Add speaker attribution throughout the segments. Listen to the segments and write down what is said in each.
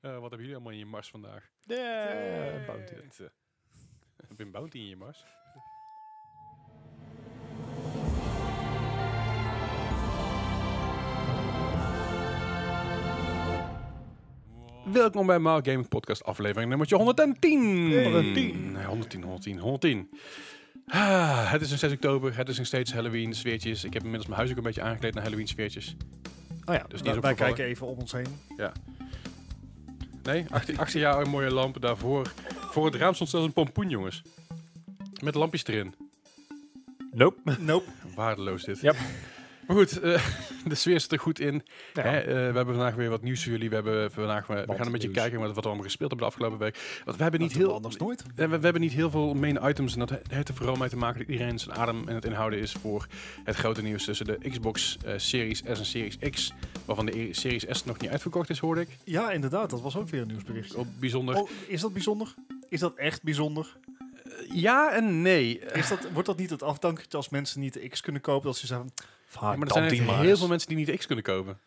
Speaker 1: Eh, wat hebben jullie allemaal in je mars vandaag?
Speaker 2: Yeah, bounty.
Speaker 1: Het, eh, heb je een bounty in je mars? Welkom bij Maal Gaming Podcast, aflevering nummertje 110.
Speaker 2: 110.
Speaker 1: Nee, 110, 110, 110. Ah, het is nog 6 oktober, het is nog steeds Halloween sfeertjes. Ik heb inmiddels mijn huis ook een beetje aangekleed naar Halloween sfeertjes.
Speaker 2: Oh ja,
Speaker 1: Dus
Speaker 2: dus
Speaker 1: die is
Speaker 2: wij
Speaker 1: opgevallen.
Speaker 2: kijken even om ons heen.
Speaker 1: Nee, achter, achter jou een mooie lamp. Daarvoor, voor het raam stond zelfs een pompoen, jongens. Met lampjes erin.
Speaker 3: Nope.
Speaker 2: Nope.
Speaker 1: Waardeloos dit.
Speaker 3: Yep.
Speaker 1: Maar goed, eh, de sfeer zit er goed in.
Speaker 2: Ja.
Speaker 1: Hè, eh, we hebben vandaag weer wat nieuws voor jullie. We, hebben vandaag, we, we
Speaker 3: Wat
Speaker 1: gaan een beetje
Speaker 3: nieuws.
Speaker 1: kijken wat, wat we allemaal gespeeld hebben de afgelopen week. Want we hebben niet
Speaker 2: Dat doen we
Speaker 1: heel...
Speaker 2: anders nooit.
Speaker 1: We, we hebben niet heel veel main items. En dat he- heeft er vooral mee te maken dat iedereen zijn adem en het inhouden is voor het grote nieuws tussen de Xbox eh, Series S en Series X. Waarvan de e- Series S nog niet uitverkocht is, hoorde ik.
Speaker 2: Ja, inderdaad. Dat was ook weer een nieuwsbericht.
Speaker 1: Op bijzonder.
Speaker 2: Oh, is dat bijzonder? Is dat echt bijzonder?
Speaker 1: Ja en nee.
Speaker 2: Is dat, wordt dat niet het afdankertje als mensen niet de X kunnen kopen? Dat ze zeggen,
Speaker 1: Ja,
Speaker 2: vaak
Speaker 1: maar er
Speaker 2: dan
Speaker 1: zijn
Speaker 2: die
Speaker 1: echt
Speaker 2: maar
Speaker 1: heel
Speaker 2: eens."
Speaker 1: veel mensen die niet de X kunnen kopen.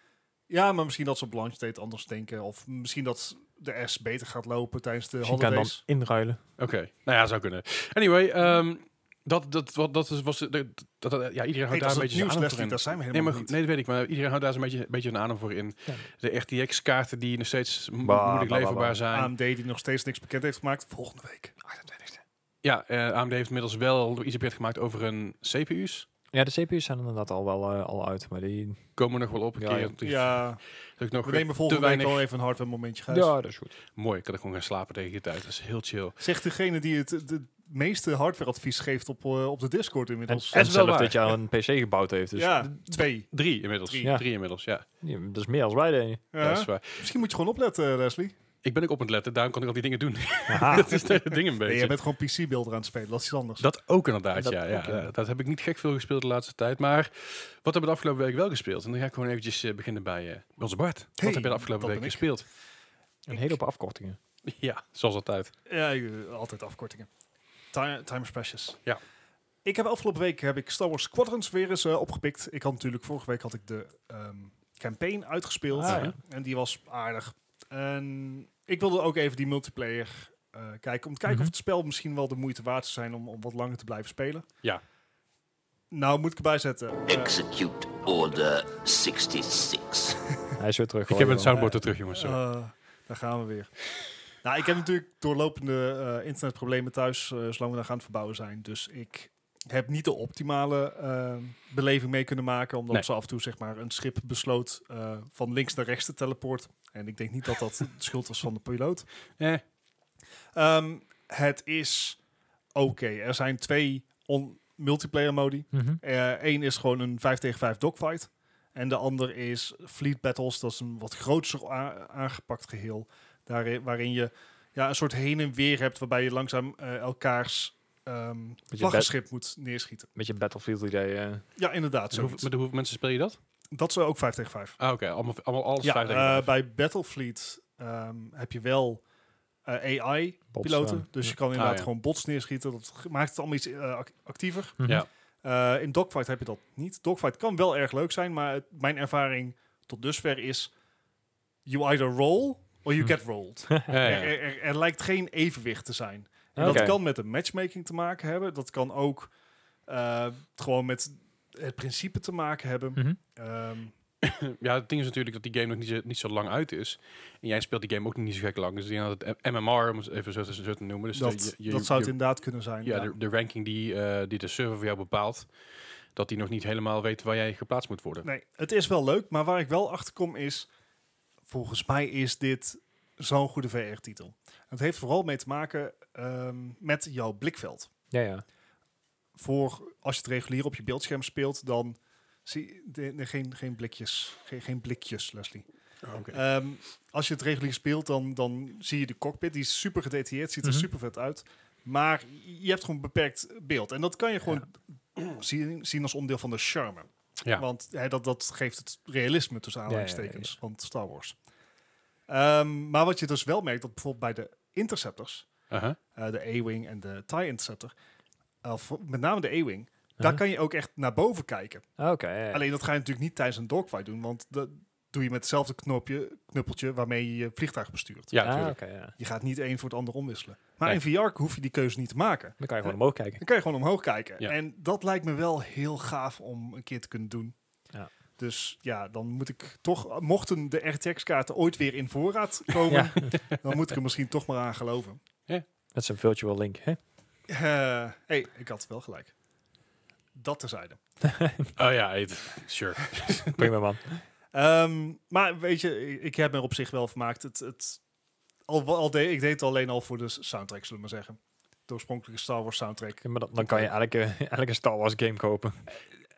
Speaker 2: Ja, maar misschien dat ze op Launchday anders denken. Of misschien dat de S beter gaat lopen tijdens de
Speaker 3: Misschien kan je dan
Speaker 2: holidays.
Speaker 3: inruilen.
Speaker 1: Oké, nou ja, zou kunnen. Anyway, ehm, dat, dat, wat, dat is- was... Dat, dat, dat- ja, iedereen
Speaker 2: Hey,
Speaker 1: houdt
Speaker 2: dat
Speaker 1: daar
Speaker 2: is
Speaker 1: een
Speaker 2: het
Speaker 1: beetje zijn aandacht
Speaker 2: nieuws,
Speaker 1: voor
Speaker 2: Leslie.
Speaker 1: in.
Speaker 2: Daar zijn we
Speaker 1: Nee,
Speaker 2: helemaal
Speaker 1: maar,
Speaker 2: niet.
Speaker 1: goed, nee, dat weet ik. Maar iedereen houdt daar zo'n beetje, beetje een adem voor in.
Speaker 3: Ja.
Speaker 1: De RTX-kaarten die nog steeds mo-
Speaker 3: Bah,
Speaker 1: moeilijk
Speaker 3: bah, bah,
Speaker 1: leverbaar
Speaker 3: bah.
Speaker 1: zijn.
Speaker 2: AMD die nog steeds niks bekend heeft gemaakt. Volgende week.
Speaker 1: Ja, eh, AMD heeft inmiddels wel iets bekend gemaakt over hun CPU's.
Speaker 3: Ja, de CPU's zijn inderdaad al wel eh, al uit, maar die...
Speaker 1: Komen we nog wel op een
Speaker 3: Ja,
Speaker 1: keer.
Speaker 3: ja.
Speaker 1: want ik-
Speaker 2: Ja,
Speaker 1: dat ik nog
Speaker 2: we nemen
Speaker 1: te
Speaker 2: volgende week
Speaker 1: weinig.
Speaker 2: al even een hardware momentje, Gijs.
Speaker 3: Ja, dat is goed.
Speaker 1: Mooi, ik kan ik gewoon gaan slapen tegen die tijd. Dat is heel chill.
Speaker 2: Zegt degene die het de meeste hardwareadvies geeft op, eh, op de Discord
Speaker 3: En, en
Speaker 2: inmiddels.
Speaker 1: wel
Speaker 3: zelf
Speaker 1: waar.
Speaker 3: dit jaar een PC gebouwd heeft, dus
Speaker 2: ja, twee.
Speaker 1: Drie inmiddels. Drie,
Speaker 2: Drie.
Speaker 3: Ja.
Speaker 1: inmiddels, ja.
Speaker 3: ja, dat is meer als wij deden.
Speaker 2: Ja.
Speaker 1: Dat is waar.
Speaker 2: Misschien moet je gewoon opletten, eh, Leslie.
Speaker 1: Ik ben ook op aan het letten, daarom kan ik al die dingen doen.
Speaker 3: Haha.
Speaker 1: dat is het hele ding een beetje.
Speaker 2: Nee, jij bent gewoon PC-beelden aan het spelen. Dat is iets anders.
Speaker 1: Dat ook inderdaad,
Speaker 3: Dat
Speaker 1: ja,
Speaker 3: ook,
Speaker 1: ja.
Speaker 3: ja.
Speaker 1: Eh, Dat heb ik niet gek veel gespeeld de laatste tijd. Maar wat hebben we de afgelopen week wel gespeeld? En dan ga ik gewoon eventjes eh, beginnen bij eh, bij onze Bart. Wat
Speaker 2: Hey,
Speaker 1: heb je de afgelopen
Speaker 2: dat
Speaker 1: week
Speaker 2: ben ik.
Speaker 1: gespeeld?
Speaker 3: een hele hoop afkortingen.
Speaker 1: Ja, zoals altijd.
Speaker 2: Ja, je- altijd afkortingen. Time, time is precious.
Speaker 1: Ja.
Speaker 2: Ik heb afgelopen week heb ik Star Wars Squadrons weer eens eh, opgepikt. Ik had natuurlijk vorige week had ik de ehm, campaign uitgespeeld.
Speaker 3: Ah, ja.
Speaker 2: En die was aardig. En ik wilde ook even die multiplayer eh, kijken. Om te kijken
Speaker 3: Mhm.
Speaker 2: of het spel misschien wel de moeite waard zou zijn om, om wat langer te blijven spelen.
Speaker 1: Ja.
Speaker 2: Nou, moet ik erbij zetten. eh,
Speaker 4: Execute Order 66.
Speaker 3: Hij is weer terug.
Speaker 1: Ik heb
Speaker 3: hoor je
Speaker 1: een
Speaker 3: wel.
Speaker 1: soundboard er terug, jongens. sorry.
Speaker 2: Eh, daar gaan we weer. nou, ik heb natuurlijk doorlopende eh, internetproblemen thuis, eh, zolang we daar gaan het verbouwen zijn. Dus ik heb niet de optimale eh, beleving mee kunnen maken, omdat
Speaker 1: Nee.
Speaker 2: ze af en toe zeg maar, een schip besloot eh, van links naar rechts te teleporten. En ik denk niet dat dat de schuld was van de piloot.
Speaker 1: Eh,
Speaker 2: Ehm, het is oké. Er zijn twee on- multiplayer modi.
Speaker 3: Mhm.
Speaker 2: Eén Eh, is gewoon een 5 tegen 5 dogfight. En de ander is Fleet Battles. Dat is een wat groter a- aangepakt geheel. Daarin, waarin je ja, een soort heen en weer hebt. Waarbij je langzaam eh, elkaars ehm
Speaker 3: bed-
Speaker 2: vlaggenschip moet neerschieten.
Speaker 3: Beetje Battlefield idee. eh.
Speaker 2: Ja, inderdaad.
Speaker 1: met, hoeveel,
Speaker 2: zoiets.
Speaker 1: met hoeveel mensen speel je dat?
Speaker 2: Dat is ook 5 tegen 5.
Speaker 1: Ah, oké. Allemaal, allemaal alles
Speaker 2: Ja,
Speaker 1: vijf tegen
Speaker 2: eh,
Speaker 1: vijf.
Speaker 2: bij Battlefleet ehm, heb je wel
Speaker 3: Bots,
Speaker 2: AI-piloten.
Speaker 3: eh.
Speaker 2: dus je
Speaker 3: Ja.
Speaker 2: kan inderdaad
Speaker 1: ja.
Speaker 2: gewoon bots neerschieten. Dat ge- maakt het allemaal iets eh, ac- actiever.
Speaker 3: Mhm.
Speaker 1: Ja.
Speaker 2: Eh, in Dogfight heb je dat niet. Dogfight kan wel erg leuk zijn, maar het- mijn ervaring tot dusver is... You either roll or you
Speaker 3: Hm.
Speaker 2: get rolled.
Speaker 1: Ja, ja.
Speaker 2: Er, er, er- er lijkt geen evenwicht te zijn. En
Speaker 3: Oké.
Speaker 2: Dat kan met de matchmaking te maken hebben. Dat kan ook eh, gewoon met het principe te maken hebben.
Speaker 3: Mhm.
Speaker 2: Ehm,
Speaker 1: Ja, het ding is natuurlijk dat die game nog niet zo, niet zo lang uit is. En jij speelt die game ook niet zo gek lang. Dus die had het M- MMR, om het even zo te, zo te noemen. Dus
Speaker 2: dat,
Speaker 1: de- je- je-
Speaker 2: dat zou het
Speaker 1: je-
Speaker 2: inderdaad kunnen zijn.
Speaker 1: ja,
Speaker 2: ja.
Speaker 1: De, de ranking die, eh, die de server voor jou bepaalt, dat die nog niet helemaal weet waar jij geplaatst moet worden.
Speaker 2: Nee, het is wel leuk, maar waar ik wel achter kom is... Volgens mij is dit zo'n goede VR-titel. Het heeft vooral mee te maken ehm, met jouw blikveld.
Speaker 3: Ja, ja.
Speaker 2: Voor als je het regulier op je beeldscherm speelt, dan zie je geen, geen blikjes. Geen, geen blikjes, Leslie. Ehm, als je het regulier speelt, dan, dan zie je de cockpit. Die is super gedetailleerd, ziet er
Speaker 3: Mhm.
Speaker 2: super vet uit. Maar je hebt gewoon beperkt beeld. En dat kan je gewoon zien, zien als onderdeel van de charme.
Speaker 1: Ja.
Speaker 2: Want hè, dat, dat geeft het realisme tussen
Speaker 3: ja, ja, ja.
Speaker 2: aanhalingstekens van Star Wars. Ehm, maar wat je dus wel merkt, dat bijvoorbeeld bij de interceptors,
Speaker 1: Aha.
Speaker 2: eh, de A-Wing en de TIE Interceptor, of met name de A-Wing, daar
Speaker 3: Huh?
Speaker 2: kan je ook echt naar boven kijken.
Speaker 3: Ah, Oké. ja, ja.
Speaker 2: Alleen dat ga je natuurlijk niet tijdens een dogfight doen, want de, doe je met hetzelfde knopje, knuppeltje waarmee je je vliegtuig bestuurt.
Speaker 1: Ja,
Speaker 3: Ah,
Speaker 1: natuurlijk.
Speaker 3: oké, ja.
Speaker 2: Je gaat niet één voor het ander omwisselen. Maar
Speaker 1: Nee.
Speaker 2: in VR hoef je die keuze niet te maken.
Speaker 3: Dan kan je gewoon omhoog kijken.
Speaker 2: Dan kan je gewoon omhoog kijken.
Speaker 1: Ja.
Speaker 2: En dat lijkt me wel heel gaaf om een keer te kunnen doen.
Speaker 3: Ja.
Speaker 2: Dus ja, dan moet ik toch, mochten de RTX-kaarten ooit weer in voorraad komen, dan moet ik er misschien toch maar aan geloven.
Speaker 3: Met zijn virtual link, hè?
Speaker 2: Eh, hey, ik had wel gelijk. Dat terzijde.
Speaker 1: Oh ja, het- sure.
Speaker 3: Prima man.
Speaker 2: Ehm, maar weet je, ik- ik heb me er op zich wel vermaakt. Het, het, al, al de, ik deed het alleen al voor de s- soundtrack, zullen we maar zeggen. De oorspronkelijke Star Wars soundtrack.
Speaker 3: Ja, maar dan, dan kan je elke, elke Star Wars game kopen.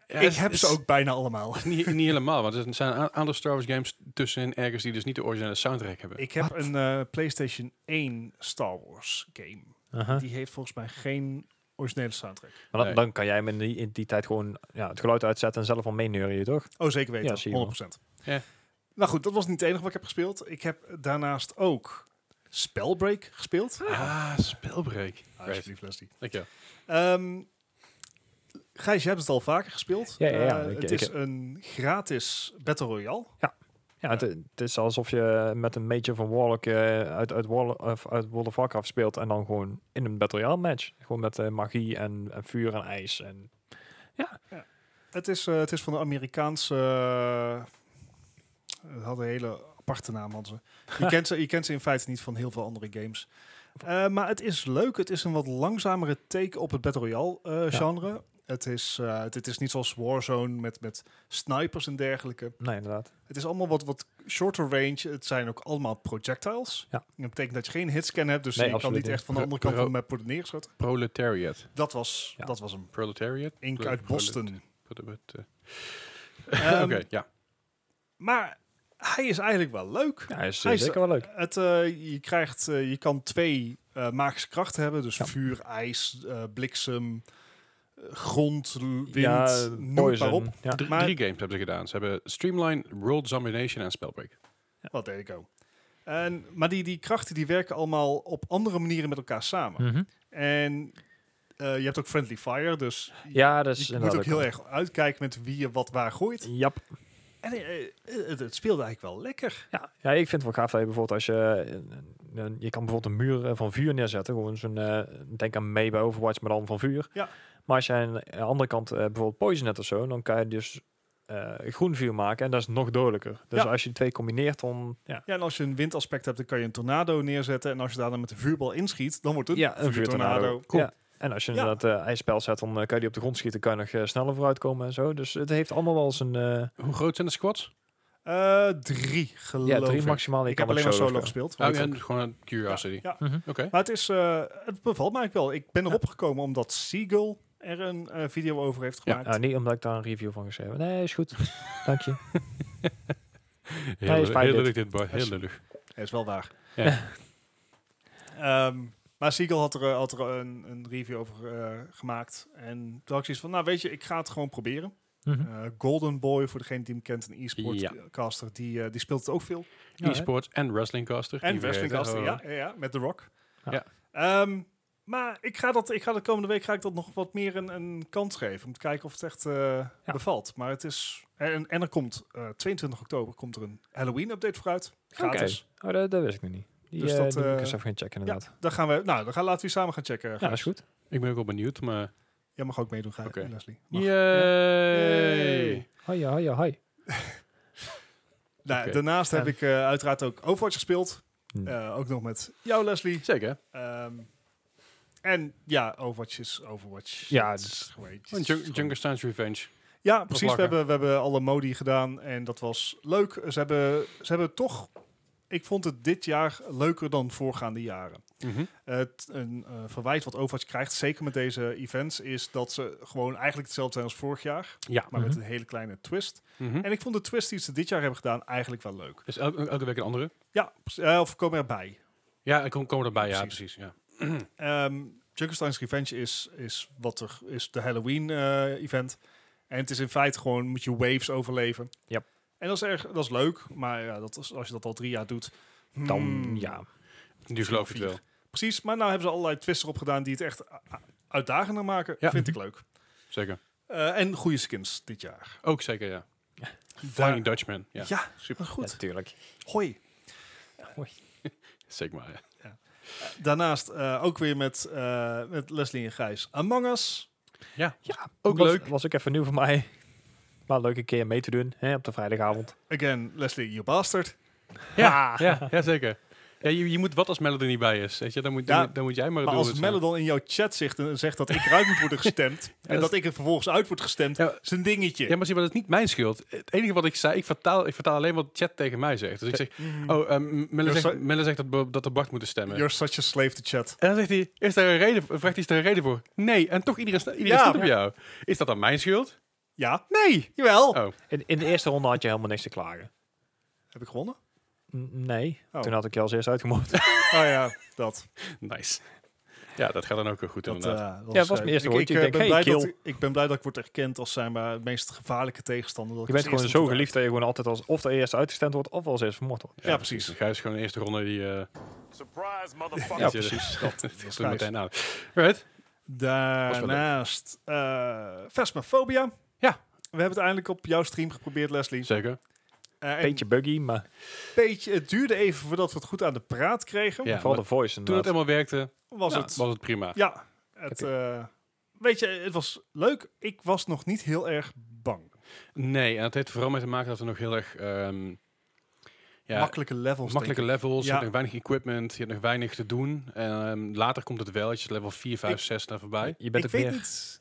Speaker 1: Ja,
Speaker 2: ik
Speaker 1: het-
Speaker 2: heb
Speaker 1: het-
Speaker 2: ze ook bijna allemaal.
Speaker 1: Niet, niet helemaal, want er zijn a- andere Star Wars games tussenin ergens die dus niet de originele soundtrack hebben.
Speaker 2: Ik heb een eh, PlayStation 1 Star Wars game.
Speaker 3: Aha.
Speaker 2: Die heeft volgens mij geen originele soundtrack.
Speaker 3: Maar dan,
Speaker 1: Nee.
Speaker 3: dan kan jij hem in die, in die tijd gewoon ja, het geluid uitzetten en zelf al meeneuren, toch?
Speaker 2: Oh, zeker weten.
Speaker 3: Ja, zie je wel.
Speaker 2: 100%.
Speaker 1: Ja.
Speaker 2: Nou goed, dat was niet het enige wat ik heb gespeeld. Ik heb daarnaast ook Spellbreak gespeeld.
Speaker 1: Ah, spelbreak.
Speaker 2: Ah,
Speaker 1: Right.
Speaker 2: Alsjeblieft, Leslie.
Speaker 1: Dankjewel.
Speaker 2: Ehm Gijs, jij hebt het al vaker gespeeld.
Speaker 3: Ja, ja, ja.
Speaker 2: Eh,
Speaker 3: Ik-
Speaker 2: het
Speaker 3: ik
Speaker 2: is
Speaker 3: heb-
Speaker 2: een gratis Battle Royale.
Speaker 3: Ja, het, het is alsof je met een Mage van Warlock eh, uit, uit, Warlo- of uit World of Warcraft speelt en dan gewoon in een Battle Royale match. Gewoon met eh, magie en, en vuur en ijs. En,
Speaker 2: Het is, eh, het is van de Amerikaanse... eh, het had een hele aparte naam, hadden ze. Je kent ze. Je kent ze in feite niet van heel veel andere games. Eh, maar het is leuk. Het is een wat langzamere take op het Battle Royale eh,
Speaker 3: Ja.
Speaker 2: genre. Het is, eh, het, het is niet zoals Warzone met, met snipers en dergelijke.
Speaker 3: nee, inderdaad.
Speaker 2: Het is allemaal wat, wat shorter range. Het zijn ook allemaal projectiles.
Speaker 3: Ja.
Speaker 2: Dat betekent dat je geen hitscan hebt, dus
Speaker 3: Nee,
Speaker 2: je kan
Speaker 3: absoluut
Speaker 2: niet
Speaker 3: niet.
Speaker 2: echt van de
Speaker 1: Pro-
Speaker 2: andere kant
Speaker 1: pro-
Speaker 2: van de map worden neergeschoten.
Speaker 1: Proletariat.
Speaker 2: Dat was,
Speaker 3: Ja.
Speaker 2: dat was een
Speaker 1: Proletariat?
Speaker 2: ink
Speaker 1: Pro-
Speaker 2: uit Boston.
Speaker 1: prolet- prolet- eh.
Speaker 2: Ehm,
Speaker 1: Oké, ja.
Speaker 2: Maar hij is eigenlijk wel leuk.
Speaker 3: Ja, is
Speaker 2: Hij
Speaker 3: eh,
Speaker 2: is-
Speaker 3: zeker wel leuk.
Speaker 2: Het, eh, je, krijgt, eh, je kan twee eh, magische krachten hebben. Dus
Speaker 3: Ja.
Speaker 2: vuur, ijs, eh, bliksem, eh, grond, l- wind,
Speaker 3: ja, eh,
Speaker 2: noem het maar
Speaker 3: Poison.
Speaker 2: op.
Speaker 3: Ja.
Speaker 1: Drie,
Speaker 2: maar-
Speaker 1: drie games hebben ze gedaan. Ze hebben Streamline, World Domination en Spellbreak.
Speaker 2: Wat deed ik ook. En, maar die, die krachten die werken allemaal op andere manieren met elkaar samen.
Speaker 3: Mhm.
Speaker 2: En eh, je hebt ook friendly fire, dus
Speaker 3: ja, dat is
Speaker 2: je moet
Speaker 3: inderdaad
Speaker 2: ook heel
Speaker 3: wel.
Speaker 2: erg uitkijken met wie je wat waar gooit.
Speaker 3: Jap.
Speaker 2: En eh, eh, het, het speelde eigenlijk wel lekker.
Speaker 3: Ja. ja, ik vind het wel gaaf dat je bijvoorbeeld als je... eh, eh, Je kan bijvoorbeeld een muur eh, van vuur neerzetten. Gewoon zo'n... eh, denk aan mee bij Overwatch, maar dan van vuur.
Speaker 2: Ja.
Speaker 3: Maar als je aan de andere kant eh, bijvoorbeeld poison hebt of zo... dan kan je dus eh, groen vuur maken en dat is nog dodelijker. Dus
Speaker 2: Ja.
Speaker 3: als je die twee combineert, dan... Ja,
Speaker 2: Ja, en als je een windaspect hebt, dan kan je een tornado neerzetten. En als je daar dan met de vuurbal inschiet, dan wordt het
Speaker 3: ja een vuurtornado.
Speaker 2: Cool.
Speaker 3: Ja. En als je
Speaker 2: Ja.
Speaker 3: inderdaad eh ijspijl zet, dan eh, kan je die op de grond schieten. kan je nog eh, sneller vooruit komen en zo. Dus het heeft allemaal wel zijn... eh
Speaker 1: Hoe groot zijn de squads?
Speaker 2: Eh, drie, geloof
Speaker 3: ja, drie
Speaker 2: ik.
Speaker 3: maximaal. Je
Speaker 2: Ik
Speaker 3: kan
Speaker 2: heb alleen maar
Speaker 3: ook
Speaker 2: solo
Speaker 3: spelen.
Speaker 2: gespeeld.
Speaker 1: Oh, ja, gewoon een Curiosity.
Speaker 2: Ja.
Speaker 3: Mhm.
Speaker 1: Oké.
Speaker 2: Maar het, is, eh, het bevalt mij eigenlijk wel. Ik ben erop gekomen omdat Seagull er een eh, video over heeft
Speaker 1: Ja,
Speaker 2: gemaakt.
Speaker 3: Nou, niet omdat ik daar een review van geschreven heb. Nee, is goed. Dank je.
Speaker 1: Heel,
Speaker 3: is
Speaker 1: lullig- heel
Speaker 3: fijn dit.
Speaker 1: lullig dit, boy. Heel
Speaker 3: Is-
Speaker 1: lullig.
Speaker 2: Dat is wel waar.
Speaker 1: Ja.
Speaker 2: Ehm, maar Siegel had er, eh, had er een, een review over eh, gemaakt. En toen had ik zoiets van, nou weet je, ik ga het gewoon proberen.
Speaker 1: Hm?
Speaker 3: Mhm.
Speaker 2: Eh, Golden Boy, voor degene die hem kent, een
Speaker 1: Ja.
Speaker 2: e-sportcaster, die, eh, die speelt het ook veel.
Speaker 3: Ja, hè?
Speaker 1: E-sports en wrestlingcaster.
Speaker 2: En
Speaker 1: Niet vergeten.
Speaker 2: wrestlingcaster,
Speaker 1: Oh.
Speaker 2: ja, ja, ja, met The Rock.
Speaker 1: Ja.
Speaker 2: Ehm, maar ik ga, dat, ik ga de komende week ga ik dat nog wat meer een, een kans geven. Om te kijken of het echt eh, bevalt. Maar het is... En, en er komt eh, 22 oktober komt er een Halloween-update vooruit. Gratis.
Speaker 3: Oh, dat, dat wist ik nog niet. Die,
Speaker 2: Dus
Speaker 3: eh,
Speaker 2: dat,
Speaker 3: die moet ik
Speaker 2: eh,
Speaker 3: eens even gaan checken inderdaad. Ja,
Speaker 2: Dan gaan we, nou, dan gaan, laten we die samen gaan checken. Gijs.
Speaker 3: dat is goed.
Speaker 1: Ik ben ook wel benieuwd, maar...
Speaker 2: Jij mag ook meedoen, Gijs,
Speaker 1: Oké.
Speaker 2: Leslie. Mag.
Speaker 1: Yay!
Speaker 2: Yay!
Speaker 3: Hoi, ja, hoi, ja, hoi.
Speaker 2: Nou,
Speaker 1: Oké.
Speaker 2: Daarnaast heb
Speaker 3: En-
Speaker 2: ik eh, uiteraard ook Overwatch gespeeld.
Speaker 3: Hmm.
Speaker 2: Eh, ook nog met jou, Leslie.
Speaker 1: Zeker.
Speaker 2: Ehm, en ja, Overwatch is Overwatch.
Speaker 3: Ja, dus-
Speaker 2: Het
Speaker 3: dat is-
Speaker 2: gewoon- het is
Speaker 1: Jun-
Speaker 2: gewoon-
Speaker 1: Junkerstein's Revenge.
Speaker 2: Ja, precies. We
Speaker 1: lachen.
Speaker 2: hebben, we hebben alle modi gedaan en dat was leuk. Ze hebben, ze hebben toch... Ik vond het dit jaar leuker dan voorgaande jaren.
Speaker 1: Mhm.
Speaker 2: Het een eh, verwijt wat Overwatch krijgt, zeker met deze events, is dat ze gewoon eigenlijk hetzelfde zijn als vorig jaar,
Speaker 1: Ja.
Speaker 2: maar
Speaker 3: Mhm.
Speaker 2: met een hele kleine twist.
Speaker 1: Mhm.
Speaker 2: En ik vond de twist die ze dit jaar hebben gedaan eigenlijk wel leuk.
Speaker 1: Dus elke, elke week een andere?
Speaker 2: Ja, eh, of komen erbij.
Speaker 1: Ja, ik kom, kom erbij. Ja,
Speaker 2: Precies.
Speaker 1: precies. Ja.
Speaker 2: Ehm Junkenstein's Revenge is, is wat er is de Halloween eh, event. En het is in feite gewoon moet je waves overleven.
Speaker 3: Yep.
Speaker 2: En dat is erg, dat is leuk, maar ja, dat is, als je dat al drie jaar doet,
Speaker 3: Dan,
Speaker 2: hmm,
Speaker 3: ja.
Speaker 1: Nu geloof ik het wel.
Speaker 2: Precies, maar nou hebben ze allerlei twists erop gedaan die het echt a- a- uitdagender maken.
Speaker 3: Mhm.
Speaker 1: Ja.
Speaker 2: Vind ik leuk.
Speaker 1: Zeker.
Speaker 2: Eh, en goede skins dit jaar.
Speaker 1: Ook zeker, ja. Flying Dutchman. Ja,
Speaker 2: Ja, ja
Speaker 1: super.
Speaker 2: goed.
Speaker 3: natuurlijk.
Speaker 2: Hoi.
Speaker 1: Sigma. ja.
Speaker 2: Daarnaast eh, ook weer met, eh, met Leslie en Gijs. Among Us.
Speaker 3: Ja,
Speaker 1: Ook
Speaker 3: was,
Speaker 1: leuk.
Speaker 3: Was ook even nieuw voor mij. Maar leuk een keer mee te doen hè, op de vrijdagavond.
Speaker 2: Again, Leslie, you bastard.
Speaker 1: Ja, ja, ja, zeker. Ja, je, je moet wat als Melody niet bij is. Weet je? Dan, moet, dan
Speaker 2: Ja,
Speaker 1: moet- dan moet jij maar het
Speaker 2: Maar
Speaker 1: doel
Speaker 2: als
Speaker 1: zijn.
Speaker 2: Melodon in jouw chat zegt, en zegt dat ik eruit moet worden gestemd... en
Speaker 1: dat
Speaker 2: dat ik er vervolgens uit word gestemd,
Speaker 1: Ja.
Speaker 2: is een dingetje.
Speaker 1: Ja, maar zie, maar dat is niet mijn schuld. Het enige wat ik zei, ik vertaal, ik vertaal alleen wat de chat tegen mij zegt. Dus ik zeg,
Speaker 2: Mhm.
Speaker 1: oh, ehm Melle,
Speaker 2: You're
Speaker 1: zegt,
Speaker 2: so-
Speaker 1: Melle zegt dat, we- dat de Bart moeten stemmen.
Speaker 2: You're such a slave to chat.
Speaker 1: En dan zegt hij, is daar een reden, voor- vraagt hij, is daar een reden voor? Nee, en toch iedereen, sta- iedereen
Speaker 2: Ja.
Speaker 1: stemt op jou. Is dat dan mijn schuld?
Speaker 2: Ja,
Speaker 1: Nee!
Speaker 2: jawel.
Speaker 1: Oh.
Speaker 3: In, in de eerste ronde had je helemaal niks te klagen.
Speaker 2: Heb ik gewonnen?
Speaker 3: N- nee,
Speaker 2: Oh.
Speaker 3: toen had ik je als eerst uitgemoord.
Speaker 2: Oh ja, dat.
Speaker 1: Nice. Ja, dat gaat dan ook weer goed
Speaker 2: dat,
Speaker 1: inderdaad.
Speaker 2: eh,
Speaker 3: Ja, het was mijn eerste
Speaker 2: ik-
Speaker 3: woordje.
Speaker 2: Ik, eh,
Speaker 3: Ik denk,
Speaker 2: ben
Speaker 3: hey,
Speaker 2: blij dat,
Speaker 3: kill.
Speaker 2: ik- ik ben blij dat ik word erkend als zijn maar meest gevaarlijke tegenstander. dat
Speaker 3: Je
Speaker 2: ik
Speaker 3: bent
Speaker 2: als
Speaker 3: gewoon
Speaker 2: eerste
Speaker 3: zo
Speaker 2: moet
Speaker 3: geliefd dat je gewoon altijd als of de eerste uitgestemd wordt of als eerst vermoord wordt.
Speaker 2: eh, ja, precies.
Speaker 1: Gijs is dus gewoon de eerste ronde die... eh
Speaker 5: Surprise, motherfucker.
Speaker 1: ja,
Speaker 2: precies.
Speaker 1: Dat, dat is
Speaker 2: Gijs.
Speaker 1: meteen aan. Right?
Speaker 2: Daarnaast eh Phasmophobia.
Speaker 1: Ja.
Speaker 2: We hebben het eindelijk op jouw stream geprobeerd, Leslie.
Speaker 1: Zeker.
Speaker 2: Eh, en
Speaker 3: Beetje buggy, maar
Speaker 2: beetje, het duurde even voordat we het goed aan de praat kregen.
Speaker 1: Ja,
Speaker 3: vooral
Speaker 1: maar
Speaker 3: de voice
Speaker 1: toen het
Speaker 3: inderdaad.
Speaker 1: helemaal werkte,
Speaker 2: Was
Speaker 1: ja,
Speaker 2: het...
Speaker 1: was het prima.
Speaker 2: Ja. Het, eh, weet je, het was leuk. Ik was nog niet heel erg bang.
Speaker 1: Nee, en dat heeft vooral mee te maken dat er nog heel erg... ehm, ja,
Speaker 2: Makkelijke levels.
Speaker 1: makkelijke levels, je
Speaker 2: Ja.
Speaker 1: hebt nog weinig equipment, je hebt nog weinig te doen. Ehm, later komt het wel, als je level 4, 5, 6 daar voorbij.
Speaker 3: Je
Speaker 2: denk
Speaker 3: bent
Speaker 2: ik. Ik
Speaker 3: ook
Speaker 2: weet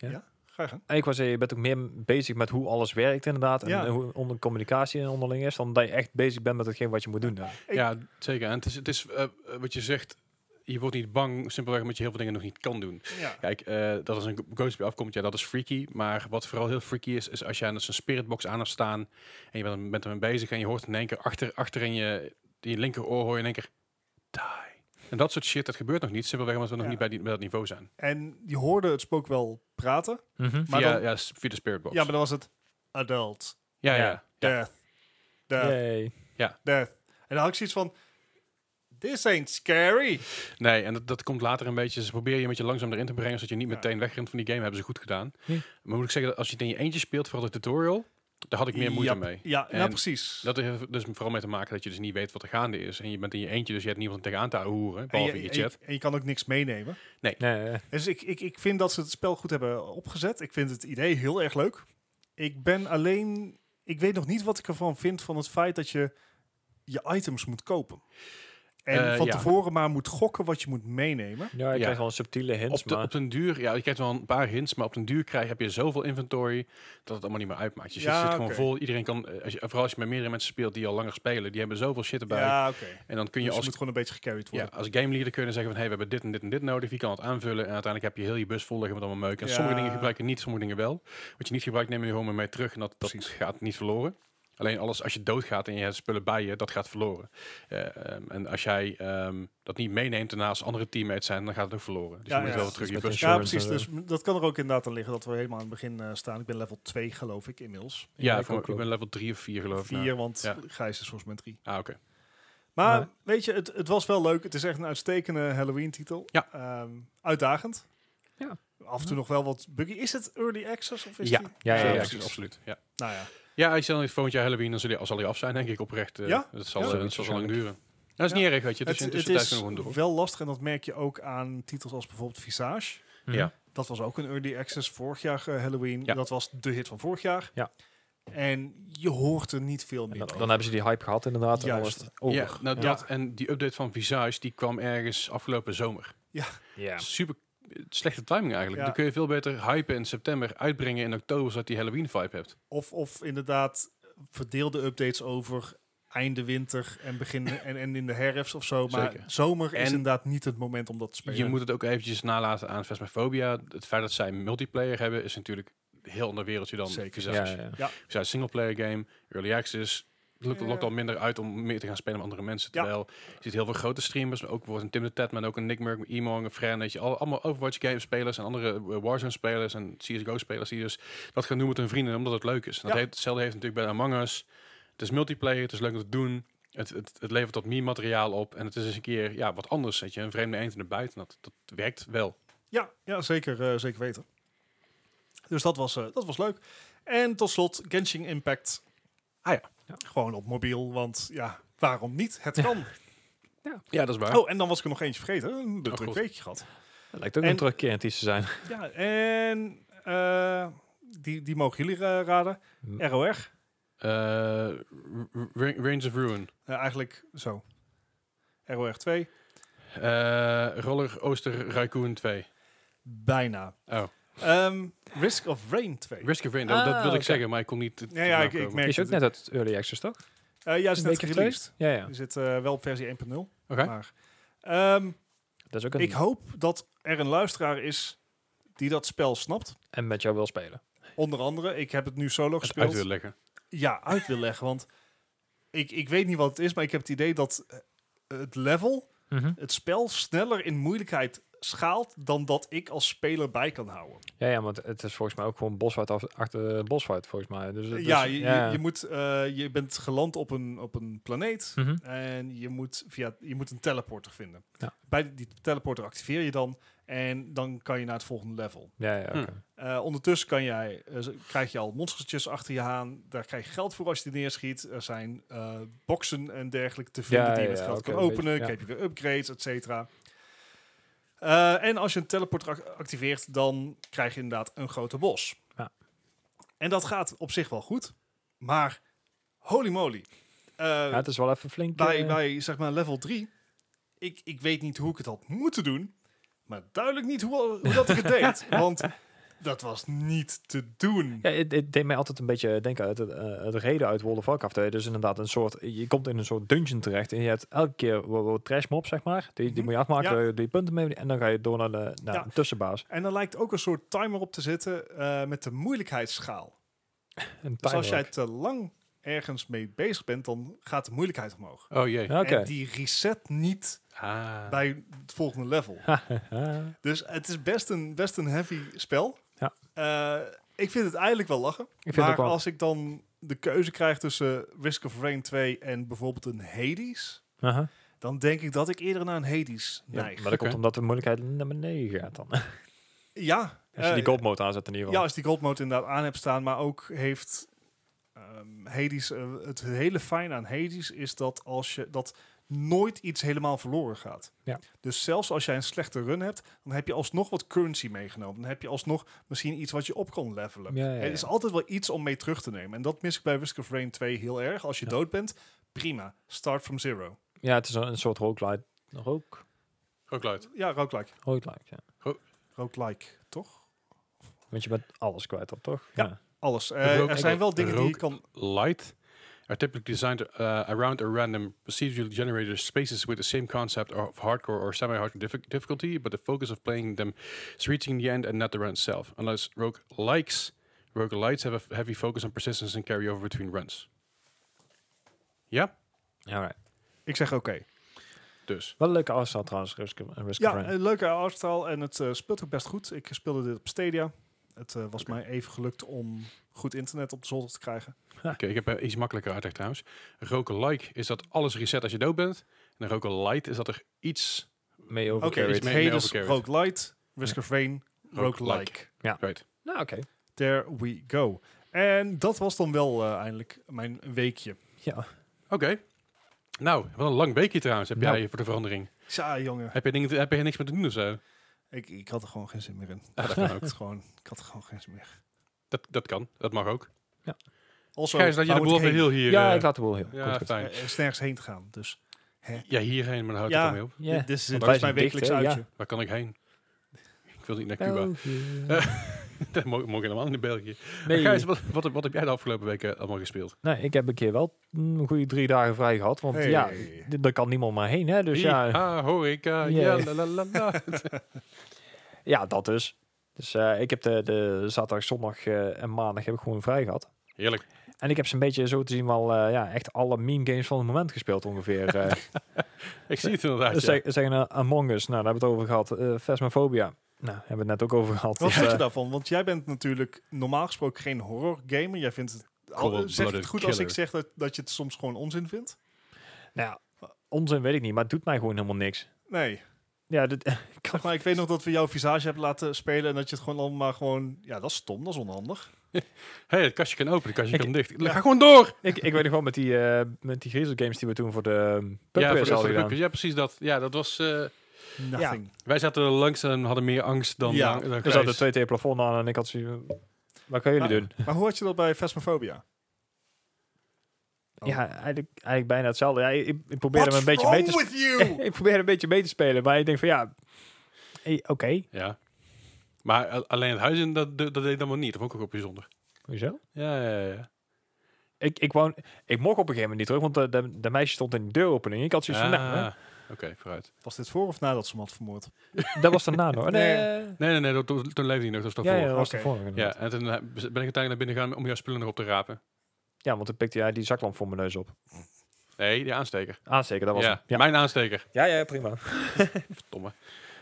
Speaker 3: meer, Ja.
Speaker 2: niet... Ja, ga je gang.
Speaker 3: En ik was je bent ook meer bezig met hoe alles werkt inderdaad. En
Speaker 2: Ja.
Speaker 3: eh, hoe onder communicatie en onderling is. Dan dat je echt bezig bent met hetgeen wat je moet doen. Ja.
Speaker 2: Ik-
Speaker 1: Ja, zeker. En het is, het is eh, eh, wat je zegt, je wordt niet bang, simpelweg omdat je heel veel dingen nog niet kan doen.
Speaker 2: Ja.
Speaker 1: Kijk, eh, dat als een ghost bij afkomt, ja, dat is freaky. Maar wat vooral heel freaky is, is als jij dus een spiritbox aan hebt staan en je bent, bent ermee bezig en je hoort in één keer achter, achter in je, in je linkeroor hoor je in één keer die. En dat soort shit, dat gebeurt nog niet, simpelweg omdat we nog
Speaker 2: Ja.
Speaker 1: niet bij, die, bij dat niveau zijn.
Speaker 2: En je hoorde het spook wel praten. Maar
Speaker 1: via,
Speaker 2: dan-
Speaker 1: ja, s- via de spiritbox.
Speaker 2: Ja, maar dan was het adult,
Speaker 1: ja, ja,
Speaker 3: Ja.
Speaker 1: ja.
Speaker 2: death, death,
Speaker 3: Yay.
Speaker 2: death. En dan had ik zoiets van, this ain't scary.
Speaker 1: Nee, en dat, dat komt later een beetje. Ze proberen je een beetje langzaam erin te brengen, zodat je niet
Speaker 2: Ja.
Speaker 1: meteen wegrent van die game. Hebben ze goed gedaan.
Speaker 3: Ja.
Speaker 1: Maar moet ik zeggen, dat als je het in je eentje speelt, vooral de tutorial, daar had ik meer moeite
Speaker 2: Ja,
Speaker 1: mee.
Speaker 2: Ja,
Speaker 1: En
Speaker 2: ja precies.
Speaker 1: Dat heeft dus vooral mee te maken dat je dus niet weet wat er gaande is. En je bent in je eentje, dus je hebt niemand om tegenaan te horen,
Speaker 2: en,
Speaker 1: behalve
Speaker 2: je,
Speaker 1: in je
Speaker 2: en je-
Speaker 1: chat.
Speaker 2: en je kan ook niks meenemen.
Speaker 3: Nee, eh,
Speaker 2: Dus ik, ik, ik vind dat ze het spel goed hebben opgezet. Ik vind het idee heel erg leuk. Ik ben alleen... Ik weet nog niet wat ik ervan vind van het feit dat je je items moet kopen. En
Speaker 1: Eh,
Speaker 2: van
Speaker 1: ja.
Speaker 2: tevoren maar moet gokken wat je moet meenemen.
Speaker 3: ja, je
Speaker 1: Ja.
Speaker 3: krijgt wel een subtiele hints,
Speaker 1: Op, de,
Speaker 3: maar
Speaker 1: op den duur, ja, je krijgt wel een paar hints, maar op den duur krijg, heb je zoveel inventory dat het allemaal niet meer uitmaakt. Je zit-
Speaker 2: Ja,
Speaker 1: zit gewoon
Speaker 2: oké.
Speaker 1: vol. Iedereen kan, eh, als je, vooral als je met meerdere mensen speelt die al langer spelen, die hebben zoveel shit erbij.
Speaker 2: Ja, oké.
Speaker 1: En dan kun
Speaker 2: Dus
Speaker 1: je
Speaker 2: je
Speaker 1: als
Speaker 2: moet gewoon een beetje gecarried
Speaker 1: Ja,
Speaker 2: worden.
Speaker 1: als game leader kun je dan zeggen van hey, we hebben dit en dit en dit nodig. Wie kan het aanvullen? En uiteindelijk heb je heel je bus vol liggen met allemaal meuk. En
Speaker 2: Ja.
Speaker 1: sommige dingen gebruik je niet, sommige dingen wel. Wat je niet gebruikt, neem je gewoon maar mee terug. En dat, dat
Speaker 2: Precies.
Speaker 1: gaat niet verloren. Alleen alles als je doodgaat en je hebt spullen bij je, dat gaat verloren. Eh, ehm, en als jij ehm, dat niet meeneemt en naast andere teammates zijn, dan gaat het ook verloren. Dus
Speaker 2: Ja,
Speaker 1: je moet
Speaker 2: ja.
Speaker 1: wel weer terug in je
Speaker 3: Dat is
Speaker 1: bus.
Speaker 3: met
Speaker 2: Ja,
Speaker 3: insurance
Speaker 2: precies.
Speaker 3: en,
Speaker 2: Dus m- dat kan er ook inderdaad aan liggen dat we helemaal aan het begin eh, staan. Ik ben level 2 geloof ik inmiddels.
Speaker 1: Ja,
Speaker 3: Ja, ik
Speaker 1: voor-
Speaker 3: ook
Speaker 1: ik,
Speaker 3: wel.
Speaker 1: ben level 3 of 4 geloof ik.
Speaker 2: 4,
Speaker 1: nou.
Speaker 2: want
Speaker 1: ja.
Speaker 2: Gijs is volgens mij 3.
Speaker 1: Ah, oké.
Speaker 2: Maar
Speaker 3: Maar-
Speaker 2: weet je, het, het was wel leuk. Het is echt een uitstekende Halloween titel.
Speaker 1: Ja.
Speaker 2: uitdagend.
Speaker 3: Ja.
Speaker 2: Af en toe nog wel wat buggy. Is het early access of is
Speaker 1: Ja.
Speaker 2: die-
Speaker 3: Ja, ja,
Speaker 1: Zo,
Speaker 3: ja,
Speaker 2: precies.
Speaker 1: absoluut. Ja.
Speaker 2: Nou ja.
Speaker 1: Ja, als je dan volgend jaar Halloween, dan zal hij, zal hij af zijn, denk ik, oprecht. eh,
Speaker 2: Ja?
Speaker 1: Dat zal,
Speaker 2: Ja.
Speaker 1: eh, dat zal lang duren. Dat is
Speaker 2: Ja.
Speaker 1: niet erg, weet je. Dus
Speaker 2: Het,
Speaker 1: in de
Speaker 2: het
Speaker 1: tussentijd
Speaker 2: is
Speaker 1: kunnen we gewoon door.
Speaker 2: wel lastig en dat merk je ook aan titels als bijvoorbeeld Visage.
Speaker 3: Mhm.
Speaker 1: Ja.
Speaker 2: Dat was ook een early access vorig jaar eh, Halloween.
Speaker 1: Ja.
Speaker 2: Dat was de hit van vorig jaar.
Speaker 3: Ja.
Speaker 2: En je hoort er niet veel
Speaker 3: En
Speaker 2: meer
Speaker 3: dan,
Speaker 2: over.
Speaker 3: dan hebben ze die hype gehad inderdaad. en dan
Speaker 2: Juist.
Speaker 3: was het over.
Speaker 1: Ja, nou dat en die update van Visage die kwam ergens afgelopen zomer.
Speaker 3: Ja.
Speaker 1: Super eh, slechte timing eigenlijk.
Speaker 2: Ja.
Speaker 1: Dan kun je veel beter hypen in september, uitbrengen in oktober, zodat die Halloween vibe hebt.
Speaker 2: Of, of inderdaad verdeelde updates over einde winter en begin en, en in de herfst of zo. Maar
Speaker 1: Zeker.
Speaker 2: zomer is
Speaker 1: En-
Speaker 2: inderdaad niet het moment om dat te spelen.
Speaker 1: Je moet het ook eventjes nalaten aan Phasmophobia. Het feit dat zij multiplayer hebben is natuurlijk een heel ander wereldje dan
Speaker 2: Zeker.
Speaker 1: Visage.
Speaker 3: Ja,
Speaker 1: Visage.
Speaker 3: ja, ja.
Speaker 1: is singleplayer game, early access. Het lukt,
Speaker 2: Ja.
Speaker 1: lokt al minder uit om meer te gaan spelen met andere mensen.
Speaker 2: Ja.
Speaker 1: Terwijl je ziet heel veel grote streamers, ook bijvoorbeeld een Tim de Ted, maar ook een Nick Merck, een Emong, een Fran, weet je, al- allemaal Overwatch game spelers en andere eh, Warzone spelers en CSGO spelers die dus dat gaan doen met hun vrienden omdat het leuk is. En dat
Speaker 2: Ja.
Speaker 1: heeft, hetzelfde heeft natuurlijk bij Among Us. Het is multiplayer, het is leuk om te doen. Het, het, het levert dat meme materiaal op en het is eens een keer ja, wat anders. Weet je, een vreemde eend in de buiten, dat, dat werkt wel.
Speaker 2: Ja, ja zeker, eh, zeker weten. Dus dat was, eh, dat was leuk. En tot slot Genshin Impact.
Speaker 1: Ah ja.
Speaker 2: Gewoon op mobiel, want ja, waarom niet? Het kan.
Speaker 1: Ja, dat is waar.
Speaker 2: Oh, en dan was ik er nog eentje vergeten. Een druk
Speaker 1: goed.
Speaker 2: weekje gehad.
Speaker 3: Het lijkt ook
Speaker 2: En-
Speaker 3: een terugkerend iets te zijn.
Speaker 2: Ja, en eh, die, die mogen jullie eh, raden.
Speaker 1: Mm.
Speaker 3: Hm.
Speaker 2: ROR.
Speaker 1: Eh, R- R- Reigns of Ruin.
Speaker 2: Eh, eigenlijk zo. ROR 2.
Speaker 1: Eh, Roller Ooster Raccoon 2.
Speaker 2: Bijna.
Speaker 1: Oh.
Speaker 2: Ehm, Risk of Rain 2.
Speaker 1: Risk of Rain, dat, dat
Speaker 3: Ah,
Speaker 1: wilde ik
Speaker 3: oké.
Speaker 1: zeggen, maar ik kon niet...
Speaker 2: Ja, ja, ik, ik merk
Speaker 3: Die is ook
Speaker 2: het.
Speaker 3: net uit early access, toch?
Speaker 2: Eh, ja, is net
Speaker 3: week of twee?
Speaker 2: released.
Speaker 3: Ja, ja.
Speaker 2: Er zit eh, wel op versie 1.0.
Speaker 1: Oké.
Speaker 2: Maar, ehm,
Speaker 3: Dat is ook een...
Speaker 2: ik hoop dat er een luisteraar is die dat spel snapt.
Speaker 3: en met jou wil spelen.
Speaker 2: Onder andere, ik heb het nu solo
Speaker 1: het
Speaker 2: gespeeld.
Speaker 1: uit willen leggen.
Speaker 2: ja, uit wil leggen. Want ik, ik weet niet wat het is, maar ik heb het idee dat eh, het level, het spel, sneller in moeilijkheid schaalt dan dat ik als speler bij kan houden.
Speaker 3: Ja, ja, want het is volgens mij ook gewoon bosfight af, achter eh, bosfight, volgens mij. Dus, het is-
Speaker 2: ja, je, je- Je, moet, eh, je bent geland op een, op een planeet
Speaker 3: Mhm.
Speaker 2: en je moet, via, je moet een teleporter vinden.
Speaker 3: Ja.
Speaker 2: Bij die- die teleporter activeer je dan en dan kan je naar het volgende level.
Speaker 3: Ja, ja, oké.
Speaker 1: Hm.
Speaker 2: Eh, ondertussen kan jij, eh, z- krijg je al monstertjes achter je aan. Daar krijg je geld voor als je die neerschiet. Er zijn eh boxen en dergelijke te vinden
Speaker 3: Ja,
Speaker 2: die je
Speaker 3: ja,
Speaker 2: met
Speaker 3: ja,
Speaker 2: geld
Speaker 3: oké,
Speaker 2: kan
Speaker 3: een beetje,
Speaker 2: openen.
Speaker 3: ja.
Speaker 2: Krijg je weer upgrades, et cetera. Eh, en als je een teleporter ac- activeert, dan krijg je inderdaad een grote bos.
Speaker 3: Ja.
Speaker 2: En dat gaat op zich wel goed. Maar holy moly. Eh,
Speaker 3: Ja, het is wel even flink.
Speaker 2: bij,
Speaker 3: eh,
Speaker 2: bij zeg maar level 3, ik, ik weet niet hoe ik het had moeten doen, maar duidelijk niet hoe, hoe dat ik het deed. Want dat was niet te doen.
Speaker 3: Ja, het, het deed mij altijd een beetje denken uit het, eh, het reden uit World of Warcraft. hè. Dus inderdaad, een soort, je komt in een soort dungeon terecht en je hebt elke keer wat, wat trash mob, zeg maar. Die, die
Speaker 2: Mhm.
Speaker 3: moet je afmaken,
Speaker 2: Ja.
Speaker 3: daar doe je punten mee en dan ga je door naar de naar
Speaker 2: Ja.
Speaker 3: een tussenbaas.
Speaker 2: En er lijkt ook een soort timer op te zitten eh, met de moeilijkheidsschaal.
Speaker 3: Een
Speaker 2: Dus als jij
Speaker 3: timer ook.
Speaker 2: te lang ergens mee bezig bent, dan gaat de moeilijkheid omhoog.
Speaker 1: Oh jee.
Speaker 3: Ja, Oké.
Speaker 2: En die reset niet
Speaker 1: Ah.
Speaker 2: bij het volgende level. Dus het is best een, best een heavy spel.
Speaker 3: Ja.
Speaker 2: Eh, ik vind het eigenlijk wel lachen.
Speaker 3: vind het
Speaker 2: maar
Speaker 3: ook wel.
Speaker 2: als ik dan de keuze krijg tussen Risk of Rain 2 en bijvoorbeeld een Hades,
Speaker 3: Aha.
Speaker 2: dan denk ik dat ik eerder naar een Hades
Speaker 3: Ja,
Speaker 2: neig.
Speaker 3: maar dat komt
Speaker 1: Oké.
Speaker 3: omdat de moeilijkheid naar beneden gaat dan.
Speaker 2: Ja,
Speaker 3: Als je
Speaker 2: eh,
Speaker 3: die gold mode aanzet in ieder
Speaker 2: ja,
Speaker 3: geval.
Speaker 2: als die gold mode inderdaad aan hebt staan, maar ook heeft ehm, Hades, eh, het hele fijn aan Hades is dat als je dat nooit iets helemaal verloren gaat.
Speaker 3: Ja.
Speaker 2: Dus zelfs als jij een slechte run hebt, dan heb je alsnog wat currency meegenomen. Dan heb je alsnog misschien iets wat je op kan levelen.
Speaker 3: Ja, ja,
Speaker 2: Er
Speaker 3: ja.
Speaker 2: is altijd wel iets om mee terug te nemen. En dat mis ik bij Risk of Rain 2 heel erg. Als je
Speaker 3: Ja.
Speaker 2: dood bent, prima. Start from zero.
Speaker 3: Ja, het is een, een soort roguelite. Rook?
Speaker 1: Ook luid.
Speaker 2: Ja, roguelike.
Speaker 3: Roguelite, ja.
Speaker 2: Roguelike, toch?
Speaker 3: Want je bent alles kwijt dan, toch?
Speaker 2: Ja. Alles. Eh,
Speaker 1: rogue-
Speaker 2: er zijn wel dingen die je
Speaker 1: rogue-
Speaker 2: kan...
Speaker 1: Light are typically designed uh, around a random procedurally generated spaces with the same concept of hardcore or semi-hardcore diffi- difficulty, but the focus of playing them is reaching the end and not the run itself. Unless rogue likes, rogue lights have a f- heavy focus on persistence and carryover between runs. Ja,
Speaker 3: Ja, right.
Speaker 2: Ik zeg oké.
Speaker 1: dus.
Speaker 3: Wel een leuke afstand trouwens, Risk of, Risk of
Speaker 2: Ja,
Speaker 3: Rain.
Speaker 2: een leuke artstyle en het eh, speelt ook best goed. Ik speelde dit op Stadia. Het eh, was mij even gelukt om goed internet op de zolder te krijgen.
Speaker 1: Oké, ik heb eh, iets makkelijker uitleg trouwens. Roken like is dat alles reset als je dood bent. En roken light is dat er iets...
Speaker 3: Mee
Speaker 2: Oké,
Speaker 3: overcarried.
Speaker 1: iets
Speaker 2: dus
Speaker 1: meer
Speaker 2: Hades,
Speaker 1: overcarried.
Speaker 2: Rogue Light, Risk of Rain,
Speaker 1: Roguelike.
Speaker 2: Rogue
Speaker 1: Right.
Speaker 3: Nou, oké.
Speaker 2: There we go. En dat was dan wel eh, eindelijk mijn weekje.
Speaker 3: Ja.
Speaker 1: Oké. Nou, wat een lang weekje trouwens heb
Speaker 3: Nou.
Speaker 1: jij voor de verandering.
Speaker 2: Tja, jongen.
Speaker 1: Heb je, dingen, heb je niks meer te doen of zo?
Speaker 2: Ik, ik had er gewoon geen zin meer in.
Speaker 1: Ja, dat kan ook.
Speaker 2: Het is gewoon, ik had er gewoon geen zin meer.
Speaker 1: Dat, dat kan, dat mag ook.
Speaker 2: Also,
Speaker 1: Gijs, dat je de
Speaker 2: waar
Speaker 1: boel
Speaker 2: moet
Speaker 1: op
Speaker 2: ik
Speaker 1: de
Speaker 2: nou heen?
Speaker 1: heel hier...
Speaker 3: Ja,
Speaker 1: eh,
Speaker 3: ik laat de boel heel.
Speaker 1: ja,
Speaker 3: Komt goed.
Speaker 1: fijn.
Speaker 2: Eh, Er is nergens heen te gaan, dus
Speaker 1: Ja, hierheen, maar daar hou ik
Speaker 2: Ja.
Speaker 1: het toch mee op.
Speaker 3: Ja.
Speaker 2: dit, dit is,
Speaker 3: Want
Speaker 2: dit
Speaker 3: wij
Speaker 2: is mijn
Speaker 3: zijn dicht,
Speaker 2: wekelijks
Speaker 3: hè? Ja.
Speaker 2: uitje.
Speaker 1: Waar kan ik heen? Ik wil niet naar Cuba. Dat mag, mag ik helemaal niet in België.
Speaker 3: Nee.
Speaker 1: Gijs, wat, wat, wat heb jij de afgelopen weken allemaal gespeeld?
Speaker 3: nee, ik heb een keer wel een goede drie dagen vrij gehad. Want
Speaker 2: Hey.
Speaker 3: ja, d- daar kan niemand maar heen. Hè, dus ja,
Speaker 1: Ah, horeca, ja,
Speaker 3: Ja.
Speaker 1: la, la, la, la.
Speaker 3: ja, dat dus. Dus eh, ik heb de, de zaterdag, zondag eh, en maandag heb ik gewoon vrij gehad.
Speaker 1: Heerlijk.
Speaker 3: En ik heb zo'n beetje zo te zien wel eh, ja, echt alle meme games van het moment gespeeld ongeveer. eh.
Speaker 1: Ik zie het inderdaad, ja.
Speaker 3: Zeg- Zeggen eh, Among Us, nou daar hebben we het over gehad. Eh Phasmophobia, nou hebben we het net ook over gehad.
Speaker 2: Wat
Speaker 3: Dus,
Speaker 2: vind je
Speaker 3: eh,
Speaker 2: daarvan? Want jij bent natuurlijk normaal gesproken geen horror gamer. Jij vindt het. Al,
Speaker 1: Cold-blooded
Speaker 2: zeg het goed als ik
Speaker 1: killer.
Speaker 2: zeg dat, dat je het soms gewoon onzin vindt?
Speaker 3: nou ja, onzin weet ik niet, maar het doet mij gewoon helemaal niks.
Speaker 2: Nee.
Speaker 3: Ja, dit, ik kan-
Speaker 2: Zeg maar, ik weet nog dat we jouw visage hebben laten spelen en dat je het gewoon allemaal gewoon... Ja, dat is stom, dat is onhandig.
Speaker 1: hey, het kastje kan open, het kastje
Speaker 3: Ik-
Speaker 1: kan dicht. Ga gewoon door!
Speaker 3: ik, ik weet nog wel met die, eh, met die Griezel games die we toen voor de um,
Speaker 1: Ja, voor de- voor de
Speaker 3: hadden
Speaker 1: pubquiz.
Speaker 3: gedaan.
Speaker 1: ja, precies dat. Ja, dat was... eh,
Speaker 2: Nothing.
Speaker 1: wij zaten er langs en hadden meer angst dan... eh,
Speaker 2: Ja,
Speaker 1: dan- dan
Speaker 3: Er
Speaker 1: Gijs.
Speaker 3: zaten twee tegen het plafond aan en ik had zoiets van, Wat gaan jullie
Speaker 1: Ah.
Speaker 2: Maar-
Speaker 3: doen?
Speaker 2: Maar hoe had je dat bij Phasmophobia? Oh.
Speaker 3: Ja, eigenlijk, eigenlijk bijna hetzelfde. Ja, ik, ik- ik probeerde hem
Speaker 2: What's
Speaker 3: een beetje mee te
Speaker 2: wrong with you?
Speaker 3: spelen. ik probeerde een beetje mee te spelen, maar ik denk van ja, eh, oké.
Speaker 1: Ja. Maar a- alleen het huis in, dat, dat deed ik dan wel niet. Dat vond ik ook wel bijzonder.
Speaker 3: Hoezo?
Speaker 1: Ja, ja, ja.
Speaker 3: Ik, ik, wou, ik mocht op een gegeven moment niet terug, want de, de, de meisje stond in de deuropening. Ik had zoiets van, nou,
Speaker 1: Ah, Oké, vooruit.
Speaker 2: Was dit voor of nadat ze hem had vermoord?
Speaker 1: Ah.
Speaker 3: hè, dat was daarna nog. Nee,
Speaker 2: Nee.
Speaker 3: eh,
Speaker 1: Nee, nee, nee. dat- Toen, toen leefde hij nog. Dat was
Speaker 3: ja,
Speaker 1: daarvoor.
Speaker 3: ja, dat was
Speaker 2: Oké.
Speaker 3: daarvoor
Speaker 1: Ja,
Speaker 3: inderdaad.
Speaker 1: en toen eh, ben ik uiteindelijk naar binnen gegaan om jouw spullen nog op te rapen.
Speaker 3: Ja, want toen pikte hij die zaklamp voor mijn neus op.
Speaker 1: Nee, die aansteker.
Speaker 3: Aansteken, dat was
Speaker 1: ja,
Speaker 3: hem. Ja.
Speaker 1: mijn aansteker.
Speaker 3: ja, ja, prima.
Speaker 1: Verdomme.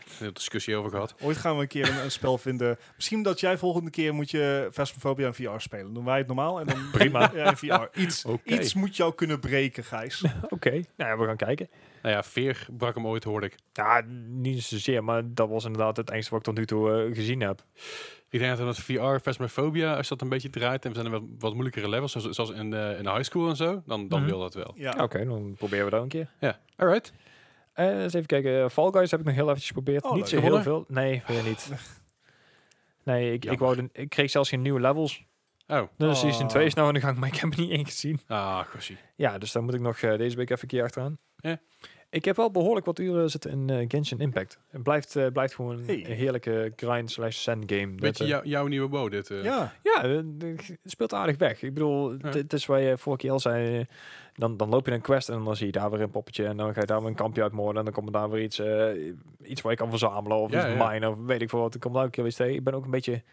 Speaker 1: Daar hebben we discussie over gehad.
Speaker 2: Ooit gaan we een keer een, een spel vinden. Misschien dat jij volgende keer moet je Phasmophobia in VR spelen. Doen wij het normaal en dan...
Speaker 3: Prima.
Speaker 2: Ja, in VR. Iets,
Speaker 1: Oké.
Speaker 2: iets moet jou kunnen breken, Gijs.
Speaker 3: Oké, nou ja, we gaan kijken.
Speaker 1: Nou ja, Veer brak hem ooit, hoorde ik.
Speaker 3: Ja, niet zozeer, maar dat was inderdaad het engste wat ik tot nu toe eh, gezien heb.
Speaker 1: Ik denk dat met VR, Phasmophobia, als je dat een beetje draait... en we zijn er wat, wat moeilijkere levels, zoals, zoals in, de, in de high school en zo... dan, dan
Speaker 3: Mhm.
Speaker 1: wil dat wel.
Speaker 2: Ja.
Speaker 3: Ja, Oké, dan proberen we dat een keer.
Speaker 1: Ja, alright.
Speaker 3: Eh, eens even kijken. Fall Guys heb ik nog heel eventjes geprobeerd.
Speaker 2: Oh,
Speaker 3: niet
Speaker 2: leuk.
Speaker 3: zo heel veel. Nee, weer niet. Nee, ik, ik, wou de- ik kreeg zelfs geen nieuwe levels.
Speaker 1: Oh,
Speaker 3: Dus die is in
Speaker 2: Oh.
Speaker 3: twee is nou aan de gang, maar ik heb er niet één gezien.
Speaker 1: ah, gossie.
Speaker 3: Ja, dus daar moet ik nog eh, deze week even een keer achteraan.
Speaker 1: Ja.
Speaker 3: Ik heb wel behoorlijk wat uren zitten in eh, Genshin Impact. Het blijft, eh, blijft gewoon
Speaker 2: Hey.
Speaker 3: een heerlijke grind slash sand game. Dat,
Speaker 1: Beetje
Speaker 3: eh,
Speaker 1: jou- jouw nieuwe bo, dit. eh.
Speaker 2: Ja.
Speaker 3: Ja, eh, het speelt aardig weg. Ik bedoel, het- het is waar je vorige keer al zei. eh, Dan, dan loop je een quest en dan zie je daar weer een poppetje. En dan ga je daar weer een kampje uitmoorden. En dan komt er daar weer iets, eh, iets waar je kan verzamelen. Of
Speaker 1: Ja,
Speaker 3: iets
Speaker 1: ja.
Speaker 3: minen, of weet ik veel wat. Ik kom daar ook een keer weer eens tegen. Ik ben ook een beetje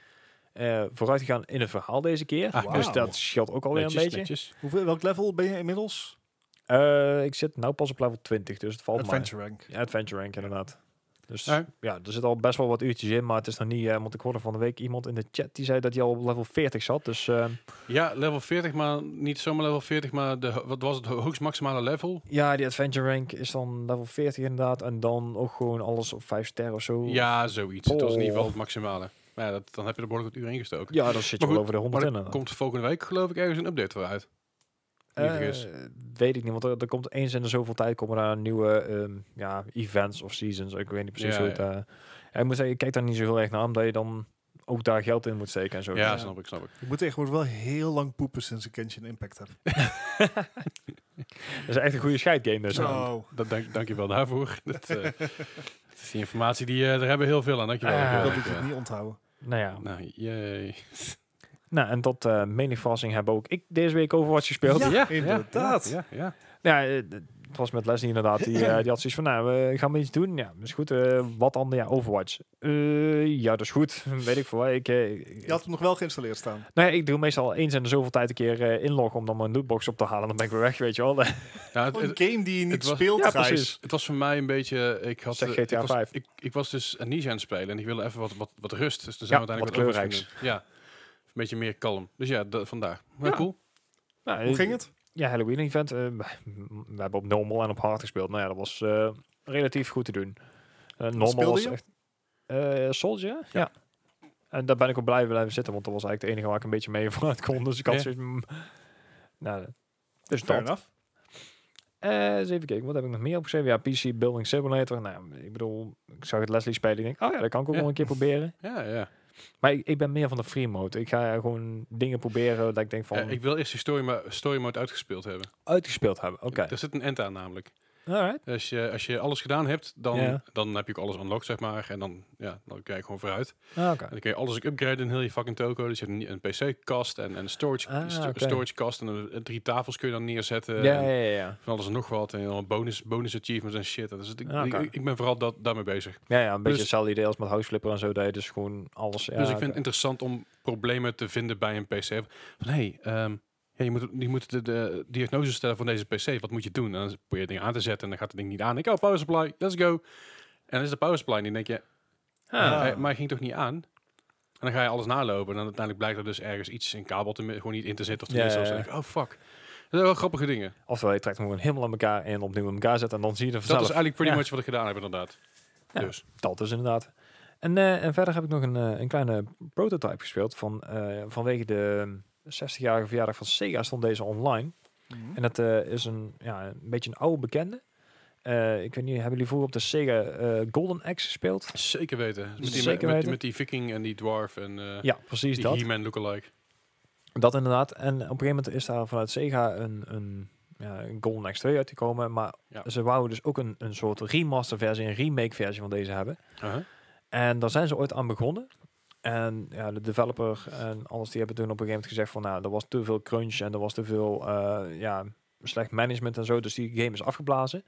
Speaker 3: eh vooruit gegaan in het verhaal deze keer.
Speaker 1: Ah,
Speaker 3: Dus
Speaker 2: wauw.
Speaker 3: dat scheelt ook alweer
Speaker 1: Netjes,
Speaker 3: een beetje.
Speaker 1: netjes.
Speaker 2: Hoeveel, welk level ben je inmiddels?
Speaker 3: Eh, ik zit nou pas op level 20, dus het valt
Speaker 2: Adventure Rank.
Speaker 3: mij. Ja, Adventure rank inderdaad. Dus
Speaker 1: Ja.
Speaker 3: ja, er zit al best wel wat uurtjes in, maar het is nog niet... eh, want ik hoorde van de week iemand in de chat die zei dat hij al op level 40 zat. Dus eh,
Speaker 1: Ja, level 40, maar niet zomaar level 40, maar de, ho- wat was het ho- hoogst maximale level?
Speaker 3: Ja, die adventure rank is dan level 40 inderdaad. En dan ook gewoon alles op 5 sterren of zo.
Speaker 1: Ja, zoiets. Het was in
Speaker 3: Oh.
Speaker 1: ieder geval het maximale. Maar ja, dat, dan heb je er behoorlijk wat uren ingestoken.
Speaker 3: ja dan zit je
Speaker 1: Maar
Speaker 3: wel
Speaker 1: goed,
Speaker 3: over de 100
Speaker 1: Maar
Speaker 3: in.
Speaker 1: er komt volgende week geloof ik ergens een update voor uit.
Speaker 3: Eh,
Speaker 1: niet vergis.
Speaker 3: weet ik niet, want er, er komt eens in de zoveel tijd komen daar nieuwe ehm, ja, events of seasons. Ik weet niet precies
Speaker 1: Ja,
Speaker 3: hoe het... eh ja, ik moet zeggen, ik kijk daar niet zo heel erg naar, omdat je dan ook daar geld in moet steken en zo.
Speaker 1: Ja,
Speaker 2: Ja.
Speaker 1: snap ik, snap ik.
Speaker 2: Ik moet tegenwoordig wel heel lang poepen sinds ik Genshin Impact heb.
Speaker 3: Dat is echt een goede scheidgame dus.
Speaker 2: Zo.
Speaker 1: Dat dank, dank je wel daarvoor. dat, eh, dat is die informatie die eh daar hebben we heel veel aan. Dank je wel.
Speaker 3: Ah.
Speaker 1: Ja,
Speaker 2: Dat
Speaker 1: dank
Speaker 2: ik
Speaker 1: je wel.
Speaker 2: het niet onthouden.
Speaker 3: Nou ja,
Speaker 1: Nou, jee.
Speaker 3: nou, en tot eh menig verrassing heb ook ik deze week Overwatch gespeeld.
Speaker 2: Ja, inderdaad.
Speaker 1: Ja, ja, ja.
Speaker 3: Ja, eh, d- het was met Leslie inderdaad. Die, eh, die had zoiets van, nou, we gaan we iets doen. Ja, is goed. eh, wat dan? Ja, Overwatch. Eh, ja, dat is goed. Weet ik veel. wat. Ik, eh, ik-
Speaker 2: Je had hem nog wel geïnstalleerd staan.
Speaker 3: nou ja, ik doe meestal eens in de zoveel tijd een keer eh, inloggen om dan mijn lootbox op te halen. Dan ben ik weer weg, weet je wel.
Speaker 1: Ja, Nou, het,
Speaker 2: Een
Speaker 1: het-
Speaker 2: game die je niet
Speaker 1: het was-
Speaker 2: speelt,
Speaker 3: Ja,
Speaker 2: Gijs.
Speaker 3: precies.
Speaker 1: het was voor mij een beetje... Ik had
Speaker 3: Zeg
Speaker 1: eh,
Speaker 3: GTA
Speaker 1: ik was,
Speaker 3: vijf.
Speaker 1: Ik, ik was dus Amnesia aan het spelen en ik wilde even wat, wat, wat rust. Dus dan zijn
Speaker 3: Ja,
Speaker 1: we uiteindelijk
Speaker 3: wat
Speaker 1: wat overschoenen. Ja, een beetje meer kalm. Dus ja, da- vandaar. Maar
Speaker 3: Ja.
Speaker 1: cool.
Speaker 3: Nou,
Speaker 2: Hoe
Speaker 3: eh,
Speaker 2: ging het?
Speaker 3: Ja, Halloween event. eh, m- we hebben op normal en op hard gespeeld. Nou ja, dat was eh, relatief goed te doen. Eh, normal
Speaker 2: speelde
Speaker 3: was
Speaker 2: je?
Speaker 3: echt... eh, Soldier? Ja. En daar ben ik op blij blijven zitten, want dat was eigenlijk het enige waar ik een beetje mee vooruit kon. Dus ik had
Speaker 1: Ja.
Speaker 3: zoiets... mm, nou, dus
Speaker 2: Fair
Speaker 3: dat.
Speaker 2: enough.
Speaker 3: Eh, eens even kijken, wat heb ik nog meer opgeschreven? Ja, PC Building Simulator. Nou, ik bedoel, ik zag het Leslie spelen. Ik denk, oh ja, dat kan ik ook
Speaker 1: Ja.
Speaker 3: nog een keer proberen.
Speaker 1: Ja, ja.
Speaker 3: Maar ik, ik ben meer van de free mode. Ik ga gewoon dingen proberen dat ik denk van
Speaker 1: Eh, ik wil eerst die story, mo- story mode uitgespeeld hebben.
Speaker 3: uitgespeeld hebben. Oké.
Speaker 1: Er zit een end aan namelijk.
Speaker 3: Alright.
Speaker 1: Als je, als je alles gedaan hebt, dan,
Speaker 3: Ja.
Speaker 1: dan heb je ook alles unlocked, zeg maar. En dan, ja, dan kijk je gewoon vooruit.
Speaker 3: Ah, Oké.
Speaker 1: En dan kun je alles ook upgraden in heel je fucking toko. Dus je hebt een, een PC-kast en een storage,
Speaker 3: Ah,
Speaker 1: sto-
Speaker 3: oké.
Speaker 1: storage kast. En een- drie tafels kun je dan neerzetten.
Speaker 3: Ja,
Speaker 1: en
Speaker 3: ja, ja, ja.
Speaker 1: Van alles en nog wat. En dan bonus, bonus achievements en shit. Dus het- ik,
Speaker 3: Ah, oké.
Speaker 1: ik, ik ben vooral dat, daarmee bezig.
Speaker 3: Ja, ja, een beetje
Speaker 1: Dus-
Speaker 3: hetzelfde idee als met Houseflipper en zo. Dat je dus gewoon alles... Ja,
Speaker 1: dus ik vind het
Speaker 3: oké.
Speaker 1: interessant om problemen te vinden bij een PC. Van hé, ehm, ja, je moet, je moet de, de diagnose stellen van deze PC. Wat moet je doen? En dan probeer je dingen aan te zetten en dan gaat het ding niet aan. Ik, oh, power supply, let's go. En dan is de power supply en dan denk je,
Speaker 3: Ah.
Speaker 1: eh, maar hij ging toch niet aan? En dan ga je alles nalopen en dan uiteindelijk blijkt er dus ergens iets in kabel te, mi- gewoon niet in te zitten. Of
Speaker 3: Ja,
Speaker 1: tenminste,
Speaker 3: ja,
Speaker 1: ja, denk ik, oh fuck. Dat zijn wel grappige dingen.
Speaker 3: Oftewel, je trekt hem gewoon helemaal aan elkaar en opnieuw aan elkaar zetten. En dan zie je er
Speaker 1: Dat
Speaker 3: vanzelf.
Speaker 1: is eigenlijk pretty
Speaker 3: Ja.
Speaker 1: much wat ik gedaan heb inderdaad.
Speaker 3: Ja.
Speaker 1: Dus
Speaker 3: Dat dus inderdaad. En, eh, en verder heb ik nog een, eh, een kleine prototype gespeeld. Van, eh, vanwege de 60-jarige verjaardag van Sega stond deze online.
Speaker 2: Mhm.
Speaker 3: En dat eh, is een, ja, een beetje een oude bekende. Eh, ik weet niet, hebben jullie vroeger op de Sega eh, Golden Axe gespeeld?
Speaker 1: zeker weten. Met die,
Speaker 3: Zeker
Speaker 1: met, met die-
Speaker 3: weten.
Speaker 1: met die viking en die dwarf en eh
Speaker 3: Ja, precies
Speaker 1: die
Speaker 3: dat.
Speaker 1: He-Man lookalike.
Speaker 3: Dat inderdaad. En op een gegeven moment is daar vanuit Sega een, een, ja, een Golden Axe 2 uitgekomen. Maar
Speaker 1: Ja.
Speaker 3: ze wouden dus ook een, een soort remaster versie, een remake versie van deze hebben.
Speaker 1: Uh-huh.
Speaker 3: En daar zijn ze ooit aan begonnen. En ja, de developer en alles die hebben toen op een gegeven moment gezegd van nou, er was te veel crunch en er was te veel eh, ja, slecht management en zo. Dus die game is afgeblazen.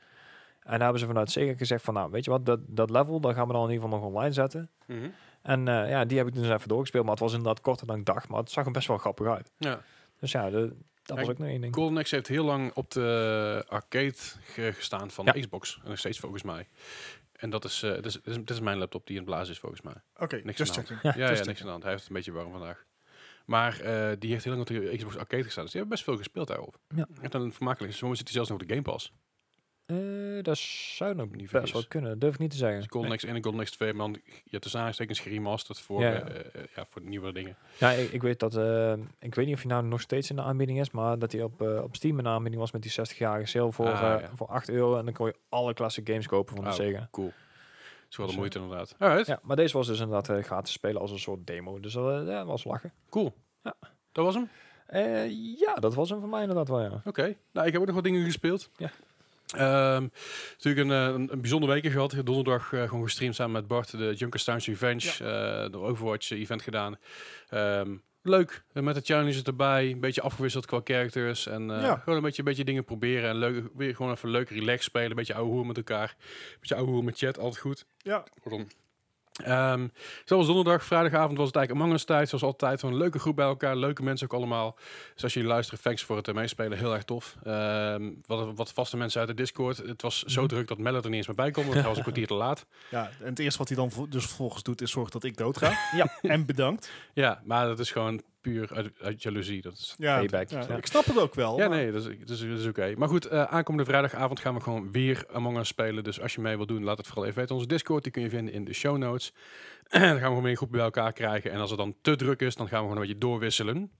Speaker 3: En daar hebben ze vanuit Sega gezegd van nou, weet je wat, dat, dat level, dat gaan we dan in ieder geval nog online zetten.
Speaker 1: Mhm.
Speaker 3: En eh, ja, die heb ik dus even doorgespeeld. Maar het was inderdaad korter dan ik dacht, maar het zag er best wel grappig uit.
Speaker 1: Ja.
Speaker 3: Dus ja, de-
Speaker 1: Ja,
Speaker 3: dat was ook nog één ding.
Speaker 1: Golden Axe heeft heel lang op de arcade ge- gestaan van
Speaker 3: Ja.
Speaker 1: de Xbox. En nog steeds volgens mij. En dat is, eh dit is, dit is, dit is mijn laptop die in het blazen is volgens mij.
Speaker 2: Oké,
Speaker 1: Niks
Speaker 2: just
Speaker 1: aan de
Speaker 2: checking.
Speaker 1: Ja, ja,
Speaker 2: just
Speaker 1: niks aan de hand. Hij heeft het een beetje warm vandaag. Maar eh, die heeft heel lang op de Xbox Arcade gestaan. Dus die hebben best veel gespeeld daarop.
Speaker 3: Ja.
Speaker 1: En dan vermakelijk. Soms zit hij zelfs nog op de Game Pass.
Speaker 3: Eh, dat zou nog
Speaker 1: Niet
Speaker 3: niet best
Speaker 1: vergis.
Speaker 3: wel kunnen, dat durf ik niet te zeggen.
Speaker 1: Dus Golden Axe 1 en Golden Axe 2. Maar dan ja, tussen aanstekens geremasterd voor,
Speaker 3: Ja, ja.
Speaker 1: eh, eh, ja, voor nieuwe dingen.
Speaker 3: Ja, ik, ik weet dat. eh, ik weet niet of hij nou nog steeds in de aanbieding is, maar dat hij op, eh, op Steam in de aanbieding was met die 60-jarige sale voor,
Speaker 1: Ah,
Speaker 3: eh,
Speaker 1: ja.
Speaker 3: voor 8 euro. En dan kon je alle klassieke games kopen van de
Speaker 1: Oh.
Speaker 3: Sega.
Speaker 1: Cool. Is wel de
Speaker 3: Dus,
Speaker 1: moeite inderdaad. Alright,
Speaker 3: Ja, maar deze was dus inderdaad eh, gratis spelen als een soort demo. Dus dat eh, ja, was lachen.
Speaker 1: cool.
Speaker 3: Ja.
Speaker 1: Dat was hem.
Speaker 3: Eh, ja, dat was hem voor mij inderdaad wel, ja.
Speaker 1: Oké, nou ik heb ook nog wat dingen gespeeld.
Speaker 3: Ja.
Speaker 1: Ehm, natuurlijk een, eh, een, een bijzondere week gehad. Donderdag eh, gewoon gestreamd samen met Bart de Junkerstown's Revenge, eh, de Overwatch eh, event gedaan. Ehm, leuk, eh, met de challenges erbij, een beetje afgewisseld qua characters en eh,
Speaker 2: Ja.
Speaker 1: gewoon een beetje, een beetje dingen proberen en leuk, weer gewoon even leuk relax spelen, een beetje ouwe hoer met elkaar, een beetje ouwe hoer met chat, altijd goed.
Speaker 2: Ja,
Speaker 1: Pardon. Ehm, zoals donderdag, vrijdagavond was het eigenlijk Among Us tijd. Zoals altijd, een leuke groep bij elkaar. Leuke mensen ook allemaal. Dus als jullie luisteren, thanks voor het eh, meespelen. Heel erg tof. Ehm, wat, wat vaste mensen uit de Discord. Het was zo druk dat Mellet er niet eens meer bij kon. Want hij was een kwartier te laat.
Speaker 2: ja, en het eerste wat hij dan vo- dus vervolgens doet is zorg dat ik dood ga.
Speaker 3: Ja.
Speaker 2: En bedankt.
Speaker 1: Ja, maar dat is gewoon puur uit, uit jaloezie. Dat is...
Speaker 2: Ja,
Speaker 3: Payback,
Speaker 2: ja,
Speaker 3: ja.
Speaker 2: Ik snap het ook wel.
Speaker 1: Ja,
Speaker 2: maar-
Speaker 1: nee, dat is, dat is, dat is oké. Maar goed, eh, aankomende vrijdagavond gaan we gewoon weer Among Us spelen. Dus als je mee wilt doen, laat het vooral even weten. Onze Discord, die kun je vinden in de show notes. dan gaan we gewoon weer een groep bij elkaar krijgen. En als het dan te druk is, dan gaan we gewoon een beetje doorwisselen.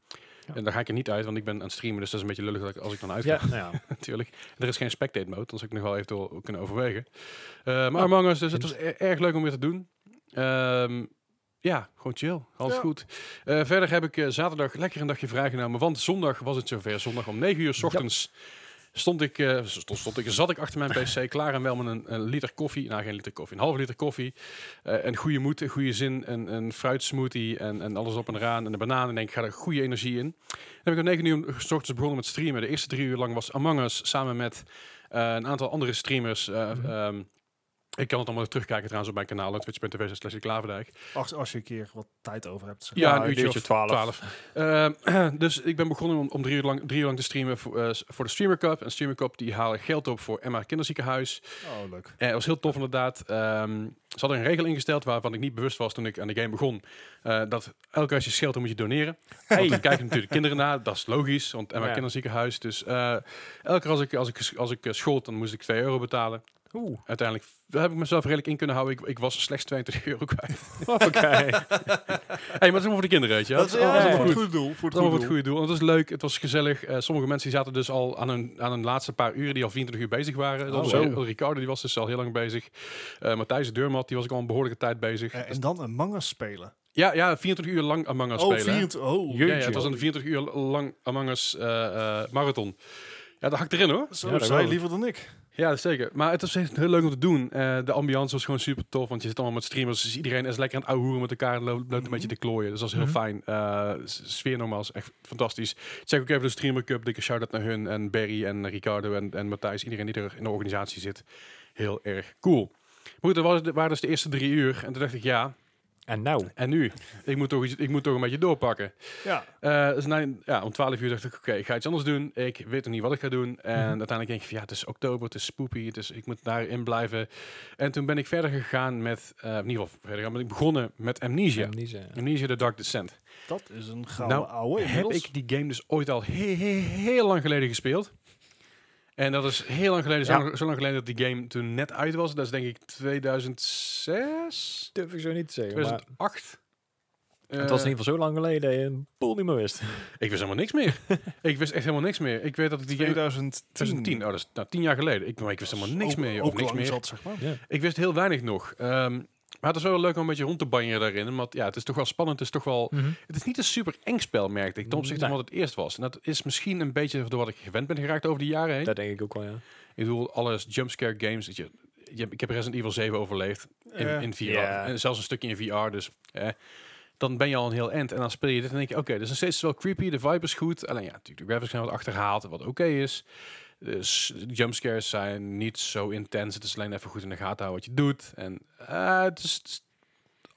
Speaker 3: Ja.
Speaker 1: En daar ga ik er niet uit, want ik ben aan het streamen. Dus dat is een beetje lullig dat ik- als ik dan uit
Speaker 3: Ja, nou ja.
Speaker 1: natuurlijk. Er is geen spectate mode, dan zou ik nog wel eventueel kunnen overwegen. Eh, maar Among Us, dus het was er- erg leuk om weer te doen. Ehm, ja, gewoon chill. Alles
Speaker 2: Ja.
Speaker 1: goed. Eh, verder heb ik eh, zaterdag lekker een dagje vrijgenomen, want zondag was het zover. Zondag om 9 uur s ochtends stond ik, eh, stond, stond ik, zat ik achter mijn pc klaar en wel met een, een liter koffie. Nou, geen liter koffie, een halve liter koffie. Eh, een goede moed, een goede zin, een, een fruitsmoothie en, en alles op en eraan. En een banaan en denk ik, ga er goede energie in. Dan heb ik om 9 uur 's ochtends begonnen met streamen. De eerste drie uur lang was Among Us samen met eh, een aantal andere streamers. eh, ehm, ik kan het allemaal terugkijken trouwens op mijn kanaal, twitch.tv slash Klaverdijk.
Speaker 2: Als, als je een keer wat tijd over hebt. zeg.
Speaker 1: Ja,
Speaker 3: Ja,
Speaker 1: een uurtje, of 12. Ehm, dus ik ben begonnen om, om drie, uur lang, drie uur lang te streamen voor, eh, s- voor de Streamer Cup. En Streamer Cup die halen geld op voor Emma Kinderziekenhuis.
Speaker 2: Oh, leuk.
Speaker 1: Eh, het was heel tof inderdaad. Ehm, ze hadden een regel ingesteld waarvan ik niet bewust was toen ik aan de game begon. eh, dat elke keer als je scheelt, dan moet je doneren. Want dan kijken natuurlijk kinderen naar. Dat is logisch, want Emma
Speaker 3: Ja.
Speaker 1: Kinderziekenhuis. Dus eh, elke keer als ik, als, ik, als ik eh, schoot, dan moest ik 2 euro betalen.
Speaker 3: Oeh,
Speaker 1: Uiteindelijk daar heb ik mezelf redelijk in kunnen houden. Ik, ik was slechts 22 euro kwijt.
Speaker 3: oké.
Speaker 1: hey, maar het is allemaal voor de kinderen, weet je. wel.
Speaker 2: Dat is,
Speaker 1: Het
Speaker 2: ja, dat
Speaker 1: is
Speaker 2: is
Speaker 1: allemaal
Speaker 2: voor
Speaker 1: goed.
Speaker 2: het goede doel. Voor het
Speaker 1: Het was voor
Speaker 2: goede
Speaker 1: het
Speaker 2: doel.
Speaker 1: goede doel. Want het was leuk, het was gezellig. Eh, sommige mensen die zaten dus al aan hun, aan hun laatste paar uren, die al 24 uur bezig
Speaker 2: Oh,
Speaker 1: waren. Zoals
Speaker 3: zo.
Speaker 1: eh, Ricardo, die was dus al heel lang bezig. Eh, Matthijs de Deurmat, die was ook al een behoorlijke tijd bezig.
Speaker 2: Eh, en dan een manga spelen.
Speaker 1: ja, ja, 24 uur lang Among Us
Speaker 2: Oh,
Speaker 1: spelen. hè.
Speaker 2: 24. Oh,
Speaker 1: Ja, ja, het was een 24 uur lang Among Us eh, eh, marathon. Ja, dat hakt erin hoor.
Speaker 2: Zo
Speaker 3: Ja, dat
Speaker 2: zei
Speaker 3: wel.
Speaker 2: je liever dan ik.
Speaker 1: Ja, zeker. Maar het was echt heel leuk om te doen. Eh, de ambiance was gewoon super tof, want je zit allemaal met streamers. Dus iedereen is lekker aan het ouwehoeren met elkaar en lo- loopt een beetje te klooien. Dus dat was heel fijn. Eh, s- sfeer normaal is echt fantastisch. Check ook even de Streamer Cup. Dikke shout-out naar hun en Barry en Ricardo en, en Matthijs. Iedereen die er in de organisatie zit. Heel erg cool. Maar goed, dat was, dat waren dus de eerste drie uur. En toen dacht ik, ja,
Speaker 3: En nou,
Speaker 1: en nu? Ik moet toch, iets, ik moet toch een beetje doorpakken.
Speaker 2: Ja.
Speaker 1: Eh, dus na- ja, om 12 uur dacht ik, oké, ik ga iets anders doen. Ik weet nog niet wat ik ga doen.
Speaker 3: Mhm.
Speaker 1: En uiteindelijk denk ik, van, ja, het is oktober, het is spooky, dus ik moet daarin blijven. En toen ben ik verder gegaan met, eh, in ieder geval verder gegaan, ben ik begonnen met Amnesia.
Speaker 3: hem niet zeggen.
Speaker 1: Amnesia The Dark Descent.
Speaker 2: Dat is een gouden
Speaker 1: Nou,
Speaker 2: ouwe
Speaker 1: Heb
Speaker 2: inmiddels.
Speaker 1: ik die game dus ooit al he- he- heel lang geleden gespeeld? En dat is heel lang geleden, zo,
Speaker 3: Ja.
Speaker 1: lang, zo lang geleden dat die game toen net uit was. Dat is denk ik 2006,
Speaker 3: Durf ik zo niet te zeggen. Maar
Speaker 1: 2008.
Speaker 3: het was in ieder geval zo lang geleden dat je een pool niet meer wist.
Speaker 1: Eh, Ik wist helemaal niks meer. ik wist echt helemaal niks meer. Ik weet dat ik die game...
Speaker 2: 2010.
Speaker 1: 2010, oh, dat is nou, tien jaar geleden. Ik, maar ik wist helemaal niks
Speaker 2: Ook-
Speaker 1: meer. joh,
Speaker 2: Ook
Speaker 1: niks
Speaker 2: lang
Speaker 1: meer.
Speaker 2: zat, zeg maar.
Speaker 1: Ik wist heel weinig nog. Ehm, maar het is wel leuk om een beetje rond te banjeren daarin. Want ja, het is toch wel spannend. Het is toch wel...
Speaker 2: Mhm.
Speaker 1: Het is niet een super eng spel, merkte ik, ten opzichte van
Speaker 3: Nee.
Speaker 1: wat het eerst was. En dat is misschien een beetje door wat ik gewend ben geraakt over de jaren heen.
Speaker 3: Dat denk ik ook wel, ja.
Speaker 1: Ik bedoel, alles jumpscare games. Dat je, je, hebt- ik heb Resident Evil 7 overleefd in,
Speaker 2: Ja.
Speaker 1: in VR.
Speaker 3: Ja.
Speaker 1: En zelfs een stukje in VR, dus... eh, dan ben je al een heel end. En dan speel je dit en denk je, oké, dit is nog steeds wel creepy. De vibe is goed. Alleen ja, natuurlijk, de graphics zijn wat achterhaald, wat oké is. Dus de jumpscares zijn niet zo intens. Het is alleen even goed in de gaten houden wat je doet. En eh, het is, het is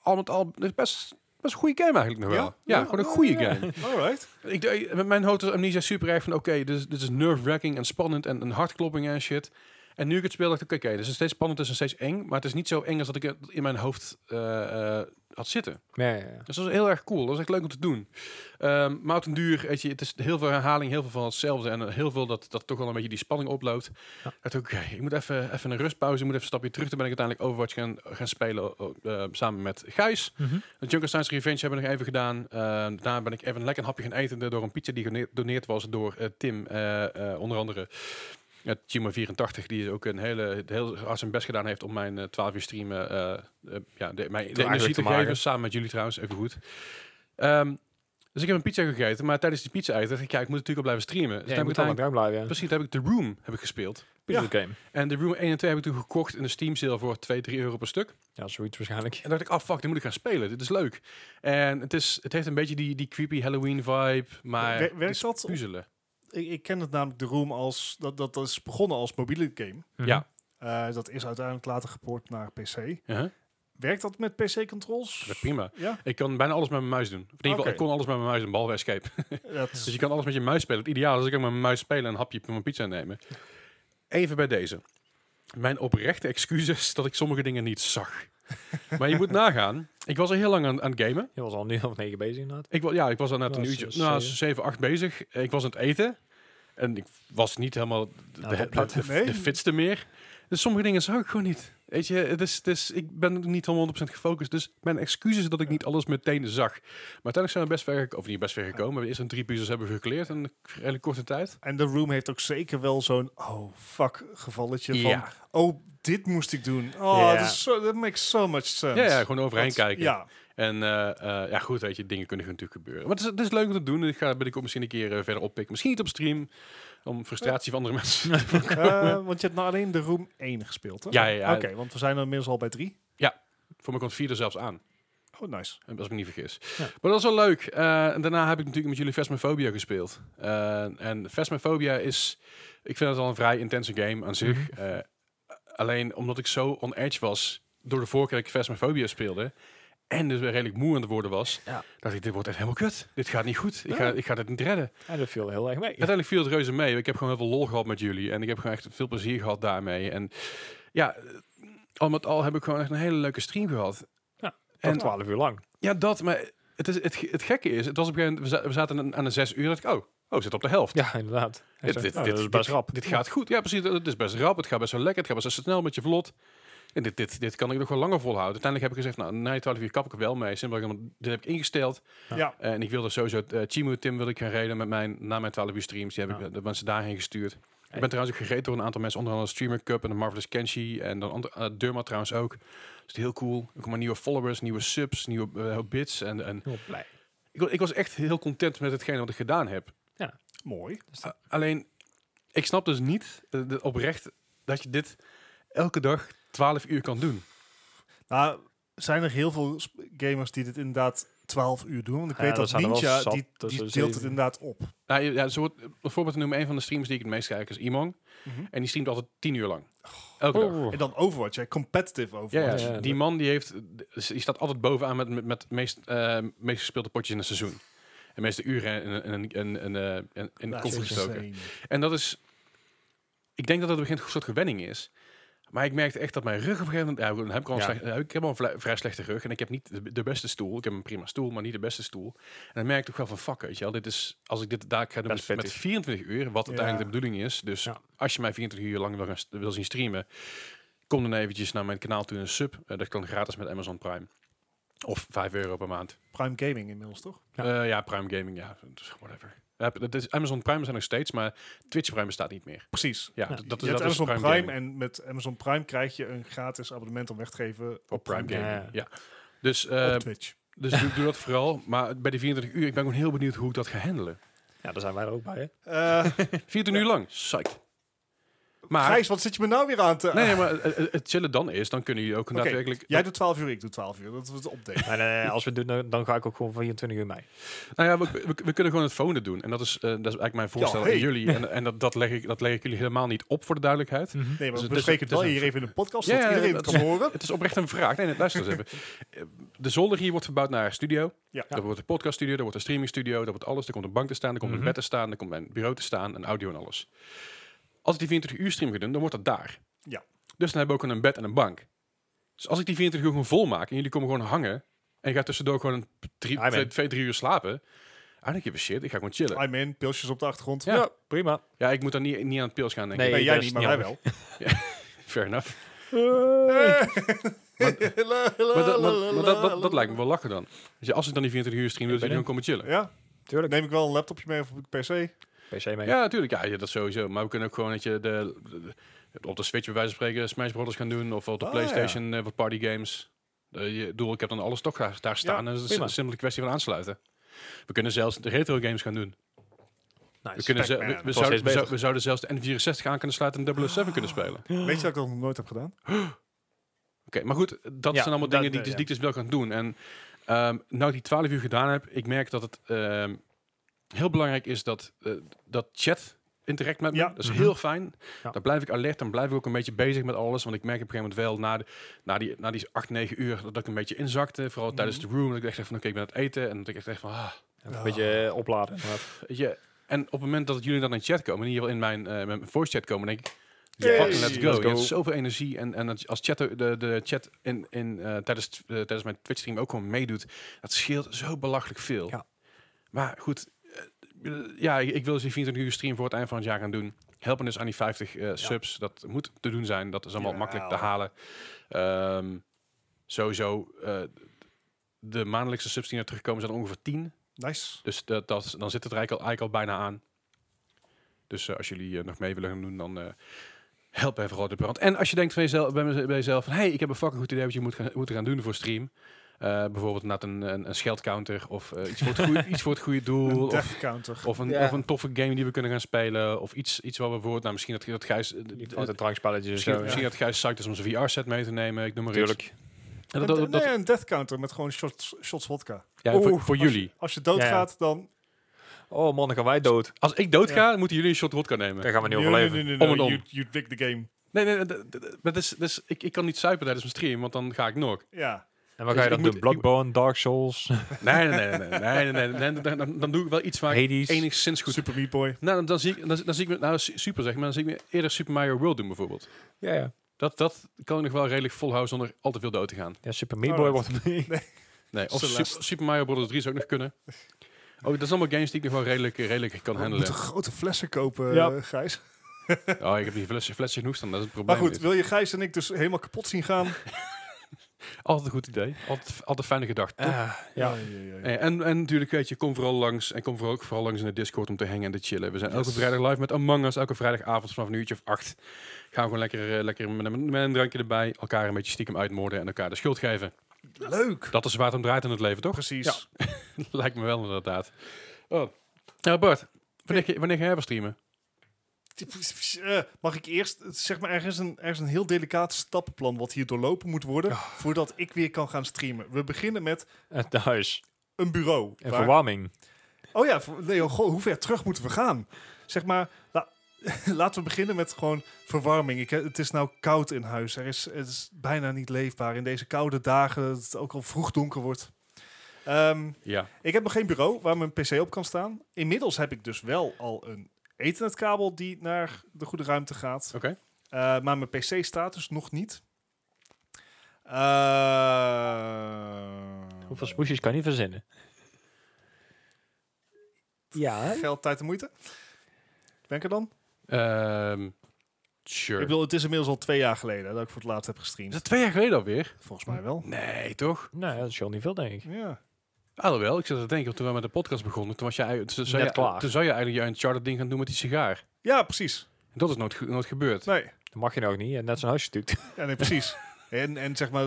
Speaker 1: al met al het is best, best een goede game eigenlijk nog wel. Ja, gewoon een goede game.
Speaker 2: Alright.
Speaker 1: Ik, eh, met mijn hoofd was Amnesia super erg van oké, dit, is- dit is nerve-wracking en spannend en, en hartklopping en shit. En nu ik het speel dacht ik, oké, dit is steeds spannend, het is steeds eng. Maar het is niet zo eng als dat ik het in mijn hoofd eh, eh, had zitten.
Speaker 3: Ja, ja, ja.
Speaker 1: Dus dat was heel erg cool. Dat was echt leuk om te doen. Ehm, maar op den duur, weet je, het is heel veel herhaling, heel veel van hetzelfde. En eh, heel veel dat, dat toch wel een beetje die spanning oploopt.
Speaker 3: Ja.
Speaker 1: Ik dacht, oké, ik moet even, even een rustpauze, ik moet even een stapje terug. Toen ben ik uiteindelijk Overwatch gaan, gaan spelen eh, eh, samen met Gijs.
Speaker 3: Mhm.
Speaker 1: De Junkenstein's Revenge hebben we nog even gedaan. Eh, daarna ben ik even lekker een hapje gaan eten door een pizza die gedoneerd was door eh, Tim. eh, eh, onder andere uh, 84 die ook een hele, heel hard zijn best gedaan heeft om mijn eh, 12 uur streamen eh, eh, ja, de, mijn, de energie
Speaker 3: eigenlijk
Speaker 1: te
Speaker 3: te maken.
Speaker 1: geven. Samen met jullie trouwens, even goed. Ehm, dus ik heb een pizza gegeten, maar tijdens die pizza eten dacht ik, ja, ik moet natuurlijk al blijven streamen. Dus
Speaker 3: ja je
Speaker 1: toen
Speaker 3: moet
Speaker 1: heb ik
Speaker 3: wel aan
Speaker 1: uiteindelijk-
Speaker 3: gang blijven, ja.
Speaker 1: precies, toen heb ik The Room heb ik gespeeld.
Speaker 3: Puzzle game.
Speaker 1: En The Room 1 en 2 heb ik toen gekocht in de Steam sale voor 2, 3 euro per stuk.
Speaker 3: Ja, zoiets waarschijnlijk.
Speaker 1: En dacht ik, ah fuck, dit moet ik gaan spelen. Dit is leuk. En het, is, het heeft een beetje die, die creepy Halloween vibe, maar
Speaker 2: Wer-
Speaker 1: het
Speaker 2: werkt
Speaker 1: is
Speaker 2: dat op-
Speaker 1: puzzelen.
Speaker 2: Ik, ik ken het namelijk de Room als... Dat, dat is begonnen als mobiele game.
Speaker 3: Mhm.
Speaker 1: Ja.
Speaker 2: Eh, dat is uiteindelijk later geport naar PC.
Speaker 1: Uh-huh.
Speaker 2: Werkt dat met
Speaker 1: Dat is
Speaker 2: PC-controls?
Speaker 1: prima.
Speaker 2: Ja,
Speaker 1: Ik kan bijna alles met mijn muis doen. Of in ieder geval,
Speaker 2: Oké.
Speaker 1: ik kon alles met mijn muis doen, behalve Escape.
Speaker 2: dat
Speaker 1: Dus je kan alles met je muis spelen. Het ideaal is ik kan met mijn muis spelen en een hapje van mijn pizza nemen. Even bij deze. Mijn oprechte excuses dat ik sommige dingen niet zag. Maar je moet nagaan. Ik was er heel lang aan, aan het gamen.
Speaker 3: Je was al nu of negen bezig inderdaad.
Speaker 1: Ik, wa- ja, ik was al net
Speaker 3: Nou,
Speaker 1: een uurtje,
Speaker 3: ze- ze-
Speaker 1: nou, 7, 8 bezig. Ik was aan het eten. En ik was niet helemaal de,
Speaker 3: Nou,
Speaker 1: de,
Speaker 3: dat plat.
Speaker 1: de- de-
Speaker 2: Nee.
Speaker 1: de fitste meer. Dus sommige dingen zag ik gewoon niet. Weet je, het is, het is, ik ben niet 100% gefocust. Dus mijn excuses dat ik niet alles meteen zag. Maar uiteindelijk zijn we best ver gekomen. Of niet best ver gekomen. We eerst een drie puzzels hebben we gekleerd in een redelijk korte tijd.
Speaker 2: En de room heeft ook zeker wel zo'n oh fuck gevalletje
Speaker 1: Ja.
Speaker 2: van oh dit moest ik doen. Oh,
Speaker 3: Ja.
Speaker 2: dat is zo- that makes so much sense.
Speaker 1: Ja, ja, gewoon overheen
Speaker 2: Dat-
Speaker 1: kijken.
Speaker 2: Ja,
Speaker 1: En eh, eh, ja, goed, weet je, dingen kunnen natuurlijk gebeuren. Maar het is, het is leuk om te doen. Ik ga binnenkort misschien een keer eh, verder oppikken. Misschien niet op stream. Om frustratie van andere mensen.
Speaker 2: Eh, want je hebt nou alleen de room 1 gespeeld, hè?
Speaker 1: Ja, ja, ja.
Speaker 2: Oké, want we zijn er inmiddels al bij 3.
Speaker 1: Voor me komt vier er zelfs aan.
Speaker 2: Oh, nice.
Speaker 1: Als ik me niet vergis.
Speaker 3: Ja.
Speaker 1: Maar dat is wel leuk. Eh, en daarna heb ik natuurlijk met jullie Phasmophobia gespeeld. Eh, en Phasmophobia is... Ik vind het al een vrij intense game aan zich.
Speaker 3: Mhm.
Speaker 1: Eh, alleen omdat ik zo on edge was... door de vorige keer dat ik Phasmophobia speelde... en dus weer redelijk moe aan het worden was...
Speaker 3: Ja.
Speaker 1: dacht ik, dit wordt echt helemaal kut. Dit gaat niet goed. Ik ga, ik ga dit niet redden.
Speaker 3: En dat viel heel erg mee.
Speaker 1: Uiteindelijk viel het reuze mee. Ik heb gewoon heel veel lol gehad met jullie. En ik heb gewoon echt veel plezier gehad daarmee. En ja... Al met al heb ik gewoon echt een hele leuke stream gehad.
Speaker 3: En
Speaker 1: en-
Speaker 3: 12 uur lang.
Speaker 1: Ja, dat, maar het, is, het, ge- het gekke is, het was op een gegeven moment, we za- we zaten aan- aan de zes uur, dacht ik, oh, oh, we zitten op de helft.
Speaker 3: Ja, inderdaad.
Speaker 1: dit,
Speaker 3: Dit,
Speaker 1: dit-
Speaker 3: nou,
Speaker 1: dit-
Speaker 3: dat is
Speaker 1: dit-
Speaker 3: best rap.
Speaker 1: Dit gaat goed, ja precies, het is best rap, het gaat best wel lekker, het gaat best wel snel met je vlot. En dit, dit, dit kan ik nog wel langer volhouden. Uiteindelijk heb ik gezegd, nou, na je 12 uur kap ik er wel mee. Simpelweg, omdat- dit heb ik ingesteld.
Speaker 2: Ja.
Speaker 1: en ik wilde sowieso, eh Chimu Tim wil ik gaan reden met mijn, na mijn 12 uur streams. Die heb
Speaker 3: Ja.
Speaker 1: ik eh, de mensen daarheen gestuurd. Ik
Speaker 3: Hey.
Speaker 1: ben trouwens ook gereden door een aantal mensen, onder andere Streamer Cup en de Marvelous Kenshi en dan andere- eh, Durma trouwens ook. Dus het is heel cool. Ook allemaal nieuwe followers, nieuwe subs, nieuwe eh, bits en, en
Speaker 3: Heel blij.
Speaker 1: ik, wa- ik was echt heel content met hetgeen wat ik gedaan heb.
Speaker 2: Mooi.
Speaker 3: Dus
Speaker 1: A- alleen, ik snap dus niet eh, de- oprecht dat je dit elke dag 12 uur kan doen.
Speaker 2: Nou, zijn er heel veel sp- gamers die dit inderdaad 12 uur doen? Want ik
Speaker 3: Ja,
Speaker 2: weet
Speaker 3: dat
Speaker 2: dat,
Speaker 3: zijn er wel
Speaker 2: Ninja,
Speaker 3: zat
Speaker 2: die, die
Speaker 3: tussen
Speaker 2: deelt het
Speaker 3: zeven.
Speaker 2: inderdaad op.
Speaker 1: Nou, je- ja, zo, wordt- om een voorbeeld te noemen, een van de streams die ik het meest kijk is Imong.
Speaker 2: Mhm.
Speaker 1: En die streamt altijd 10 uur lang. Elke dag.
Speaker 2: En dan Overwatch, hè? competitive
Speaker 1: Ja, ja,
Speaker 2: Overwatch.
Speaker 3: Oh, ja,
Speaker 1: die
Speaker 3: dat-
Speaker 1: man die, heeft, dus die staat altijd bovenaan met, met, met meest, eh, meest gespeelde potjes in een seizoen. En meeste uren in, in, in, in, in, eh, in, in
Speaker 2: Dat
Speaker 1: conflict
Speaker 2: is
Speaker 1: gestoken.
Speaker 2: insane.
Speaker 1: En dat is... Ik denk dat dat op een gegeven moment een soort gewenning is. Maar ik merkte echt dat mijn rug op een gegeven moment... Ja, goed, dan heb ik, al een
Speaker 3: Ja.
Speaker 1: slecht- dan heb ik heb al een vla- vrij slechte rug. En ik heb niet de, de beste stoel. Ik heb een prima stoel, maar niet de beste stoel. En dan merk ik toch wel van, fuck, weet je wel. Dit is, als ik dit daar ga doen
Speaker 3: Dat
Speaker 1: met,
Speaker 3: is
Speaker 1: met
Speaker 3: pittig.
Speaker 1: 24 uur, wat uiteindelijk de bedoeling is. Dus
Speaker 3: Ja.
Speaker 1: als je mij 24 uur lang wil, gaan st- wil zien streamen... Kom dan eventjes naar mijn kanaal toe en sub. Eh, dat kan gratis met Amazon Prime. Of 5 euro per maand.
Speaker 2: Prime Gaming inmiddels, toch?
Speaker 1: Eh, Ja, Prime Gaming, ja. Dus whatever. Ja, dat is, Amazon Prime is er nog steeds, maar Twitch Prime bestaat niet meer.
Speaker 2: Precies.
Speaker 1: Ja,
Speaker 3: Ja.
Speaker 1: d- dat
Speaker 2: Nou, je
Speaker 1: is,
Speaker 2: hebt
Speaker 1: dat is
Speaker 2: Amazon
Speaker 1: Prime,
Speaker 2: Prime,
Speaker 1: Gaming.
Speaker 2: en met Amazon Prime krijg je een gratis abonnement om weg te geven
Speaker 1: Op Prime
Speaker 2: Prime
Speaker 1: Gaming, ja. Dus,
Speaker 2: op
Speaker 1: eh,
Speaker 2: Twitch.
Speaker 1: dus doe, doe dat vooral. Maar bij die 24 uur, ik ben gewoon heel benieuwd hoe ik dat ga handelen.
Speaker 3: Ja, daar zijn wij er ook bij, hè?
Speaker 2: Eh
Speaker 1: 24 uur lang, psyched. Maar,
Speaker 2: Gijs, wat zit je me nou weer aan te...
Speaker 1: nee, nou, nee, maar het, het- het chillen dan is, dan kunnen jullie ook
Speaker 2: Oké,
Speaker 1: daadwerkelijk...
Speaker 2: Jij doet 12 uur, ik doe 12 uur. Dat is het update.
Speaker 3: Nee, nee, nee, als we het doen, dan- dan ga ik ook gewoon 24 uur mee.
Speaker 1: Nou ja, we, we, we kunnen gewoon het volgende doen. En dat is, eh, dat is eigenlijk mijn voorstel
Speaker 2: hey.
Speaker 1: aan jullie. En, en dat, dat, leg ik, dat leg ik jullie helemaal niet op, voor de duidelijkheid.
Speaker 2: Nee,
Speaker 1: Dus
Speaker 2: maar we
Speaker 1: het is
Speaker 2: bespreken
Speaker 1: een-
Speaker 2: het wel
Speaker 1: het is
Speaker 2: hier even in de podcast,
Speaker 1: Ja,
Speaker 2: zodat
Speaker 1: ja,
Speaker 2: iedereen het
Speaker 1: dat-
Speaker 2: kan horen.
Speaker 1: Het is oprecht een vraag. Nee, nee luister eens even. Eh, De zolder hier wordt verbouwd naar een studio.
Speaker 2: Ja.
Speaker 1: Dat wordt een podcaststudio, dat wordt een streamingstudio, dat wordt alles. Er komt een bank te staan, er komt
Speaker 2: Mhm.
Speaker 1: een bed te staan, er komt mijn bureau te staan, een audio en alles. Als ik die 24 uur stream ga doen, dan wordt dat daar.
Speaker 2: Ja.
Speaker 1: Dus dan hebben we ook een bed en een bank. Dus als ik die 24 uur gewoon vol maak en jullie komen gewoon hangen en je gaat tussendoor gewoon een drie,
Speaker 3: Amen.
Speaker 1: twee, twee, drie uur slapen. I don't give a shit, ik ga gewoon chillen.
Speaker 2: I'm in, pilsjes op de achtergrond.
Speaker 1: Ja.
Speaker 3: prima.
Speaker 1: Ja, ik moet daar niet, niet aan het pils gaan denken.
Speaker 3: Nee,
Speaker 2: Nee,
Speaker 3: dat
Speaker 2: jij
Speaker 3: is
Speaker 2: niet, maar
Speaker 3: niet
Speaker 2: wij wel.
Speaker 1: Fair enough. Maar dat, maar- maar dat, dat, dat
Speaker 2: dat
Speaker 1: lijkt me wel lachen dan. Dus ja, als ik dan die 24 uur stream, dan
Speaker 3: ben
Speaker 1: jullie gewoon komen chillen.
Speaker 2: Ja,
Speaker 3: Tuurlijk.
Speaker 2: neem ik wel een laptopje mee of een PC.
Speaker 3: PC mee.
Speaker 1: Ja, natuurlijk. Ja, ja, dat sowieso. Maar we kunnen ook gewoon dat je de, de- de- op de Switch bij wijze van spreken Smash Brothers gaan doen. Of op de
Speaker 3: Oh,
Speaker 2: Ah,
Speaker 1: PlayStation eh, wat party games. Eh, je, doel, ik heb dan alles toch daar, daar staan. en dat is
Speaker 3: prima.
Speaker 1: een simpele kwestie van aansluiten. We kunnen zelfs de retro games gaan doen. We,
Speaker 3: Nice.
Speaker 1: kunnen ze- we, we
Speaker 2: Pac-Man.
Speaker 3: Dat was
Speaker 1: zouden,
Speaker 3: steeds
Speaker 1: we, zou-
Speaker 3: beter. Ah.
Speaker 1: we zouden zelfs de N64 aan kunnen sluiten en 007 kunnen spelen. Oké,
Speaker 2: Weet je dat ik dat nog nooit heb gedaan?
Speaker 1: maar goed, dat
Speaker 3: Ja,
Speaker 1: zijn allemaal dingen
Speaker 3: dat-
Speaker 1: die,
Speaker 3: eh,
Speaker 1: ik dus-
Speaker 3: ja.
Speaker 1: die ik dus wel kan doen. En ehm, nou ik die 12 uur gedaan heb, ik merk dat het ehm, heel belangrijk is dat, eh, dat chat interact met me.
Speaker 2: Ja.
Speaker 1: Dat is
Speaker 3: Mhm.
Speaker 1: heel fijn.
Speaker 3: Ja.
Speaker 1: Dan blijf ik alert, dan blijf ik ook een beetje bezig met alles. Want ik merk op een gegeven moment wel na, de, na, die, na die 8, 9 uur dat ik een beetje inzakte. Vooral
Speaker 3: Mhm.
Speaker 1: tijdens de room. Dat ik echt dacht van oké, ik ben aan het eten. En dat ik echt dacht van ah,
Speaker 3: Even Een beetje eh, opladen. inderdaad.
Speaker 1: weet je. En op het moment dat jullie dan in chat komen, in ieder geval in mijn, eh, mijn voice chat komen, denk ik,
Speaker 2: Hey,
Speaker 1: fucking let's go.
Speaker 3: let's
Speaker 1: Je hebt
Speaker 3: go.
Speaker 1: zoveel energie. En, en als als chat, de, de chat in, in, eh, tijdens, t- eh, tijdens mijn Twitch stream ook gewoon meedoet, dat scheelt zo belachelijk veel.
Speaker 3: Ja.
Speaker 1: Maar goed, eh, ja, ik, ik wil dus die 24 uur stream voor het eind van het jaar gaan doen. Helpen dus aan die 50 eh, subs. Dat moet te doen zijn. Dat is allemaal
Speaker 2: Jawel.
Speaker 1: makkelijk te halen. Ehm, sowieso, eh, de maandelijkse subs die er terugkomen zijn er ongeveer 10.
Speaker 2: Nice.
Speaker 1: Dus dat, dat, is- dan zit het er eigenlijk al, eigenlijk al bijna aan. Dus eh, als jullie eh, nog mee willen gaan doen, dan eh, help even Rode Brand. En als je denkt van jezelf, bij, mez- bij jezelf van... hey, ik heb een fucking goed idee wat je moet gaan, moet gaan doen voor stream. Eh, bijvoorbeeld net een, een, een scheldcounter of eh, iets, voor het goede, iets voor het goede doel.
Speaker 2: Een
Speaker 1: Of,
Speaker 2: death counter.
Speaker 1: of, een,
Speaker 3: Ja.
Speaker 1: of een toffe game die we kunnen gaan spelen. Of iets, iets waar we voor... Nou, misschien dat, dat Gijs... eh,
Speaker 3: Die
Speaker 1: d-
Speaker 3: grote drankspelletjes en
Speaker 1: Misschien,
Speaker 3: zo.
Speaker 1: misschien dat Gijs psyched is om zijn VR-set mee te nemen. Ik noem maar iets.
Speaker 3: Tuurlijk.
Speaker 1: En dat- dat-
Speaker 2: Een- nee,
Speaker 1: dat-
Speaker 2: een death counter met gewoon shots, shots vodka.
Speaker 1: ja, en voor,
Speaker 3: Oeh,
Speaker 1: voor
Speaker 2: als je-
Speaker 1: jullie.
Speaker 2: Als je doodgaat, dan...
Speaker 3: Oh man, dan gaan wij dood.
Speaker 1: Als ik doodga, moeten jullie een shot vodka nemen.
Speaker 3: Dan gaan we niet
Speaker 2: Nee, nee,
Speaker 3: overleven.
Speaker 2: nee, nee,
Speaker 1: Om
Speaker 2: nee,
Speaker 1: en om.
Speaker 2: You, you dig the game.
Speaker 1: Nee, nee, nee, d- d- d- maar dus, dus ik, ik kan niet suipen tijdens mijn stream, want dan ga ik nog.
Speaker 2: Ja.
Speaker 3: En wat
Speaker 1: Dus
Speaker 3: ga
Speaker 1: ik
Speaker 3: je dan
Speaker 1: moet-
Speaker 3: doen? Bloodborne, Dark Souls,
Speaker 1: Nee, nee, nee, nee, nee, nee, nee, nee, nee, dan, dan doe ik wel iets waar ik
Speaker 3: Hades.
Speaker 1: enigszins goed.
Speaker 2: Super Meat Boy.
Speaker 1: Nou, dan, dan zie ik, dan, dan zie ik me, nou, su- super zeg, maar dan zie ik me eerder Super Mario World doen bijvoorbeeld.
Speaker 3: Ja, ja.
Speaker 1: Dat, dat kan ik nog wel redelijk volhouden zonder al te veel dood te gaan.
Speaker 3: ja Super
Speaker 1: Oh,
Speaker 3: Meat Boy
Speaker 2: Alright.
Speaker 3: wordt het niet.
Speaker 1: Nee, of
Speaker 2: Celeste.
Speaker 1: Super, Super Mario Bros. 3 zou ook nog kunnen. Oh, dat zijn allemaal games die ik nog wel redelijk, eh, redelijk kan
Speaker 2: We moeten
Speaker 1: handelen.
Speaker 2: grote flessen kopen,
Speaker 3: Ja.
Speaker 2: eh, Gijs.
Speaker 1: Oh, ik heb die flesje, flesje genoeg staan, dat is het
Speaker 2: Maar
Speaker 1: probleem.
Speaker 2: goed,
Speaker 1: niet.
Speaker 2: wil je Gijs en ik dus helemaal kapot zien gaan?
Speaker 1: Altijd een goed idee. Altijd, altijd fijne gedachten.
Speaker 3: Ah, ja.
Speaker 2: Ai, ai, ai.
Speaker 1: Eh, En, en natuurlijk, weet je, kom vooral langs. En kom vooral ook vooral langs in de Discord om te hangen en te chillen. We zijn elke vrijdag live met Among Us. Elke vrijdagavond vanaf een uurtje of acht. Gaan we gewoon lekker, eh, lekker met, een- met een drankje erbij. Elkaar een beetje stiekem uitmoorden en elkaar de schuld geven.
Speaker 2: Leuk.
Speaker 1: Dat is waar het om draait in het leven, toch?
Speaker 2: Precies.
Speaker 1: Lijkt me wel inderdaad. Oh. Nou, Bart. Wanneer, ga- wanneer ga jij weer streamen?
Speaker 2: Eh, mag ik eerst, eh, zeg maar, er is, een, er is een heel delicaat stappenplan wat hier doorlopen moet worden voordat ik weer kan gaan streamen. We beginnen met
Speaker 3: Het huis.
Speaker 2: een bureau.
Speaker 3: En
Speaker 2: waar-
Speaker 3: verwarming.
Speaker 2: oh ja, ver- nee, oh, goh, hoe ver terug moeten we gaan? Zeg maar, la- laten we beginnen met gewoon verwarming. Ik, he- het is nou koud in huis. Er is, het is bijna niet leefbaar in deze koude dagen, dat het ook al vroeg donker wordt. Ehm,
Speaker 1: Ja.
Speaker 2: ik heb nog geen bureau waar mijn pc op kan staan. Inmiddels heb ik dus wel al een ethernetkabel die naar de goede ruimte gaat.
Speaker 1: Oké.
Speaker 2: Eh, maar mijn PC staat dus nog niet. Eh,
Speaker 3: Hoeveel smoesjes kan je verzinnen? Ja, hè?
Speaker 2: Geld, tijd en moeite. Ben ik er dan?
Speaker 1: Ehm,
Speaker 2: Ik
Speaker 1: sure.
Speaker 2: bedoel, het is inmiddels al twee jaar geleden dat ik voor het laatst heb
Speaker 1: Is
Speaker 2: gestreamd.
Speaker 1: dat twee jaar geleden alweer?
Speaker 2: Volgens mij wel.
Speaker 1: Nee, toch?
Speaker 3: nou ja, dat is al niet veel, denk
Speaker 1: Hm.
Speaker 3: ik.
Speaker 2: Ja.
Speaker 1: Alhoewel, ik zat te denken, toen we met de podcast begonnen, toen was jij, eigenlijk- toen zou
Speaker 3: Net
Speaker 1: je,
Speaker 3: klaar.
Speaker 1: toen zou je eigenlijk je Uncharted ding gaan doen met die sigaar.
Speaker 2: ja, precies.
Speaker 1: En dat is nooit, ge- nooit gebeurd.
Speaker 2: Nee,
Speaker 3: Dat mag je nou ook niet. Je hebt net zo'n huisje natuurlijk.
Speaker 2: ja, nee precies. en, en zeg maar,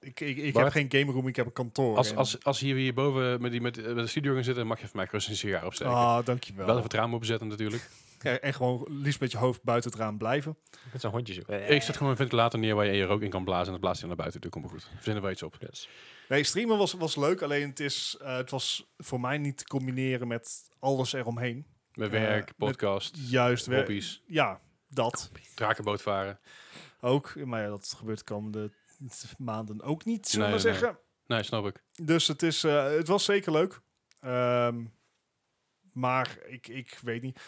Speaker 2: ik, ik, ik heb
Speaker 1: Bart?
Speaker 2: geen game room, ik heb een kantoor.
Speaker 1: Als,
Speaker 2: En-
Speaker 1: als, als hier we hierboven met, die, met, eh, met de studio gaan zitten, mag je van mij gerust een sigaar opsteken.
Speaker 2: Ah, dankjewel.
Speaker 1: Wel even het raam opzetten natuurlijk.
Speaker 2: Ja, en gewoon liefst met je hoofd buiten het raam blijven.
Speaker 3: Met zo'n hondje zo.
Speaker 1: Ik zet gewoon een ventilator neer waar je je rook in kan blazen en dat blaast hij naar buiten. Dat komt wel goed. Verzinnen we iets op.
Speaker 3: Dus.
Speaker 2: Nee, streamen was, was leuk, alleen het, is, eh, het was voor mij niet te combineren met alles eromheen.
Speaker 1: Met
Speaker 2: Eh,
Speaker 1: werk,
Speaker 2: met
Speaker 1: podcast,
Speaker 2: Juist weer-
Speaker 1: hobby's,
Speaker 2: Ja, dat
Speaker 1: drakenboot varen.
Speaker 2: ook. Maar ja, dat gebeurt de komende maanden ook niet, zullen we
Speaker 1: Nee, nee.
Speaker 2: zeggen.
Speaker 1: Nee, snap ik.
Speaker 2: Dus het, is, eh, het was zeker leuk. Ehm, maar ik, ik weet niet.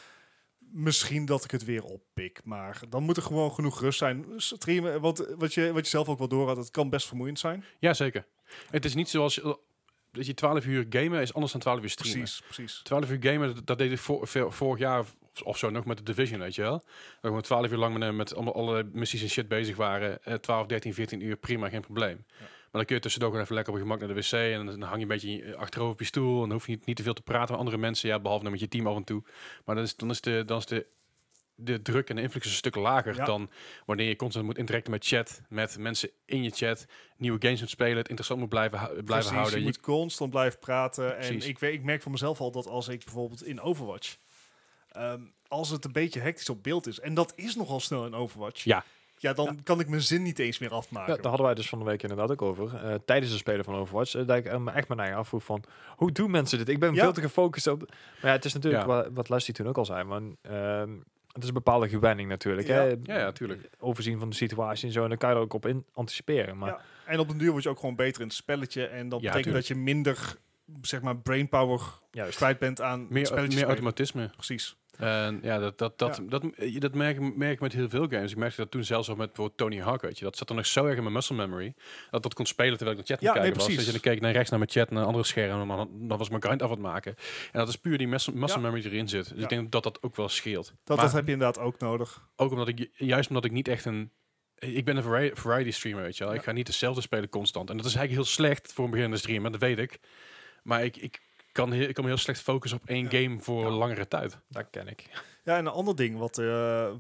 Speaker 2: Misschien dat ik het weer oppik. Maar dan moet er gewoon genoeg rust zijn. Streamen, wat, wat, je, wat je zelf ook wel door had, het kan best vermoeiend zijn.
Speaker 1: Ja, zeker. Het is niet zoals eh, dat je 12 uur gamen is anders dan 12 uur streamen.
Speaker 2: Precies, precies.
Speaker 1: 12 uur gamen, dat- dat deed ik vor- ver- vorig jaar of- of zo nog met de Division, weet je wel. Dat we gewoon 12 uur lang met, eh, met allemaal, allerlei missies en shit bezig waren. Eh, 12, 13, 14 uur, prima, geen probleem. Maar dan kun je tussendoor gewoon even lekker op je gemak naar de wc. En dan hang je een beetje achterover op je stoel. En dan hoef je niet, niet te veel te praten met andere mensen. Ja, behalve dan met je team af en toe. Maar dan is, dan is, de, dan is de, de druk en de influx een stuk lager
Speaker 2: Ja.
Speaker 1: dan wanneer je constant moet interacten met chat. Met mensen in je chat. Nieuwe games moet spelen. Het interessant moet blijven, hou- blijven
Speaker 2: Precies,
Speaker 1: houden.
Speaker 2: Je
Speaker 1: Je-
Speaker 2: moet constant blijven praten.
Speaker 1: Precies.
Speaker 2: En ik, weet, ik merk van mezelf al dat als ik bijvoorbeeld in Overwatch... ehm, als het een beetje hectisch op beeld is, en dat is nogal snel in Overwatch...
Speaker 1: Ja.
Speaker 2: Ja, dan kan ik mijn zin niet eens meer
Speaker 3: Ja,
Speaker 2: afmaken.
Speaker 3: daar hadden wij dus van de week inderdaad ook over. eh, tijdens het spelen van Overwatch. eh, dat ik eh, me echt mijn eigen afvroeg van... Hoe doen mensen dit? Ik ben
Speaker 2: Ja.
Speaker 3: veel te gefocust op... Maar ja, het is natuurlijk
Speaker 1: Ja.
Speaker 3: wa- wat Leslie toen ook al zei. Maar, ehm, het is een bepaalde gewenning natuurlijk.
Speaker 2: Ja.
Speaker 3: Hè? Eh,
Speaker 1: Ja, ja, tuurlijk.
Speaker 3: Overzien van de situatie en zo. En dan kan je er ook op in anticiperen. Maar
Speaker 2: Ja, En op den duur word je ook gewoon beter in het spelletje. En dat
Speaker 1: Ja,
Speaker 2: betekent dat je minder, zeg maar, brainpower
Speaker 3: juist.
Speaker 2: kwijt bent aan het
Speaker 1: Meer,
Speaker 2: spelletje
Speaker 1: meer
Speaker 2: spelen.
Speaker 1: automatisme.
Speaker 2: Precies.
Speaker 1: En ja, dat, dat, dat,
Speaker 2: Ja.
Speaker 1: dat, eh, dat merk, ik- merk ik met heel veel games. Ik merkte dat toen zelfs al met bijvoorbeeld Tony Hawk, weet je. Dat zat er nog zo erg in mijn muscle memory. Dat dat kon spelen terwijl ik naar chat
Speaker 2: Ja,
Speaker 1: aan het
Speaker 2: nee,
Speaker 1: kijken was. Dus
Speaker 2: precies.
Speaker 1: dan keek ik naar rechts naar mijn chat, naar een andere scherm. En dan, dan was mijn grind af aan het maken. En dat is puur die muscle, muscle
Speaker 2: Ja.
Speaker 1: memory die erin zit. Dus
Speaker 2: Ja.
Speaker 1: ik denk dat dat ook wel scheelt.
Speaker 2: Dat,
Speaker 1: Maar-
Speaker 2: dat heb je inderdaad ook nodig.
Speaker 1: Ook omdat ik, ju- juist omdat ik niet echt een... Ik ben een vari- variety streamer, weet je wel. Ik ga niet hetzelfde spelen constant. En dat is eigenlijk heel slecht voor een beginnende streamer, dat weet ik. Maar ik, ik, kan, heel, ik kan me heel slecht focussen op één game voor langere tijd.
Speaker 3: Dat ken ik.
Speaker 2: Ja, en een ander ding wat eh,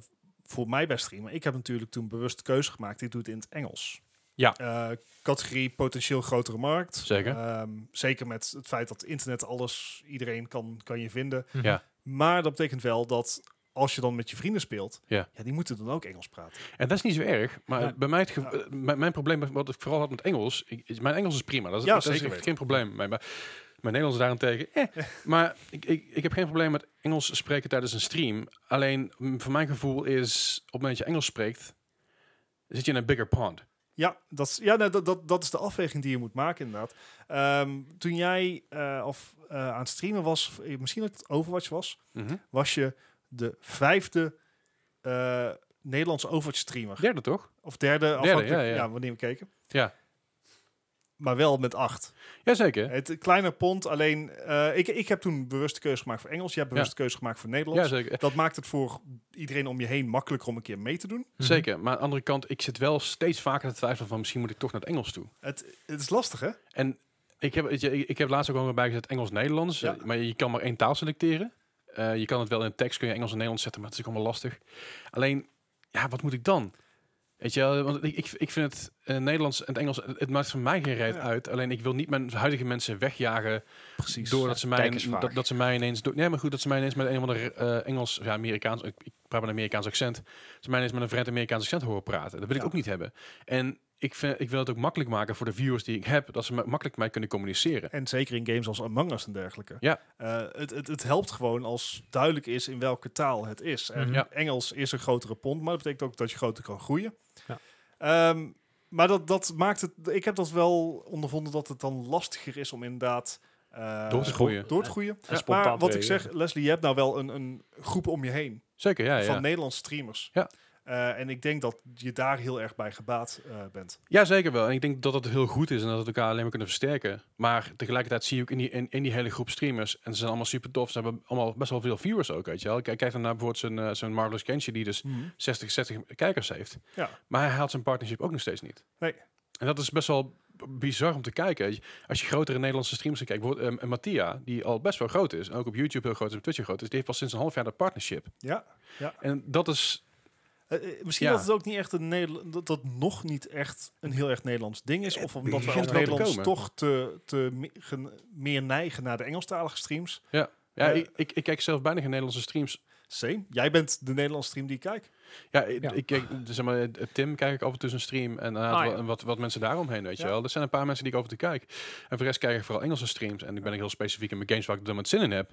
Speaker 2: voor mij bij streamen... Ik heb natuurlijk toen bewust de keuze gemaakt. Ik doe het in het Engels.
Speaker 1: Ja.
Speaker 2: Eh, categorie potentieel grotere markt.
Speaker 1: Zeker.
Speaker 2: Ehm, zeker met het feit dat internet alles, iedereen kan, kan je vinden.
Speaker 1: Ja.
Speaker 2: Maar dat betekent wel dat als je dan met je vrienden speelt...
Speaker 1: Ja.
Speaker 2: Ja, die moeten dan ook Engels praten.
Speaker 1: En dat is niet zo erg, maar
Speaker 2: Nee.
Speaker 1: bij mij het ge- eh, mijn, mijn probleem, met- wat ik vooral had met Engels, ik- is- mijn Engels is prima, dat is,
Speaker 2: Ja,
Speaker 1: dat is
Speaker 2: zeker
Speaker 1: echt
Speaker 2: weten.
Speaker 1: geen probleem. Mijn, mijn Nederlands daarentegen, eh. maar ik, ik, ik heb geen probleem met Engels spreken tijdens een stream. Alleen, mm, voor mijn gevoel is, op het moment dat je Engels spreekt, zit je in een bigger pond.
Speaker 2: Ja, dat is, ja nou, dat, dat, dat is de afweging die je moet maken inderdaad. Ehm, toen jij eh, of, eh, aan het streamen was, eh, misschien dat het Overwatch was, was je de vijfde eh, Nederlandse Overwatch streamer.
Speaker 1: Derde toch?
Speaker 2: Of derde, afhankelijk-
Speaker 1: ja, ja.
Speaker 2: ja. wanneer we keken.
Speaker 1: Ja.
Speaker 2: Maar wel met acht.
Speaker 1: Jazeker,
Speaker 2: Het kleine pond, alleen eh, ik, ik heb toen bewust de keuze gemaakt voor Engels. Jij hebt bewust de keuze gemaakt voor Nederlands.
Speaker 1: jazeker.
Speaker 2: dat maakt het voor iedereen om je heen makkelijker om een keer mee te doen.
Speaker 1: Zeker, maar aan de andere kant, ik zit wel steeds vaker te twijfelen van misschien moet ik toch naar het Engels toe.
Speaker 2: Het, het is lastig, hè?
Speaker 1: En ik heb, weet je, ik ik heb laatst ook al bijgezet Engels-Nederlands.
Speaker 2: Ja.
Speaker 1: eh, Maar je kan maar één taal selecteren. Eh, je kan het wel in tekst, kun je Engels en Nederlands zetten, maar het is ook allemaal lastig. Alleen, ja, wat moet ik dan? Weet je, wel, want ik, ik, ik vind het eh, Nederlands en het Engels, het het maakt voor mij geen reet
Speaker 2: Ja.
Speaker 1: uit. Alleen ik wil niet mijn huidige mensen wegjagen
Speaker 2: Precies.
Speaker 1: doordat ze mij,
Speaker 3: kijkersvraag.
Speaker 1: dat, dat ze mij ineens... do- nee, maar goed, dat ze mij ineens met een of ander eh, Engels, ja, Amerikaans, ik, ik praat met een Amerikaans accent. Ze mij ineens met een vreemd Amerikaans accent horen praten. Dat wil ik
Speaker 2: Ja.
Speaker 1: ook niet hebben. En ik, vind, ik wil het ook makkelijk maken voor de viewers die ik heb, dat ze ma- makkelijk met mij kunnen communiceren.
Speaker 2: En zeker in games als Among Us en dergelijke.
Speaker 1: Ja.
Speaker 2: Eh, het, het, het helpt gewoon als duidelijk is in welke taal het is. En
Speaker 3: Mhm.
Speaker 1: Mm, Ja.
Speaker 2: Engels is een grotere pond, maar dat betekent ook dat je groter kan groeien.
Speaker 3: Ja.
Speaker 2: Ehm, maar dat, dat maakt het. Ik heb dat wel ondervonden dat het dan lastiger is om inderdaad. eh,
Speaker 1: Door te groeien.
Speaker 2: Door te groeien.
Speaker 3: En spontaan
Speaker 2: Maar wat ik
Speaker 3: te reageren.
Speaker 2: zeg, Leslie, je hebt nou wel een, een groep om je heen
Speaker 1: Zeker, ja. ja.
Speaker 2: van Nederlandse streamers.
Speaker 1: Ja.
Speaker 2: Eh, en ik denk dat je daar heel erg bij gebaat eh, bent.
Speaker 1: Ja, zeker wel. En ik denk dat dat heel goed is en dat het elkaar alleen maar kunnen versterken. Maar tegelijkertijd zie ik in die, in, in die hele groep streamers, en ze zijn allemaal super tof, ze hebben allemaal best wel veel viewers ook, weet je wel. Kijk, kijk dan naar bijvoorbeeld zo'n eh, zo'n Marvelous Kenshi, die dus 60, 60 kijkers heeft.
Speaker 2: Ja.
Speaker 1: Maar hij haalt zijn partnership ook nog steeds niet.
Speaker 2: Nee.
Speaker 1: En dat is best wel b- bizar om te kijken. Weet je, Als je grotere Nederlandse streamers kijkt, bijvoorbeeld eh, Mattia, die al best wel groot is, en ook op YouTube heel groot is, op Twitch heel groot is, die heeft pas sinds een half jaar dat partnership.
Speaker 2: Ja.
Speaker 1: En dat is,
Speaker 2: Eh, eh, misschien
Speaker 1: Ja.
Speaker 2: dat het ook niet echt een Nederland, dat dat nog niet echt een heel erg Nederlands ding is. Of omdat we
Speaker 1: Eh, begint
Speaker 2: als
Speaker 1: wel te
Speaker 2: Nederlands
Speaker 1: komen.
Speaker 2: toch te, te me- gen- meer neigen naar de Engelstalige streams.
Speaker 1: ja,
Speaker 2: Eh.
Speaker 1: ik, ik, ik kijk zelf bijna geen Nederlandse streams
Speaker 2: Same. Jij bent de Nederlandse stream die ik kijk.
Speaker 1: Ja, ik,
Speaker 3: Ja.
Speaker 1: ik kijk, zeg maar, eh, Tim kijk ik af en toe zijn stream en eh,
Speaker 3: Ah, ja.
Speaker 1: wat, wat, wat mensen daaromheen, weet
Speaker 2: Ja.
Speaker 1: je wel. Er zijn een paar mensen die ik over te kijk. En voor de rest kijk ik vooral Engelse streams en ik ben ook heel specifiek in mijn games waar ik er met zin in heb.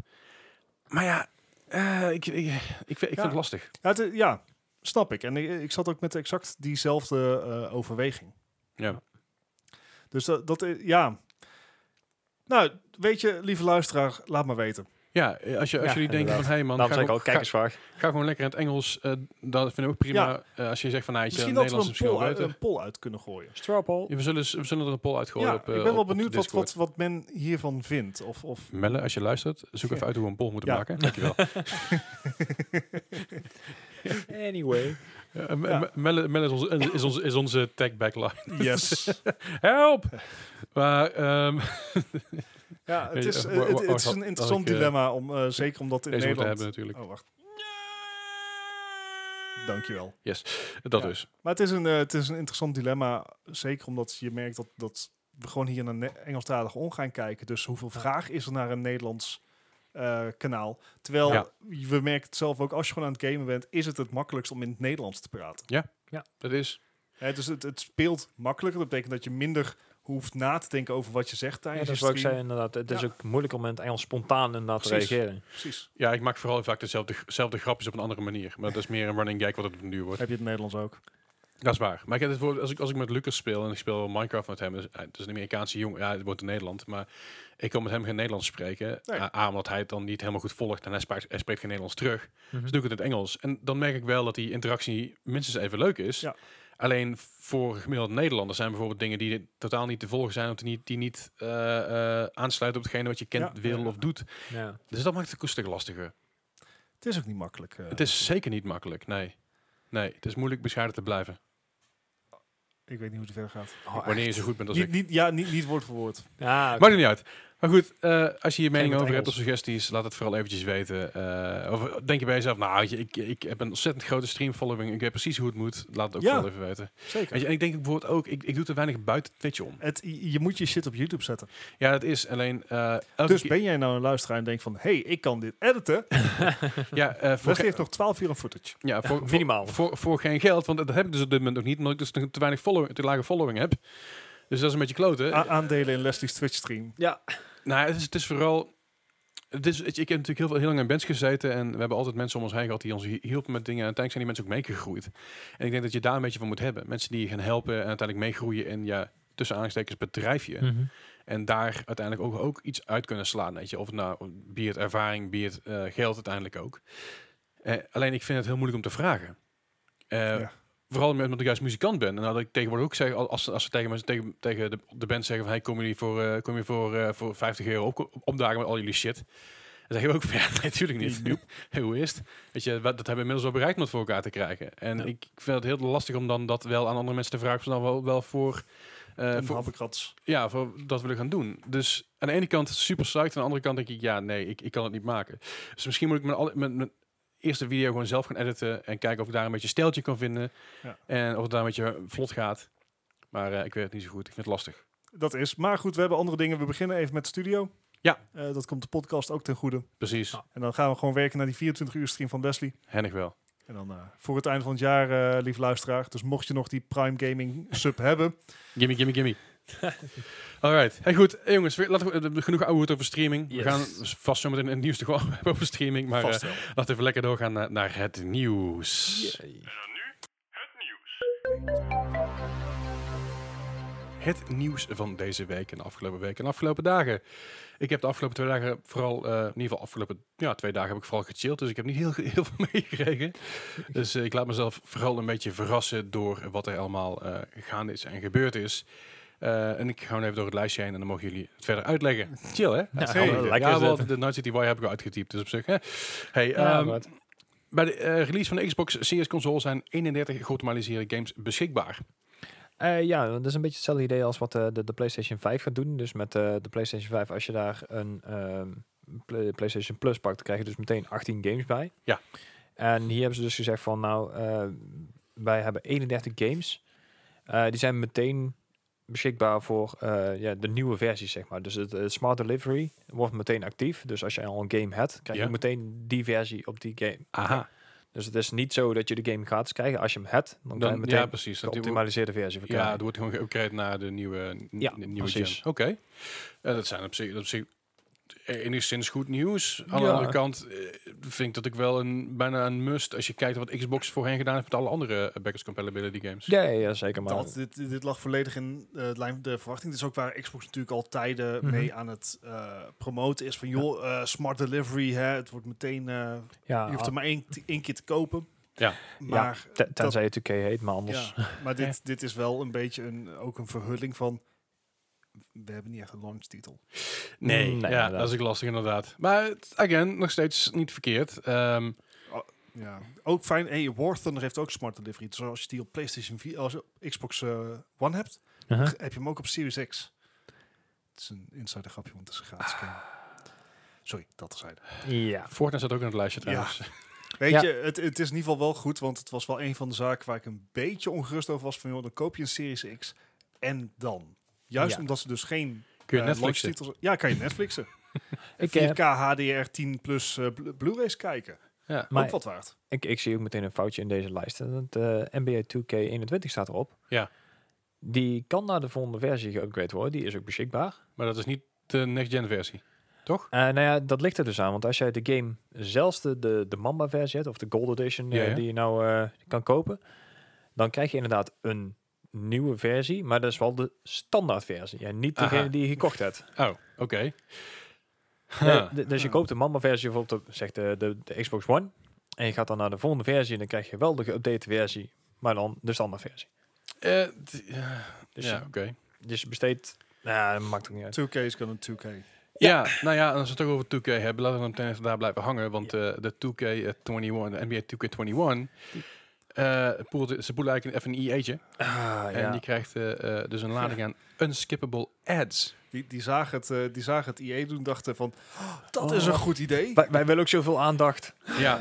Speaker 1: Maar ja, eh, ik, ik, ik, vind- ik vind het lastig.
Speaker 2: Ja, het, eh, ja, snap ik. En ik, ik zat ook met exact diezelfde eh, overweging.
Speaker 1: Ja.
Speaker 2: Dus dat, dat eh, ja. Nou, weet je, lieve luisteraar, laat maar weten.
Speaker 1: Ja, eh, als, je, als
Speaker 3: Ja,
Speaker 1: jullie denken van,
Speaker 3: inderdaad.
Speaker 1: hé hey man,
Speaker 3: Daarom
Speaker 1: ga,
Speaker 3: zeg ik
Speaker 1: gewoon-
Speaker 3: al, kijkersvraag.
Speaker 1: ga, ga gewoon lekker in het Engels, eh dat vind ik ook prima.
Speaker 2: Ja.
Speaker 1: Eh, als je zegt van, nou, weet je,
Speaker 2: Misschien
Speaker 1: Nederlands
Speaker 2: dat we een
Speaker 1: is misschien
Speaker 2: poll,
Speaker 1: wel
Speaker 2: uit,
Speaker 1: beter.
Speaker 2: een poll uit kunnen gooien.
Speaker 3: Strapple.
Speaker 1: Ja, we, zullen, we zullen er een poll uitgooien
Speaker 2: ja,
Speaker 1: op eh,
Speaker 2: ik ben wel
Speaker 1: op- op de
Speaker 2: benieuwd wat,
Speaker 1: Discord.
Speaker 2: wat, wat men hiervan vindt. Of, of
Speaker 1: Melle, als je luistert, zoek
Speaker 2: Ja.
Speaker 1: even uit hoe we een poll moeten
Speaker 2: Ja.
Speaker 1: maken. Dankjewel.
Speaker 3: Anyway.
Speaker 1: Eh, M-
Speaker 2: Ja.
Speaker 1: M- Melle, Melle is, onze, is, onze, is onze tag backline.
Speaker 2: yes.
Speaker 1: Help! Maar ehm,
Speaker 2: ja, het
Speaker 1: Ja,
Speaker 2: is,
Speaker 1: wa-
Speaker 2: eh, het,
Speaker 1: wa-
Speaker 2: het is
Speaker 1: wacht,
Speaker 2: een
Speaker 1: had
Speaker 2: interessant
Speaker 1: ik, eh,
Speaker 2: dilemma, om, eh, zeker omdat in
Speaker 1: deze moeten we
Speaker 2: Nederland...
Speaker 1: hebben natuurlijk.
Speaker 2: Oh, wacht. Dankjewel.
Speaker 1: Yes, dat
Speaker 2: Ja.
Speaker 1: dus.
Speaker 2: Maar het is, een, eh, het is een interessant dilemma, zeker omdat je merkt dat, dat we gewoon hier naar ne- Engelstalig om gaan kijken. Dus hoeveel vraag is er naar een Nederlands eh, kanaal? Terwijl,
Speaker 1: Ja.
Speaker 2: we merken het zelf ook, als je gewoon aan het gamen bent, is het het makkelijkst om in het Nederlands te praten.
Speaker 1: Dat is.
Speaker 2: Hè, dus het, het speelt makkelijker, dat betekent dat je minder hoeft na te denken over wat je zegt
Speaker 3: Ja, dat
Speaker 2: tijdens
Speaker 3: is
Speaker 2: je
Speaker 3: wat ik
Speaker 2: stream.
Speaker 3: zei inderdaad. Het is
Speaker 2: Ja.
Speaker 3: ook moeilijk om in het Engels spontaan inderdaad te
Speaker 2: Precies.
Speaker 3: reageren.
Speaker 2: Precies.
Speaker 1: Ja, ik maak vooral heel vaak dezelfde, dezelfde grapjes op een andere manier. Maar dat is meer een running gag wat het nu wordt.
Speaker 2: Heb je het Nederlands ook?
Speaker 1: Dat is waar. Maar ik heb het voor, als, ik, als ik met Lucas speel en ik speel Minecraft met hem, dus, hij- het is een Amerikaanse jongen, ja, het wordt in Nederland, maar ik kan met hem geen Nederlands spreken.
Speaker 2: Nee.
Speaker 1: A, A, omdat hij het dan niet helemaal goed volgt en hij spreekt, hij spreekt geen Nederlands terug. Dus doe ik het in het Engels. En dan merk ik wel dat die interactie minstens even leuk is.
Speaker 2: Ja.
Speaker 1: Alleen voor gemiddeld Nederlanders zijn bijvoorbeeld dingen die totaal niet te volgen zijn, of die niet, die niet eh, eh, aansluiten op hetgene wat je kent,
Speaker 2: Ja.
Speaker 1: wil of doet.
Speaker 3: Ja.
Speaker 1: Dus dat maakt het ook een stuk lastiger.
Speaker 2: Het is ook niet makkelijk. eh.
Speaker 1: Het is zeker niet makkelijk, nee. Nee, het is moeilijk bescheiden te blijven.
Speaker 2: Ik weet niet hoe het verder gaat.
Speaker 1: Wanneer je zo goed bent als
Speaker 2: Niet,
Speaker 1: ik.
Speaker 2: niet, ja, niet, niet woord voor woord.
Speaker 3: Ja,
Speaker 1: Maakt het niet uit. Maar goed, eh, als je je mening
Speaker 3: het
Speaker 1: over hebt of
Speaker 3: Engels.
Speaker 1: suggesties, laat het vooral eventjes weten. Eh, of denk je bij jezelf, nou, weet je, ik, ik heb een ontzettend grote streamfollowing. Ik weet precies hoe het moet. Laat het ook
Speaker 2: Ja.
Speaker 1: vooral even weten.
Speaker 2: Zeker.
Speaker 1: Weet je, en ik denk bijvoorbeeld ook, ik, ik doe te weinig buiten Twitch om.
Speaker 2: Het, je je moet je shit op YouTube zetten.
Speaker 1: Ja, dat is. Alleen, eh, elke
Speaker 2: Dus
Speaker 1: keer-
Speaker 2: ben jij nou een luisteraar en denkt van... hé, hey, ik kan dit editen.
Speaker 1: ja, eh, voor,
Speaker 2: Dat geeft nog 12 uur aan footage.
Speaker 1: ja, voor, voor,
Speaker 3: Minimaal.
Speaker 1: voor, voor geen geld, want dat heb ik dus op dit moment ook niet, omdat ik dus te weinig follow, te lage following heb. Dus dat is een beetje kloten.
Speaker 2: A- aandelen in Leslie's Twitch stream.
Speaker 3: Ja.
Speaker 1: Nou, het is, het is vooral. Het is, ik heb natuurlijk heel, veel, heel lang in bands gezeten en we hebben altijd mensen om ons heen gehad die ons hi- hielpen met dingen. En uiteindelijk zijn die mensen ook meegegroeid. En ik denk dat je daar een beetje van moet hebben. Mensen die je gaan helpen en uiteindelijk meegroeien in ja, tussen aanstekens bedrijfje. En daar uiteindelijk ook, ook iets uit kunnen slaan. Weet je. Of het nou, be het ervaring, be het eh, geld uiteindelijk ook. Eh, alleen ik vind het heel moeilijk om te vragen. Eh,
Speaker 2: Ja.
Speaker 1: Vooral met- omdat ik juist muzikant ben. En dat ik tegenwoordig ook zeg, al- als, ze- als ze tegen, mensen- tegen, tegen de, de band zeggen van... Hey, kom je voor, eh, kom je voor, eh, voor 50 euro op, opdagen met al jullie shit? Dan zeg je ook van, ja, nee, natuurlijk niet. Hey, hoe is het? Weet je, wat- dat hebben we inmiddels wel bereikt om het voor elkaar te krijgen. En
Speaker 3: Ja.
Speaker 1: ik vind het heel lastig om dan dat wel aan andere mensen te vragen... of ze dan wel, wel voor, eh,
Speaker 2: en
Speaker 1: voor,
Speaker 2: Habbekrats.
Speaker 1: ja, voor dat willen gaan doen. Dus aan de ene kant super psyched, aan de andere kant denk ik, ja, nee, ik, ik kan het niet maken. Dus misschien moet ik mijn, alle- mijn, mijn eerste video gewoon zelf gaan editen en kijken of ik daar een beetje steltje kan vinden.
Speaker 2: Ja.
Speaker 1: En of het daar een beetje vlot gaat. Maar eh, ik weet het niet zo goed. Ik vind het lastig.
Speaker 2: Dat is. Maar goed, we hebben andere dingen. We beginnen even met de studio.
Speaker 1: Ja.
Speaker 2: Eh, dat komt de podcast ook ten goede.
Speaker 1: Precies.
Speaker 3: Ja.
Speaker 2: En dan gaan we gewoon werken naar die 24 uur stream van Leslie.
Speaker 1: Hennig wel.
Speaker 2: En dan eh, voor het einde van het jaar, eh, lief luisteraar. Dus mocht je nog die Prime Gaming sub hebben.
Speaker 1: Gimme, gimme, gimme. Alright. Hey, goed. Hey, jongens, we- laten we eh, genoeg ouwe hoed over streaming. We
Speaker 3: Yes.
Speaker 1: gaan vast zo meteen in het nieuws toch wel hebben over streaming. Maar eh,
Speaker 2: vast wel.
Speaker 1: laten we even lekker doorgaan naar, naar het nieuws.
Speaker 5: En dan nu het nieuws.
Speaker 1: het nieuws van deze week en de afgelopen week en de afgelopen dagen. Ik heb de afgelopen twee dagen vooral, eh, in ieder geval afgelopen ja, twee dagen heb ik vooral gechilled, dus ik heb niet heel, heel veel meegekregen. Dus eh, ik laat mezelf vooral een beetje verrassen door wat er allemaal eh, gaande is en gebeurd is. Eh, en ik ga gewoon even door het lijstje heen en dan mogen jullie het verder uitleggen. Chill, hè?
Speaker 3: Nou,
Speaker 1: Zeker.
Speaker 3: lekker
Speaker 1: ja,
Speaker 3: is
Speaker 1: want
Speaker 3: het.
Speaker 1: de Night City Wire heb ik al uitgetypt, dus op zich. Hè? Hey,
Speaker 3: Ja,
Speaker 1: ehm,
Speaker 3: wat.
Speaker 1: bij de eh, release van de Xbox Series console zijn 31 geautomatiseerde games beschikbaar.
Speaker 3: Eh, ja, dat is een beetje hetzelfde idee als wat eh, de, de PlayStation 5 gaat doen. Dus met eh, de PlayStation 5, als je daar een ehm, Play- PlayStation Plus pakt, dan krijg je dus meteen 18 games bij.
Speaker 1: Ja.
Speaker 3: En hier hebben ze dus gezegd van, nou, eh, wij hebben 31 games. Eh, die zijn meteen beschikbaar voor eh, ja, de nieuwe versies, zeg maar. Dus het, het Smart Delivery wordt meteen actief. Dus als je al een game hebt, krijg
Speaker 1: Ja.
Speaker 3: je meteen die versie op die game.
Speaker 1: Aha.
Speaker 3: Dus het is niet zo dat je de game gratis krijgt. Als je hem hebt, dan, kan je
Speaker 1: Dan,
Speaker 3: meteen
Speaker 1: ja,
Speaker 3: de
Speaker 1: precies. Dat die-
Speaker 3: geoptimaliseerde versie van
Speaker 1: ja, er wordt gewoon geüpgrade naar de nieuwe, n-
Speaker 3: Ja,
Speaker 1: n- nieuwe
Speaker 3: precies.
Speaker 1: gen. Oké. Eh, dat zijn op zich, op zich eh, enigszins goed nieuws. Aan de
Speaker 3: Ja.
Speaker 1: andere kant eh, vind ik dat ik wel een, bijna een must... als je kijkt wat Xbox voorheen gedaan heeft met alle andere eh, backwards compatibility games.
Speaker 3: Ja, ja, ja, zeker. Maar
Speaker 2: Dat, dit, dit lag volledig in eh, het lijn van de verwachting. Dit is ook waar Xbox natuurlijk al tijden
Speaker 3: Mhm.
Speaker 2: mee aan het eh, promoten is. Van joh, eh, smart delivery, hè, het wordt meteen... eh,
Speaker 3: ja,
Speaker 2: je hoeft er maar één, één keer te kopen.
Speaker 1: Ja.
Speaker 2: Maar,
Speaker 3: te- tenzij je 2K heet, maar anders.
Speaker 2: ja, maar dit, dit is wel een beetje een, ook een verhulling van... We hebben niet echt een launchtitel.
Speaker 1: Nee,
Speaker 3: Mm, Nee,
Speaker 1: ja,
Speaker 3: inderdaad.
Speaker 1: dat is ook lastig inderdaad. Maar, het- again, nog steeds niet verkeerd. Ehm,
Speaker 2: Ja, ook fijn. Hey, War Thunder heeft ook smart delivery. Dus als je die op PlayStation 4, als je op Xbox eh, One hebt,
Speaker 3: Uh-huh.
Speaker 2: heb je hem ook op Series X. Het is een insider grapje, want het is een gratis game. Sorry, dat terzijde.
Speaker 3: Ja.
Speaker 1: Fortnite staat ook in het lijstje trouwens.
Speaker 2: Weet
Speaker 3: Ja.
Speaker 2: je, het, het is in ieder geval wel goed, want het was wel een van de zaken waar ik een beetje ongerust over was. Van joh, dan koop je een Series X en dan. Juist
Speaker 3: Ja.
Speaker 2: omdat ze dus geen
Speaker 1: Kun je
Speaker 2: eh,
Speaker 1: Netflixen?
Speaker 2: launchtitels- Ja, kan je Netflixen.
Speaker 3: Ik, eh,
Speaker 2: 4K HDR 10 plus eh, blu- Blu-rays kijken.
Speaker 1: Ja.
Speaker 3: Maar-
Speaker 2: ook wat waard.
Speaker 3: ik, ik zie ook meteen een foutje in deze lijst. Want, eh, NBA 2K21 staat erop.
Speaker 1: Ja.
Speaker 3: Die kan naar de volgende versie geüpgrade worden. Die is ook beschikbaar.
Speaker 1: Maar dat is niet de next-gen versie, toch?
Speaker 3: Eh, nou ja, dat ligt er dus aan. Want als jij de game zelfs de, de, de Mamba versie hebt, of de Gold Edition eh,
Speaker 1: Ja, ja.
Speaker 3: die je nou eh, kan kopen, dan krijg je inderdaad een nieuwe versie. Maar dat is wel de standaard versie. En niet degene
Speaker 1: Aha.
Speaker 3: die je gekocht hebt.
Speaker 1: Oh, oké.
Speaker 3: Nee,
Speaker 1: Huh.
Speaker 3: d- dus je koopt de Mamba-versie bijvoorbeeld op zeg de, de, de Xbox One. En je gaat dan naar de volgende versie en dan krijg je wel de geüpdate versie, maar dan de standaardversie.
Speaker 1: Eh, d- ja,
Speaker 3: Dus,
Speaker 1: ja,
Speaker 3: je,
Speaker 1: oké.
Speaker 3: dus je besteedt... Nou, dat maakt ook niet uit.
Speaker 2: 2K is gonna 2K.
Speaker 1: Ja. nou ja, als we het toch over 2K hebben, laten we hem meteen even daar blijven hangen. Want eh, de 2K21, de NBA 2K21, eh, poelt- ze poelen eigenlijk even een EA'tje.
Speaker 3: Ah,
Speaker 1: En
Speaker 3: ja.
Speaker 1: die krijgt eh, eh, dus een lading aan unskippable ads.
Speaker 2: Die, die, zagen het, eh, die zagen het IE doen dachten van, "Oh, dat is
Speaker 3: Oh.
Speaker 2: een goed idee.
Speaker 3: wij, wij willen ook zoveel aandacht.
Speaker 1: Ja.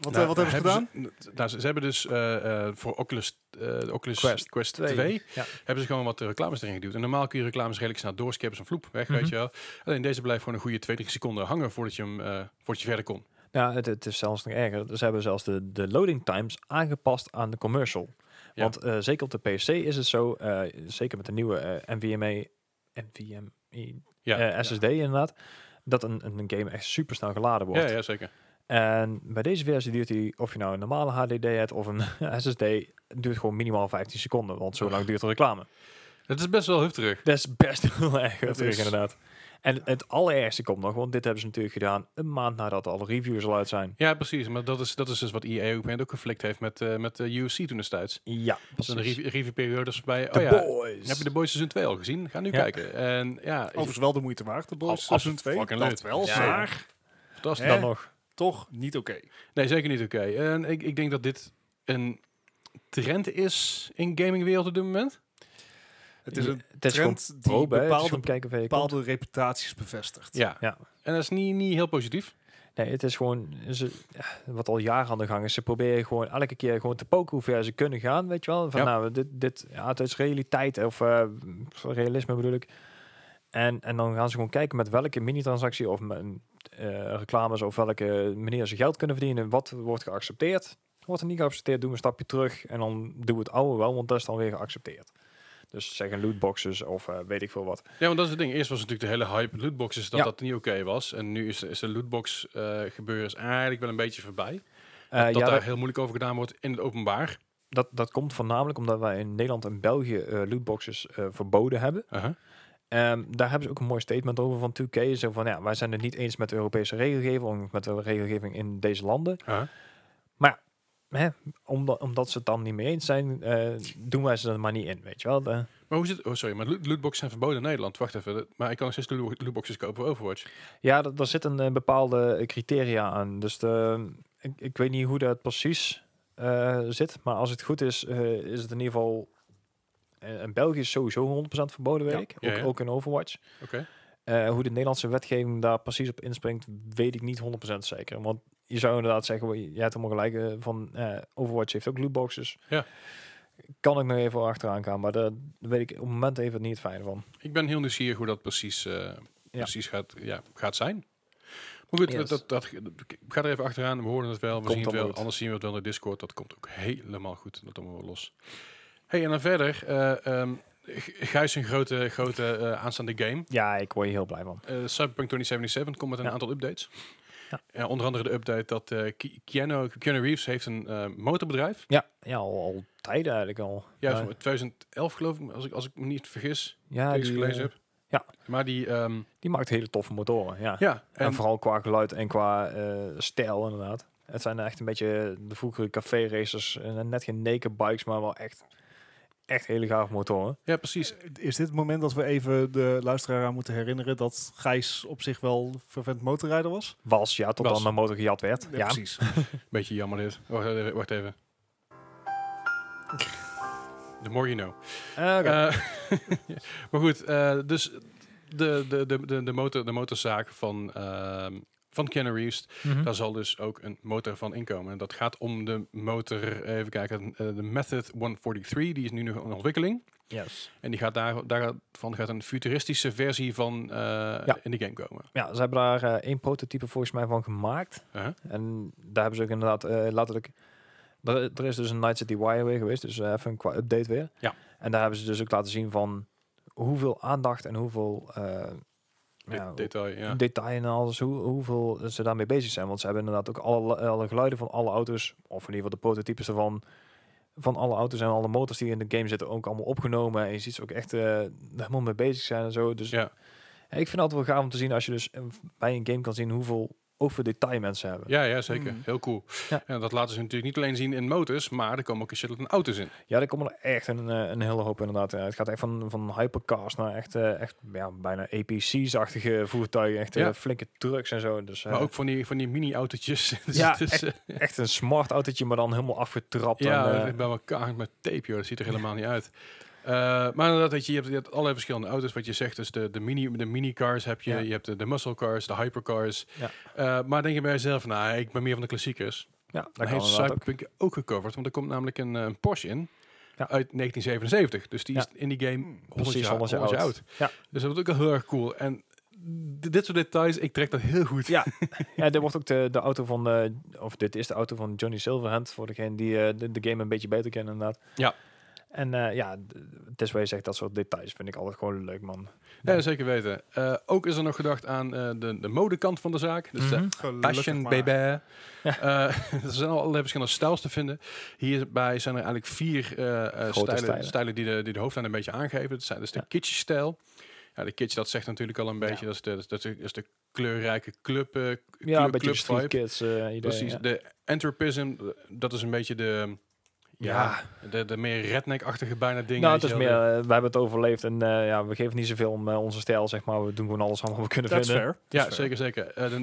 Speaker 1: Nou,
Speaker 2: Wat, eh, wat hebben ze gedaan?
Speaker 1: Ze, nou, ze, ze hebben dus eh, eh, voor Oculus, eh, de Oculus
Speaker 3: Quest
Speaker 1: Quest, 2,
Speaker 3: Ja.
Speaker 1: hebben ze gewoon wat eh, reclames erin geduwd. En normaal kun je reclames redelijk snel doorskippen, zo'n vloep weg, weet
Speaker 3: Mhm.
Speaker 1: je wel. Alleen deze blijft gewoon een goede 20 seconden hangen voordat je, hem, eh, voordat je verder kon.
Speaker 3: Nou, het, het is zelfs nog erger. Ze hebben zelfs de, de loading times aangepast aan de commercial.
Speaker 1: Ja.
Speaker 3: Want eh, zeker op de PC is het zo, eh, zeker met de nieuwe eh NVMe, NVMe
Speaker 1: Ja,
Speaker 3: eh, SSD inderdaad, dat een, een game echt super snel geladen wordt.
Speaker 1: ja, ja zeker.
Speaker 3: En bij deze versie duurt die, of je nou een normale HDD hebt of een SSD, duurt gewoon minimaal 15 seconden. Want zo lang duurt de reclame.
Speaker 1: Dat is best wel heftig.
Speaker 3: Dat is best heel erg heftig,
Speaker 2: is-
Speaker 3: inderdaad. En het allerergste komt nog, want dit hebben ze natuurlijk gedaan een maand nadat alle reviews al uit zijn.
Speaker 1: Ja, precies. Maar dat is, dat is dus wat EA op een gegeven moment ook geflikt heeft met, eh met de UFC toen destijds.
Speaker 3: Ja,
Speaker 1: Dus een
Speaker 3: precies.
Speaker 1: review- reviewperiode is bij.
Speaker 3: The
Speaker 1: Oh ja,
Speaker 3: boys.
Speaker 1: heb je de Boys Season 2 al gezien? Ga nu
Speaker 3: Ja.
Speaker 1: kijken. En ja, is
Speaker 2: Overigens wel de moeite waard, de Boys
Speaker 1: Als- als
Speaker 2: Season
Speaker 1: het
Speaker 2: 2.
Speaker 1: fucking
Speaker 2: Dat
Speaker 1: leuk.
Speaker 2: wel,
Speaker 3: Ja, ja.
Speaker 2: maar
Speaker 1: fantastisch.
Speaker 2: Hè?
Speaker 3: dan nog?
Speaker 2: toch niet oké.
Speaker 1: Nee, zeker niet oké. En ik, ik denk dat dit een trend is in gamingwereld op dit moment.
Speaker 2: Het is een
Speaker 3: het is gewoon
Speaker 2: trend die
Speaker 3: probe, hè. Het is
Speaker 2: bepaalde-
Speaker 3: gewoon kijken waar je komt.
Speaker 2: bepaalde reputaties bevestigt.
Speaker 1: Ja.
Speaker 3: Ja.
Speaker 1: En dat is niet, niet heel positief.
Speaker 3: Nee, het is gewoon, ze, wat al jaren aan de gang is, ze proberen gewoon elke keer gewoon te poken hoe ver ze kunnen gaan, weet je wel. Van
Speaker 1: Ja.
Speaker 3: nou, dit, dit, ja, het is realiteit, of eh, realisme bedoel ik. En, en dan gaan ze gewoon kijken met welke mini-transactie of me- eh, reclames of welke manier ze geld kunnen verdienen. Wat wordt geaccepteerd? Wordt er niet geaccepteerd, doen we een stapje terug en dan doen we het oude wel, want dat is dan weer geaccepteerd. Dus zeggen lootboxes of eh, weet ik veel wat.
Speaker 1: Ja, want dat is het ding. Eerst was natuurlijk de hele hype lootboxes dat
Speaker 3: Ja.
Speaker 1: dat niet oké was. En nu is, is de lootbox eh gebeuren is eigenlijk wel een beetje voorbij.
Speaker 3: Eh,
Speaker 1: dat
Speaker 3: ja,
Speaker 1: daar
Speaker 3: dat-
Speaker 1: heel moeilijk over gedaan wordt in het openbaar.
Speaker 3: dat, dat komt voornamelijk omdat wij in Nederland en België eh, lootboxes eh, verboden hebben.
Speaker 1: Uh-huh.
Speaker 3: Ehm, daar hebben ze ook een mooi statement over van 2K. Zo van, ja, wij zijn het niet eens met de Europese regelgeving, of met de regelgeving in deze landen.
Speaker 1: Uh-huh.
Speaker 3: Hè, omdat, omdat ze het dan niet mee eens zijn, eh, doen wij ze er maar niet in, weet je wel. De-
Speaker 1: Maar hoe zit Oh, sorry, maar loot- lootboxes zijn verboden in Nederland. Wacht even, dat- maar ik kan nog steeds loo- lootboxes kopen voor Overwatch.
Speaker 3: ja, d- daar zitten eh, bepaalde eh, criteria aan. Dus de, ik, ik weet niet hoe dat precies eh, zit, maar als het goed is, eh, is het in ieder geval... eh, in België is sowieso 100% verboden
Speaker 2: Ja.
Speaker 3: werk,
Speaker 1: Ja,
Speaker 3: ook,
Speaker 1: ja.
Speaker 3: ook in Overwatch.
Speaker 1: Oké.
Speaker 3: Eh, hoe de Nederlandse wetgeving daar precies op inspringt, weet ik niet 100% zeker. Want je zou inderdaad zeggen, wel, je hebt helemaal gelijk, eh, van eh, Overwatch heeft ook lootboxes.
Speaker 1: Ja.
Speaker 3: Kan ik nog even achteraan gaan, maar daar weet ik op het moment even niet fijn van.
Speaker 1: Ik ben heel nieuwsgierig hoe dat precies, eh, precies gaat, ja, gaat zijn. Maar goed,
Speaker 3: Yes.
Speaker 1: dat, dat, ik ga er even achteraan. We horen het wel, we
Speaker 3: Komt
Speaker 1: zien het
Speaker 3: allemaal
Speaker 1: wel.
Speaker 3: goed.
Speaker 1: Anders zien we het wel in de Discord. Dat komt ook helemaal goed. Dat doen we wel los. hey, en dan verder. eh ehm G- Gijs, een grote, grote eh, aanstaande game.
Speaker 3: Ja, ik word hier heel blij van.
Speaker 1: Eh, Cyberpunk 2077 komt met een
Speaker 3: Ja.
Speaker 1: aantal updates.
Speaker 3: Ja.
Speaker 1: Eh, onder andere de update dat eh, Ki- Keanu, Keanu Reeves heeft een eh, motorbedrijf.
Speaker 3: Ja, ja al, al tijden eigenlijk al.
Speaker 1: Ja,
Speaker 3: ja,
Speaker 1: van 2011 geloof ik, als ik, als ik me niet vergis.
Speaker 3: ja,
Speaker 1: dat ik
Speaker 3: die,
Speaker 1: eens gelezen
Speaker 3: eh,
Speaker 1: heb.
Speaker 3: ja.
Speaker 1: Maar die, ehm,
Speaker 3: die maakt hele toffe motoren, ja.
Speaker 1: ja.
Speaker 3: En,
Speaker 1: En,
Speaker 3: vooral qua geluid en qua eh, stijl inderdaad. Het zijn echt een beetje de vroegere café racers. En net geen naked bikes, maar wel echt, echt hele gaaf motoren.
Speaker 1: ja, precies.
Speaker 2: Eh, Is dit het moment dat we even de luisteraar aan moeten herinneren dat Gijs op zich wel vervent motorrijder was?
Speaker 3: Was, ja, tot
Speaker 1: Was.
Speaker 3: dan de motor gejat werd. Ja,
Speaker 2: precies.
Speaker 1: Beetje jammer dit. Wacht even. Wacht even. The more you know.
Speaker 3: Eh, oké.
Speaker 1: Eh, maar goed, eh, dus de, de, de, de, de, motor, de motorzaak van, ehm van Keanu Reeves,
Speaker 3: Mhm.
Speaker 1: daar zal dus ook een motor van inkomen. En dat gaat om de motor, even kijken, eh, de Method 143, die is nu nog in ontwikkeling.
Speaker 3: Yes.
Speaker 1: En die gaat daar, daarvan gaat een futuristische versie van eh, in de game komen.
Speaker 3: Ja, ze hebben daar eh, één prototype volgens mij van gemaakt.
Speaker 1: Uh-huh.
Speaker 3: En daar hebben ze ook inderdaad eh letterlijk... Er, er is dus een Night City Wire weer geweest, dus eh, even qua update weer.
Speaker 1: Ja.
Speaker 3: En daar hebben ze dus ook laten zien van hoeveel aandacht en hoeveel... eh, ja,
Speaker 1: Dit- Detail, ja.
Speaker 3: detail en alles, hoe, hoeveel ze daarmee bezig zijn. Want ze hebben inderdaad ook alle, alle geluiden van alle auto's, of in ieder geval de prototypes ervan, van alle auto's en alle motors die in de game zitten, ook allemaal opgenomen. En je ziet ze ook echt eh, daar helemaal mee bezig zijn en zo. Dus
Speaker 1: Ja.
Speaker 3: ja, ik vind het altijd wel gaaf om te zien als je dus eh, bij een game kan zien hoeveel ook voor detail mensen hebben. Ja,
Speaker 1: Ja, ja, zeker.
Speaker 3: Hmm.
Speaker 2: Mm.
Speaker 1: Heel cool.
Speaker 3: Ja.
Speaker 1: En dat laten ze natuurlijk niet alleen zien in motors, maar er komen ook een shitload aan auto's in.
Speaker 3: daar komen er echt een, eh, een hele hoop inderdaad. Ja, het gaat echt van, van hypercars naar echt, eh, echt ja, bijna APC's-achtige voertuigen. Echt eh,
Speaker 1: Ja.
Speaker 3: flinke trucks en zo. Dus, eh,
Speaker 1: Maar ook van die, van die mini-autootjes. Dus
Speaker 3: Ja,
Speaker 1: het is,
Speaker 3: echt.
Speaker 1: eh,
Speaker 3: echt een smart autootje, maar dan helemaal afgetrapt.
Speaker 1: Ja,
Speaker 3: en,
Speaker 1: dat
Speaker 3: eh,
Speaker 1: ligt bij elkaar met tape, joh. Dat ziet er helemaal niet uit. Eh, maar inderdaad, weet je, je, hebt, je hebt allerlei verschillende auto's. Wat je zegt, dus de, de, mini, de mini-cars heb je.
Speaker 3: Ja.
Speaker 1: Je hebt de, de muscle cars, de hypercars.
Speaker 3: Ja.
Speaker 1: Eh, maar denk je bij jezelf, nou, ik ben meer van de klassiekers.
Speaker 3: Ja,
Speaker 1: Dan
Speaker 3: dat kan
Speaker 1: heeft
Speaker 3: inderdaad ook.
Speaker 1: Cyberpunk ook. gecoverd. Want er komt namelijk een, eh, een Porsche in.
Speaker 3: Ja.
Speaker 1: Uit 1977. Dus die
Speaker 3: Ja.
Speaker 1: is in die game 100
Speaker 3: Precies,
Speaker 1: jaar,
Speaker 3: honderd
Speaker 1: 100
Speaker 3: jaar
Speaker 1: jaar
Speaker 3: oud.
Speaker 1: oud.
Speaker 3: Ja.
Speaker 1: Dus dat wordt ook al heel erg cool. En d- dit soort details, ik trek dat heel goed.
Speaker 3: Ja. Ja, dit wordt ook de, de auto van, eh, of dit is de auto van Johnny Silverhand, voor degene die eh, de, de game een beetje beter kennen inderdaad.
Speaker 1: Ja.
Speaker 3: En eh, ja, d- het is waar je zegt, dat soort details vind ik altijd gewoon leuk, man.
Speaker 1: Ja, zeker weten. Eh, ook is er nog gedacht aan eh, de, de modekant van de zaak. Dus de
Speaker 3: Mhm.
Speaker 1: Passion
Speaker 2: Gelukkig maar.
Speaker 1: baby. Eh, er zijn al allerlei verschillende stijls te vinden. Hierbij zijn er eigenlijk vier eh, eh, stijlen,
Speaker 3: stijlen.
Speaker 1: stijlen. die de, die de hoofdlijn een beetje aangeven. Dat zijn dus de
Speaker 3: Ja.
Speaker 1: kitsch stijl. Ja, de kitsch, dat zegt natuurlijk al een beetje. Dat, is de, dat, is de, dat is de kleurrijke club, eh, k-
Speaker 3: Ja,
Speaker 1: club,
Speaker 3: een beetje
Speaker 1: club
Speaker 3: de street
Speaker 1: vibe.
Speaker 3: kids eh, idee.
Speaker 1: Precies.
Speaker 3: ja.
Speaker 1: De entropism, eh, dat is een beetje de... Ja, De, de meer redneck-achtige bijna dingen.
Speaker 3: Nou,
Speaker 1: weet
Speaker 3: het is
Speaker 1: je
Speaker 3: meer,
Speaker 1: wel.
Speaker 3: eh, we hebben het overleefd en eh, ja, we geven niet zoveel om eh, onze stijl, zeg maar. We doen gewoon alles allemaal we kunnen
Speaker 2: That's
Speaker 3: vinden.
Speaker 2: fair.
Speaker 1: Ja,
Speaker 2: That's
Speaker 1: zeker,
Speaker 2: fair.
Speaker 1: zeker. Eh, de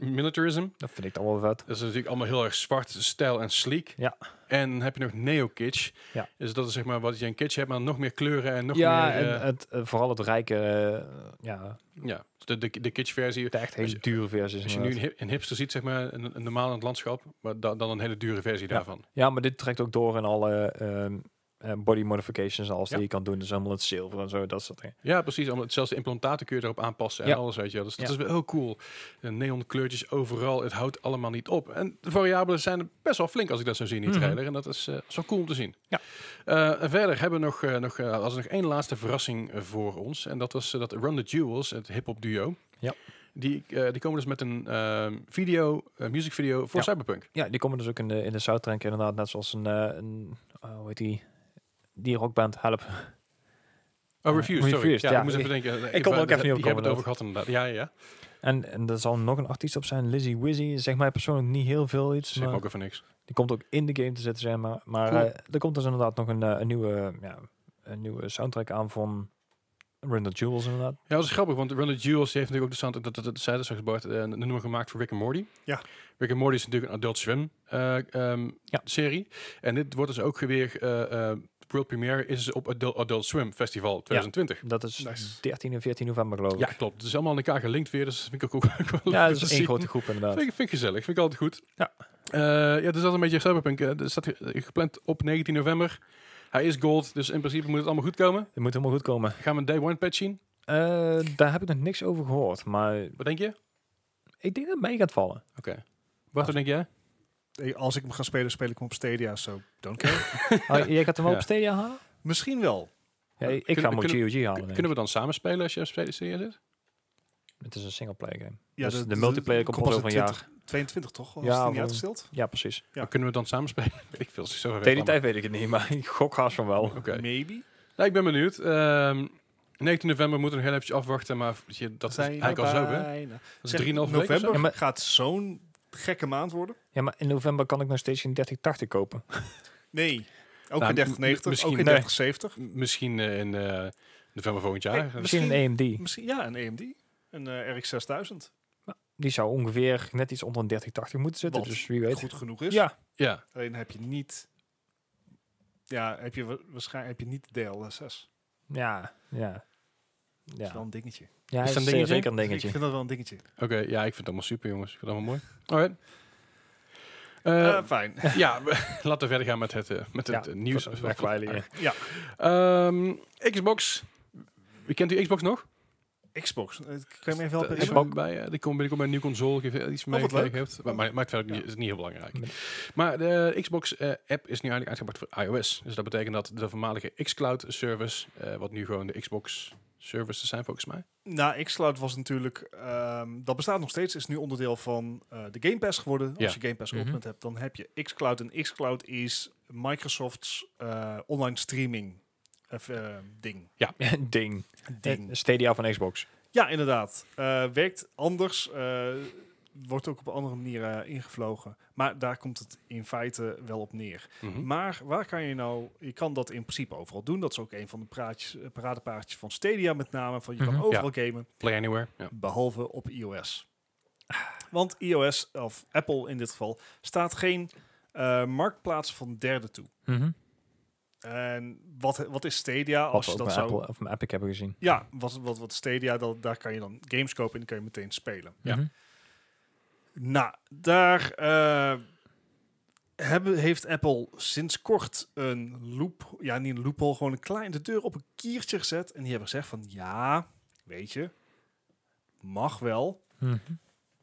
Speaker 1: neo-militarism.
Speaker 3: Dat vind ik dan wel vet.
Speaker 1: Dat is natuurlijk allemaal heel erg zwart, stijl en sleek.
Speaker 3: Ja.
Speaker 1: En dan heb je nog neo-kitsch.
Speaker 3: Ja.
Speaker 1: Dus dat is zeg maar wat je een kitsch hebt, maar nog meer kleuren en nog
Speaker 3: ja,
Speaker 1: meer...
Speaker 3: en
Speaker 1: eh,
Speaker 3: het, eh, vooral het rijke, eh, ja,
Speaker 1: ja, de, de, de kitsch-versie.
Speaker 3: de echt
Speaker 1: Als
Speaker 3: hele
Speaker 1: je-
Speaker 3: dure versies.
Speaker 1: Als je nu
Speaker 3: inderdaad.
Speaker 1: een, hip- een hipster ziet, zeg maar, een, een normaal in het landschap, maar da- dan een hele dure versie daarvan.
Speaker 3: Ja, maar dit trekt ook door in alle ehm, eh, body modifications en alles
Speaker 1: Ja.
Speaker 3: die je kan doen. Dus helemaal het zilver en zo, dat soort dingen.
Speaker 1: Ja, precies. Allemaal- Zelfs de implantaten kun je erop aanpassen en
Speaker 3: Ja.
Speaker 1: alles, weet je wel. Dus dat
Speaker 3: Ja.
Speaker 1: is wel heel cool. De neon kleurtjes overal, het houdt allemaal niet op. En de variabelen zijn er best wel flink als ik dat zo zie in die
Speaker 3: Mhm.
Speaker 1: trailer. En dat is, eh, dat is wel cool om te zien.
Speaker 3: Ja.
Speaker 1: Eh, en verder hebben we nog, eh, nog, eh, was er nog één laatste verrassing eh, voor ons. En dat was eh, dat Run the Jewels, het hip-hop duo.
Speaker 3: Ja.
Speaker 1: Die, eh, die komen dus met een ehm, video, eh music video voor
Speaker 3: Ja.
Speaker 1: Cyberpunk.
Speaker 3: Ja, die komen dus ook in de, in de soundtrack inderdaad, net zoals een, eh, een eh, hoe heet die? Die rockband, help.
Speaker 1: Oh,
Speaker 3: Eh,
Speaker 1: Refused, sorry.
Speaker 3: Refused,
Speaker 1: ja,
Speaker 3: ja,
Speaker 1: ik moest
Speaker 3: ik-
Speaker 1: even denken.
Speaker 3: kon er ook even niet op
Speaker 1: Je hebt het
Speaker 3: komen,
Speaker 1: over gehad inderdaad. Ja, ja, ja.
Speaker 3: En, en er zal nog een artiest op zijn, Lizzie Wizzy. Zeg mij persoonlijk niet heel veel iets.
Speaker 1: Zeg me
Speaker 3: maar
Speaker 1: ook even niks.
Speaker 3: Die komt ook in de game te zitten, zeg maar. Maar
Speaker 1: Cool.
Speaker 3: eh, er komt dus inderdaad nog een, eh, een, nieuwe, ja, een nieuwe soundtrack aan van Run the Jewels, inderdaad.
Speaker 1: Ja, dat is grappig, want Run the Jewels die heeft natuurlijk ook de sound, dat, dat, dat zei dat straks Bart, eh, een nummer gemaakt voor Rick and Morty.
Speaker 2: Ja.
Speaker 1: Rick and Morty is natuurlijk een Adult Swim eh, ehm,
Speaker 3: Ja.
Speaker 1: serie. En dit wordt dus ook weer, eh, eh, world premiere is op Adult, Adult Swim Festival 2020.
Speaker 3: Dat is
Speaker 2: Nice.
Speaker 3: 13 en 14 november, geloof ik.
Speaker 1: Ja, klopt. Het is allemaal aan elkaar gelinkt weer, dus dat vind ik ook, ook wel leuk
Speaker 3: Ja,
Speaker 1: om
Speaker 3: dat
Speaker 1: te
Speaker 3: is één
Speaker 1: zien.
Speaker 3: grote groep, inderdaad.
Speaker 1: Vind ik, vind ik gezellig, vind ik altijd goed.
Speaker 3: Ja.
Speaker 1: Eh, ja, het is altijd een beetje Cyberpunk. eh, Er staat ge- gepland op 19 november. Hij is gold, dus in principe moet het allemaal goed komen.
Speaker 3: Het moet helemaal goed komen.
Speaker 1: Gaan we een day one patch zien?
Speaker 3: Eh, daar heb ik nog niks over gehoord, maar
Speaker 1: Wat denk je?
Speaker 3: ik denk dat het mee gaat vallen.
Speaker 1: Oké. Bart, wat denk jij?
Speaker 2: Hey, Eh, Als ik hem ga spelen, speel ik hem op Stadia, so don't care.
Speaker 3: Oh, jij gaat hem wel
Speaker 1: Ja.
Speaker 3: op Stadia halen?
Speaker 2: Misschien wel.
Speaker 3: Ja, ik
Speaker 1: kunnen-
Speaker 3: ga hem op
Speaker 1: kunnen-
Speaker 3: GOG halen. denk ik.
Speaker 1: Kunnen we dan samen spelen als je op Stadia zit?
Speaker 3: Het is een singleplayer game.
Speaker 2: Ja,
Speaker 3: dus
Speaker 2: dat-
Speaker 3: de
Speaker 2: dat-
Speaker 3: multiplayer
Speaker 2: dat
Speaker 3: komt pas
Speaker 2: komt
Speaker 3: over een
Speaker 2: pas in
Speaker 3: jaar.
Speaker 2: 22 toch? Was
Speaker 3: Ja,
Speaker 2: het niet
Speaker 3: wel.
Speaker 2: uitgesteld?
Speaker 3: Ja, precies.
Speaker 2: Ja.
Speaker 1: Kunnen we dan samen spelen? Weet ik veel. zo ver weg
Speaker 3: Tegen die
Speaker 1: allemaal.
Speaker 3: tijd weet ik het niet, maar ik gok haast van wel.
Speaker 1: Oké.
Speaker 2: Maybe.
Speaker 1: Nou, ik ben benieuwd. Ehm 19 november moeten we nog heel even afwachten, maar weet je, dat is eigenlijk al zo, hè? Dat
Speaker 2: bijna.
Speaker 1: is
Speaker 2: Zeg,
Speaker 1: 3,5 weken of zo.
Speaker 2: november
Speaker 3: Ja, maar-
Speaker 2: gaat zo'n gekke maand worden.
Speaker 3: Ja, maar in november kan ik nog steeds een 3080 kopen.
Speaker 2: Nee. Ook
Speaker 1: Nou,
Speaker 2: in
Speaker 1: m-
Speaker 2: 3090,
Speaker 1: misschien-
Speaker 2: ook
Speaker 1: nee.
Speaker 2: in 3070.
Speaker 1: Misschien eh, in eh, november volgend jaar.
Speaker 2: Hey,
Speaker 3: Misschien een AMD.
Speaker 2: Misschien ja, een AMD. Een eh, RX 6000.
Speaker 3: Die zou ongeveer net iets onder een 3080 moeten zitten,
Speaker 2: Wat
Speaker 3: dus wie weet.
Speaker 2: Goed genoeg is.
Speaker 3: Ja,
Speaker 1: ja.
Speaker 2: Alleen heb je niet... Ja, heb je wa- waarschijnlijk heb je niet DLSS.
Speaker 3: ja, ja.
Speaker 2: Dat is wel
Speaker 3: Ja,
Speaker 2: een dingetje.
Speaker 3: ja
Speaker 1: dat
Speaker 3: is
Speaker 1: een
Speaker 3: zeer
Speaker 1: dingetje?
Speaker 3: zeker een
Speaker 2: Ik
Speaker 3: dingetje.
Speaker 2: vind dat wel een dingetje.
Speaker 1: Oké, ja, ik vind het allemaal super, jongens. Ik vind het allemaal mooi. Alright.
Speaker 2: Eh,
Speaker 1: Eh,
Speaker 2: fijn.
Speaker 1: ja, we- laten we verder gaan met het, eh, met het
Speaker 3: Ja,
Speaker 1: eh, nieuws.
Speaker 3: voor- voor kwijlen, ja.
Speaker 2: Ja.
Speaker 1: Ehm, Xbox. Wie kent u Xbox nog?
Speaker 2: Xbox. eh, Kan je me even
Speaker 1: Daar
Speaker 2: helpen?
Speaker 1: is
Speaker 2: Xbox.
Speaker 1: wel bij, eh, die komt binnenkort bij een nieuwe console. Geef eh, iets mee
Speaker 2: wat leuk.
Speaker 1: gekregen hebt. Maar, maar maakt verder niet, is niet heel belangrijk.
Speaker 3: Nee.
Speaker 1: Maar de Xbox-app is nu eigenlijk uitgebracht voor iOS. Dus dat betekent dat de voormalige xCloud-service, eh, wat nu gewoon de Xbox-services zijn volgens mij.
Speaker 2: Nou, Xcloud was natuurlijk... ehm, dat bestaat nog steeds. Is nu onderdeel van eh, de Game Pass geworden.
Speaker 1: Ja.
Speaker 2: Als je Game Pass
Speaker 3: Mhm.
Speaker 2: Ultimate hebt, dan heb je Xcloud. En Xcloud is Microsoft's eh, online streaming of, eh, ding.
Speaker 3: Ding.
Speaker 2: ding.
Speaker 3: Eh, Stadia van Xbox.
Speaker 2: Ja, inderdaad. Eh, werkt anders. eh, wordt ook op een andere manier eh, ingevlogen. Maar daar komt het in feite wel op neer.
Speaker 3: Hm?
Speaker 2: Maar waar kan je nou... Je kan dat in principe overal doen. Dat is ook een van de praatjes, eh, paradepaardjes van Stadia met name. Van je
Speaker 3: Mhm.
Speaker 2: kan overal gamen,
Speaker 1: Play Anywhere. Ja.
Speaker 2: behalve op iOS. Want iOS, of Apple in dit geval, staat geen eh, marktplaats van derden toe. En wat, wat is Stadia als
Speaker 3: Als Mhm. we
Speaker 2: je
Speaker 3: ook
Speaker 2: dat
Speaker 3: met
Speaker 2: zou...
Speaker 3: Apple of met Epic hebben gezien.
Speaker 2: Ja, wat, wat, wat Stadia, dat, daar kan je dan games kopen en die kan je meteen spelen.
Speaker 1: Ja.
Speaker 3: Mhm.
Speaker 2: Nou, daar eh, hebben, heeft Apple sinds kort een loop, ja niet een loophole, gewoon een kleine deur op een kiertje gezet. En die hebben gezegd van ja, weet je, mag wel,
Speaker 3: Mhm.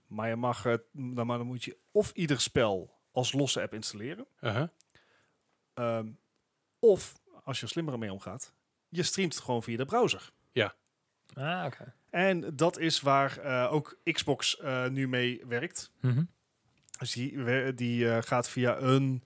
Speaker 2: maar, je mag, het, dan, maar dan moet je of ieder spel als losse app installeren,
Speaker 1: Uh-huh.
Speaker 2: ehm, of als je er slimmer mee omgaat, je streamt het gewoon via de browser.
Speaker 3: Ah, oké.
Speaker 2: En dat is waar eh, ook Xbox eh, nu mee werkt.
Speaker 3: Mhm.
Speaker 2: Dus die, we- die eh, gaat via een,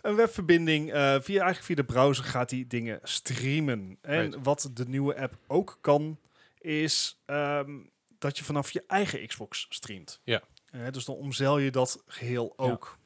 Speaker 2: een webverbinding, eh, via, eigenlijk via de browser gaat die dingen streamen. En
Speaker 1: Right.
Speaker 2: wat de nieuwe app ook kan, is ehm, dat je vanaf je eigen Xbox streamt.
Speaker 1: Ja.
Speaker 2: Eh, dus dan omzeil je dat geheel
Speaker 3: Ja.
Speaker 2: ook.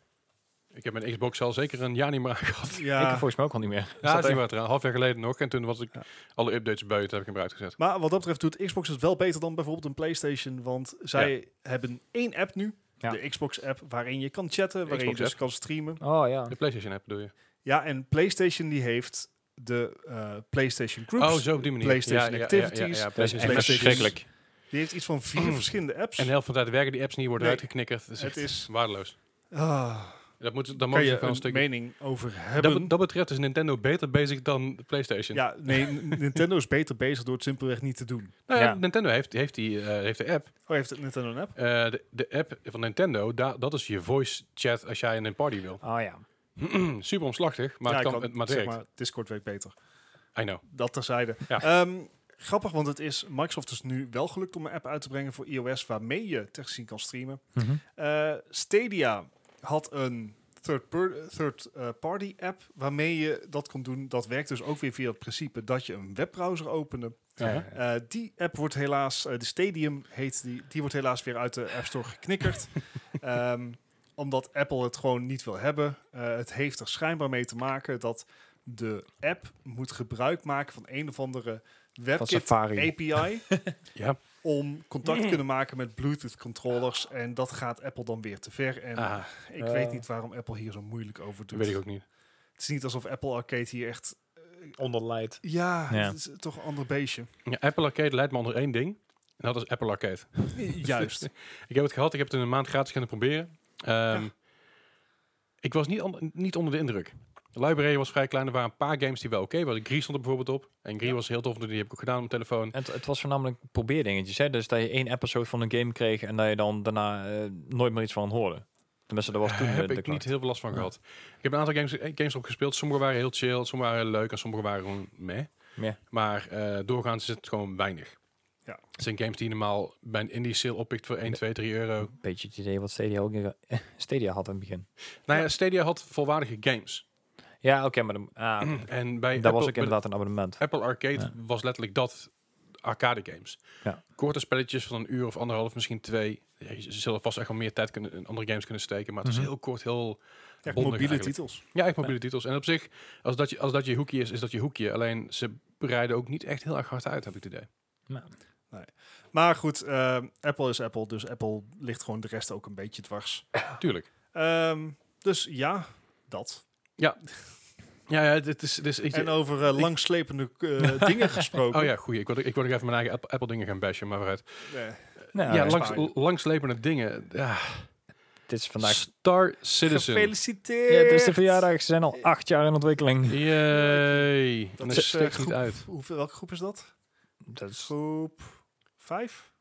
Speaker 1: Ik heb mijn Xbox al zeker een jaar niet meer aangehad.
Speaker 3: Ik heb
Speaker 2: Ja.
Speaker 3: volgens mij ook al niet meer.
Speaker 1: Ja, dat is
Speaker 3: er-
Speaker 1: niet waar, trouwens. Half jaar geleden nog. En toen was ik
Speaker 2: Ja.
Speaker 1: alle updates buiten, heb ik hem eruit gezet.
Speaker 2: Maar wat dat betreft doet Xbox het wel beter dan bijvoorbeeld een PlayStation. Want zij hebben één app nu,
Speaker 3: Ja.
Speaker 2: de Xbox-app, waarin je kan chatten, waarin je dus
Speaker 1: Xbox-app.
Speaker 2: kan streamen.
Speaker 3: Oh ja.
Speaker 1: De PlayStation app bedoel je?
Speaker 2: Ja, en PlayStation die heeft de eh, PlayStation Groups.
Speaker 1: Oh, zo op die manier.
Speaker 2: PlayStation Activities.
Speaker 3: Dat is echt
Speaker 1: Activities.
Speaker 3: verschrikkelijk.
Speaker 2: Die heeft iets van vier verschillende
Speaker 1: Oh.
Speaker 2: apps.
Speaker 1: En eh, de helft van de tijd werken die apps niet, worden
Speaker 2: Nee.
Speaker 1: uitgeknikkerd. Dat is
Speaker 2: Het
Speaker 1: echt
Speaker 2: is-
Speaker 1: waardeloos.
Speaker 2: Ah,
Speaker 1: Dat moet, dan
Speaker 2: kan
Speaker 1: mag je
Speaker 2: je
Speaker 1: wel
Speaker 2: een
Speaker 1: een stukje...
Speaker 2: mening over
Speaker 1: Dat, be-
Speaker 2: hebben?
Speaker 1: dat betreft is Nintendo beter bezig dan de PlayStation.
Speaker 2: ja, nee, N- Nintendo is beter bezig door het simpelweg niet te doen.
Speaker 1: Nou ja,
Speaker 3: Ja.
Speaker 1: Nintendo heeft, heeft, die, eh, heeft de app.
Speaker 2: Oh, heeft het Nintendo een app?
Speaker 1: Eh, de, de app van Nintendo, da- dat is je voice chat als jij in een party wil. Hm,
Speaker 3: Oh ja.
Speaker 1: Super omslachtig, maar
Speaker 2: Ja,
Speaker 1: het,
Speaker 2: ik
Speaker 1: kan, het, maar het
Speaker 2: zeg
Speaker 1: werkt.
Speaker 2: maar, Discord werkt beter.
Speaker 1: I know.
Speaker 2: Dat terzijde.
Speaker 1: Ja.
Speaker 2: Ehm, grappig, want het is Microsoft is nu wel gelukt om een app uit te brengen voor iOS waarmee je technisch gezien kan streamen.
Speaker 3: Mhm.
Speaker 2: Eh, Stadia had een third, per- third eh, party app waarmee je dat kon doen. Dat werkt dus ook weer via het principe dat je een webbrowser opende.
Speaker 3: Ja.
Speaker 2: Eh, die app wordt helaas, eh, de Stadium heet die, die wordt helaas weer uit de App Store geknikkerd. Ehm, omdat Apple het gewoon niet wil hebben. Eh, het heeft er schijnbaar mee te maken dat de app moet gebruik maken van een of andere
Speaker 3: Van
Speaker 2: WebKit
Speaker 3: Safari.
Speaker 2: API
Speaker 1: Ja.
Speaker 2: om contact te kunnen maken met Bluetooth controllers. En dat gaat Apple dan weer te ver. En
Speaker 1: Ah,
Speaker 2: ik
Speaker 3: Eh.
Speaker 2: weet niet waarom Apple hier zo moeilijk over
Speaker 1: dat
Speaker 2: doet.
Speaker 1: weet ik ook niet.
Speaker 2: Het is niet alsof Apple Arcade hier echt...
Speaker 3: Onder leidt.
Speaker 2: Ja,
Speaker 3: Ja.
Speaker 2: het is toch een ander beestje.
Speaker 1: Ja, Apple Arcade leidt me onder één ding. En dat is Apple Arcade.
Speaker 2: Juist.
Speaker 1: Ik heb het gehad. Ik heb het in een maand gratis kunnen proberen. Ehm, Ik was niet, on- niet onder de indruk. De library was vrij klein. Er waren een paar games die wel oké waren. Gree stond er bijvoorbeeld op. En Gree was heel tof. Die heb ik ook gedaan op mijn telefoon.
Speaker 3: Het, het was voornamelijk probeerdingetjes. Hè? Dus dat je één episode van een game kreeg en dat je dan daarna eh, nooit meer iets van hoorde. Tenminste, dat was toen
Speaker 1: Daar
Speaker 3: de,
Speaker 1: heb
Speaker 3: de
Speaker 1: ik niet
Speaker 3: klacht.
Speaker 1: heel veel last van
Speaker 3: Ja.
Speaker 1: gehad. Ik heb een aantal games, eh, games op gespeeld. Sommige waren heel chill, sommige waren leuk en sommige waren gewoon meh.
Speaker 3: Meh.
Speaker 1: Maar eh, doorgaans is het gewoon weinig.
Speaker 2: Ja.
Speaker 1: Het zijn games die je normaal bij een indie sale oppikt voor 1, 2, 3 euro.
Speaker 3: Beetje het idee wat Stadia, ook, eh, Stadia had in het begin.
Speaker 1: Nou ja, Stadia had volwaardige games.
Speaker 3: Ja, oké, maar dan, ah,
Speaker 1: En bij
Speaker 3: dat
Speaker 1: Apple,
Speaker 3: was ook
Speaker 1: bij de Eh,
Speaker 3: inderdaad een abonnement.
Speaker 1: Apple Arcade
Speaker 3: Ja.
Speaker 1: was letterlijk dat arcade games.
Speaker 3: Ja.
Speaker 1: Korte spelletjes van een uur of anderhalf, misschien twee. Ja, je- ze zullen vast echt wel meer tijd kunnen, in andere games kunnen steken. Maar het
Speaker 3: Mhm.
Speaker 1: is heel kort, heel bondig
Speaker 2: Echt mobiele
Speaker 1: eigenlijk.
Speaker 2: titels.
Speaker 1: Ja, echt mobiele titels. En op zich, als dat, je, als dat je hoekje is, is dat je hoekje. Alleen ze breiden ook niet echt heel erg hard uit, heb ik het idee.
Speaker 2: Maar goed, ehm, Apple is Apple, dus Apple ligt gewoon de rest ook een beetje dwars.
Speaker 1: Tuurlijk.
Speaker 2: Ehm, dus ja, dat.
Speaker 1: Ja, ja dit is, dus ik,
Speaker 2: En over eh, langslepende eh, dingen gesproken.
Speaker 1: oh ja, goeie. Ik wilde, ik wilde nog even mijn eigen Apple, Apple dingen gaan bashen, maar vooruit.
Speaker 2: Nee.
Speaker 3: Nou,
Speaker 1: ja,
Speaker 2: dat
Speaker 1: langs,
Speaker 2: spaar je.
Speaker 1: langslepende dingen. Ja,
Speaker 3: Het is vandaag...
Speaker 1: Star Citizen.
Speaker 2: Gefeliciteerd!
Speaker 3: Ja, het is de verjaardag. Ze zijn al acht jaar in ontwikkeling.
Speaker 1: Yay.
Speaker 2: Dat
Speaker 1: En dat
Speaker 2: is,
Speaker 1: is steeds
Speaker 2: eh,
Speaker 1: niet
Speaker 2: goed.
Speaker 1: uit.
Speaker 2: Hoeveel, welke groep is dat?
Speaker 3: Dat is
Speaker 2: Groep vijf?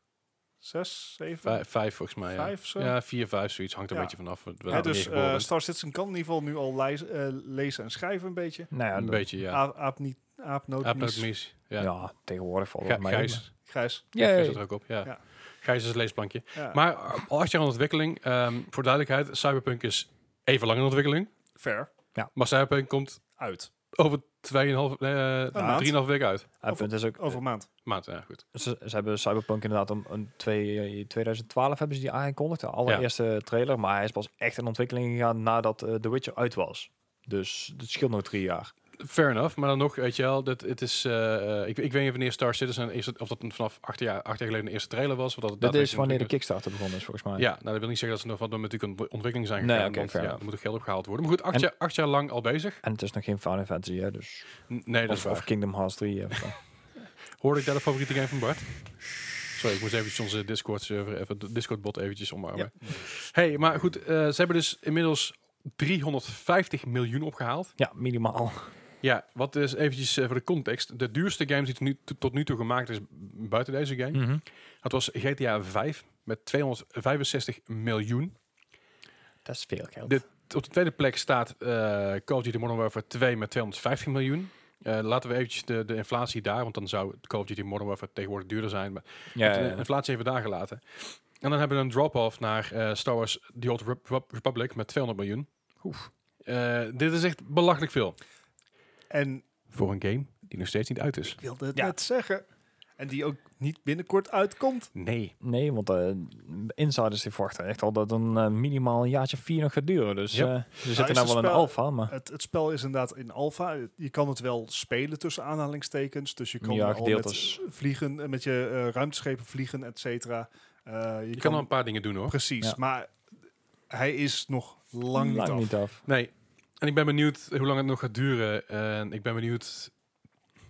Speaker 2: Zes? Zeven?
Speaker 1: Vijf, vijf volgens mij. Ja.
Speaker 2: Vijf, zo?
Speaker 1: Ja, vier, vijf, zoiets. Hangt er
Speaker 2: Ja.
Speaker 1: een beetje vanaf.
Speaker 2: Hè, dus eh, Star Citizen kan in ieder geval nu al lijs- eh, lezen en schrijven een beetje.
Speaker 3: nou ja,
Speaker 1: een
Speaker 3: dat-
Speaker 1: beetje, ja.
Speaker 2: Aap, aap niet, aapnoot,
Speaker 1: Apnoot
Speaker 2: mies,
Speaker 1: mis.
Speaker 3: ja.
Speaker 1: Ja.
Speaker 3: tegenwoordig valt
Speaker 1: Gij-
Speaker 3: het mij.
Speaker 1: Gijs.
Speaker 2: grijs.
Speaker 1: Gijs
Speaker 3: Ja,
Speaker 1: zit er ook op, ja.
Speaker 2: Ja.
Speaker 1: Gijs is het leesplankje.
Speaker 2: Ja,
Speaker 1: Maar eh, al acht jaar in ontwikkeling, ehm, voor duidelijkheid, Cyberpunk is even lang in ontwikkeling.
Speaker 2: ver
Speaker 1: Maar Cyberpunk komt
Speaker 2: uit.
Speaker 1: over 2,5, eh
Speaker 2: maand.
Speaker 1: 3,5 weken uit.
Speaker 3: het is ook,
Speaker 2: Over een maand.
Speaker 1: Maand, ja goed.
Speaker 3: Ze, ze hebben Cyberpunk inderdaad om, om twee- 2012 hebben ze die aangekondigd, de allereerste trailer. Maar hij is pas echt in ontwikkeling gegaan nadat eh, The Witcher uit was. Dus het scheelt nog drie jaar.
Speaker 1: Fair enough, maar dan nog, weet je wel, dat, het is, eh, eh, ik, ik weet niet wanneer Star Citizen, is het, of dat een vanaf acht jaar, acht jaar geleden de eerste trailer was. Of dat het
Speaker 3: Dit is
Speaker 1: daadwerkelijk
Speaker 3: wanneer de
Speaker 1: ontwikkeld
Speaker 3: Kickstarter begonnen is, volgens mij.
Speaker 1: is. Ja, nou dat wil niet zeggen dat ze nog wat met natuurlijk een ontwikkeling zijn
Speaker 3: Nee,
Speaker 1: gegaan.
Speaker 3: oké,
Speaker 1: want,
Speaker 3: fair
Speaker 1: ja,
Speaker 3: enough.
Speaker 1: er moet ook geld opgehaald worden. Maar goed, acht,
Speaker 3: En-
Speaker 1: jaar, acht jaar lang al bezig.
Speaker 3: En het is nog geen Final Fantasy, hè? Dus
Speaker 1: N- nee, dat is
Speaker 3: of, of
Speaker 1: waar.
Speaker 3: Kingdom Hearts 3. Of, zo.
Speaker 1: Hoorde ik daar de favoriete game van Bart? Sorry, ik moest eventjes onze Discord server, even de Discord bot eventjes omarmen. Hey, maar goed, eh, ze hebben dus inmiddels 350 miljoen opgehaald.
Speaker 3: ja, minimaal.
Speaker 1: Ja, wat is eventjes eh, voor de context. De duurste game die tot nu, tot nu toe gemaakt is buiten deze game. Dat was GTA 5 met 265 miljoen.
Speaker 3: Dat is veel geld.
Speaker 1: Dit- Op de tweede plek staat eh Call of Duty Modern Warfare 2 met 215 miljoen. Eh, laten we eventjes de, de inflatie daar, want dan zou Call of Duty Modern Warfare tegenwoordig duurder zijn. Maar
Speaker 3: ja,
Speaker 1: de
Speaker 3: ja, ja.
Speaker 1: inflatie even daar gelaten. En dan hebben we een drop-off naar eh, Star Wars The Old Rep- Rep- Republic met 200 miljoen. Eh, dit is echt belachelijk veel.
Speaker 2: En
Speaker 1: Voor een game die nog steeds niet uit is.
Speaker 2: ik wilde het
Speaker 3: Ja.
Speaker 2: net zeggen. En die ook niet binnenkort uitkomt.
Speaker 1: Nee.
Speaker 3: Nee, want eh, insiders die verwachten echt al dat een eh, minimaal een jaartje of vier nog gaat duren. Dus
Speaker 1: Yep.
Speaker 3: eh, ze zitten
Speaker 2: is
Speaker 3: nou
Speaker 2: een
Speaker 3: wel in de
Speaker 2: spel-
Speaker 3: alfa, maar
Speaker 2: Het, het spel is inderdaad in alfa. Je kan het wel spelen tussen aanhalingstekens. Dus je kan
Speaker 3: ja,
Speaker 2: al met
Speaker 3: gedeeltes.
Speaker 2: vliegen, eh, met je eh, ruimteschepen vliegen, et cetera. Eh, je,
Speaker 1: Je kan
Speaker 2: kan,
Speaker 1: wel een paar dingen doen hoor.
Speaker 2: precies,
Speaker 3: Ja.
Speaker 2: maar hij is nog lang, niet af.
Speaker 3: Lang niet af.
Speaker 1: Nee. En ik ben benieuwd hoe lang het nog gaat duren. En ik ben benieuwd...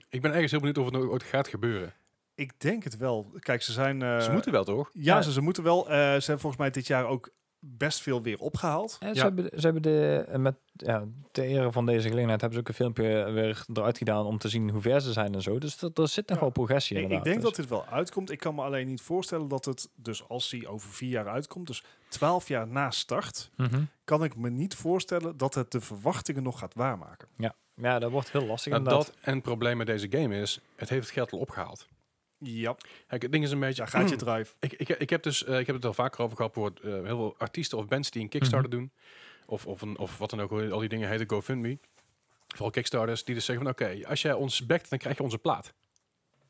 Speaker 1: Ik ben ergens heel benieuwd of het nog ooit gaat gebeuren. Nou,
Speaker 2: Ik denk het wel. Kijk, ze zijn. eh,
Speaker 1: Ze moeten wel toch?
Speaker 2: Ja,
Speaker 3: Ja.
Speaker 2: Ze, ze moeten wel. Eh, ze hebben volgens mij dit jaar ook best veel weer opgehaald.
Speaker 3: En ze,
Speaker 1: Ja.
Speaker 3: hebben, ze hebben de, eh, met, ja, ter ere van deze gelegenheid hebben ze ook een filmpje eh, weer eruit gedaan om te zien hoe ver ze zijn en zo. Dus dat, er zit nog
Speaker 2: Ja.
Speaker 3: wel progressie Dus-
Speaker 2: Ik-
Speaker 3: in.
Speaker 2: ik, denk dat dit wel uitkomt. Ik kan me alleen niet voorstellen dat het, dus als hij over vier jaar uitkomt, dus twaalf jaar na start,
Speaker 3: Mhm.
Speaker 2: kan ik me niet voorstellen dat het de verwachtingen nog gaat waarmaken.
Speaker 3: Ja, dat wordt heel lastig
Speaker 1: Nou,
Speaker 3: inderdaad.
Speaker 1: dat en het probleem met deze game is, het heeft het geld al opgehaald.
Speaker 2: Ja,
Speaker 1: Kijk, het ding is een beetje...
Speaker 2: ja gaat je drive.
Speaker 1: Ik, ik, ik heb dus, eh, ik heb het al vaker over gehad, voor eh, heel veel artiesten of bands die een
Speaker 3: Mhm.
Speaker 1: Kickstarter doen, of, of, een, of wat dan ook, hoe al die dingen heten GoFundMe, vooral Kickstarters, die dus zeggen van, oké, als jij ons backt, dan krijg je onze plaat. Nou,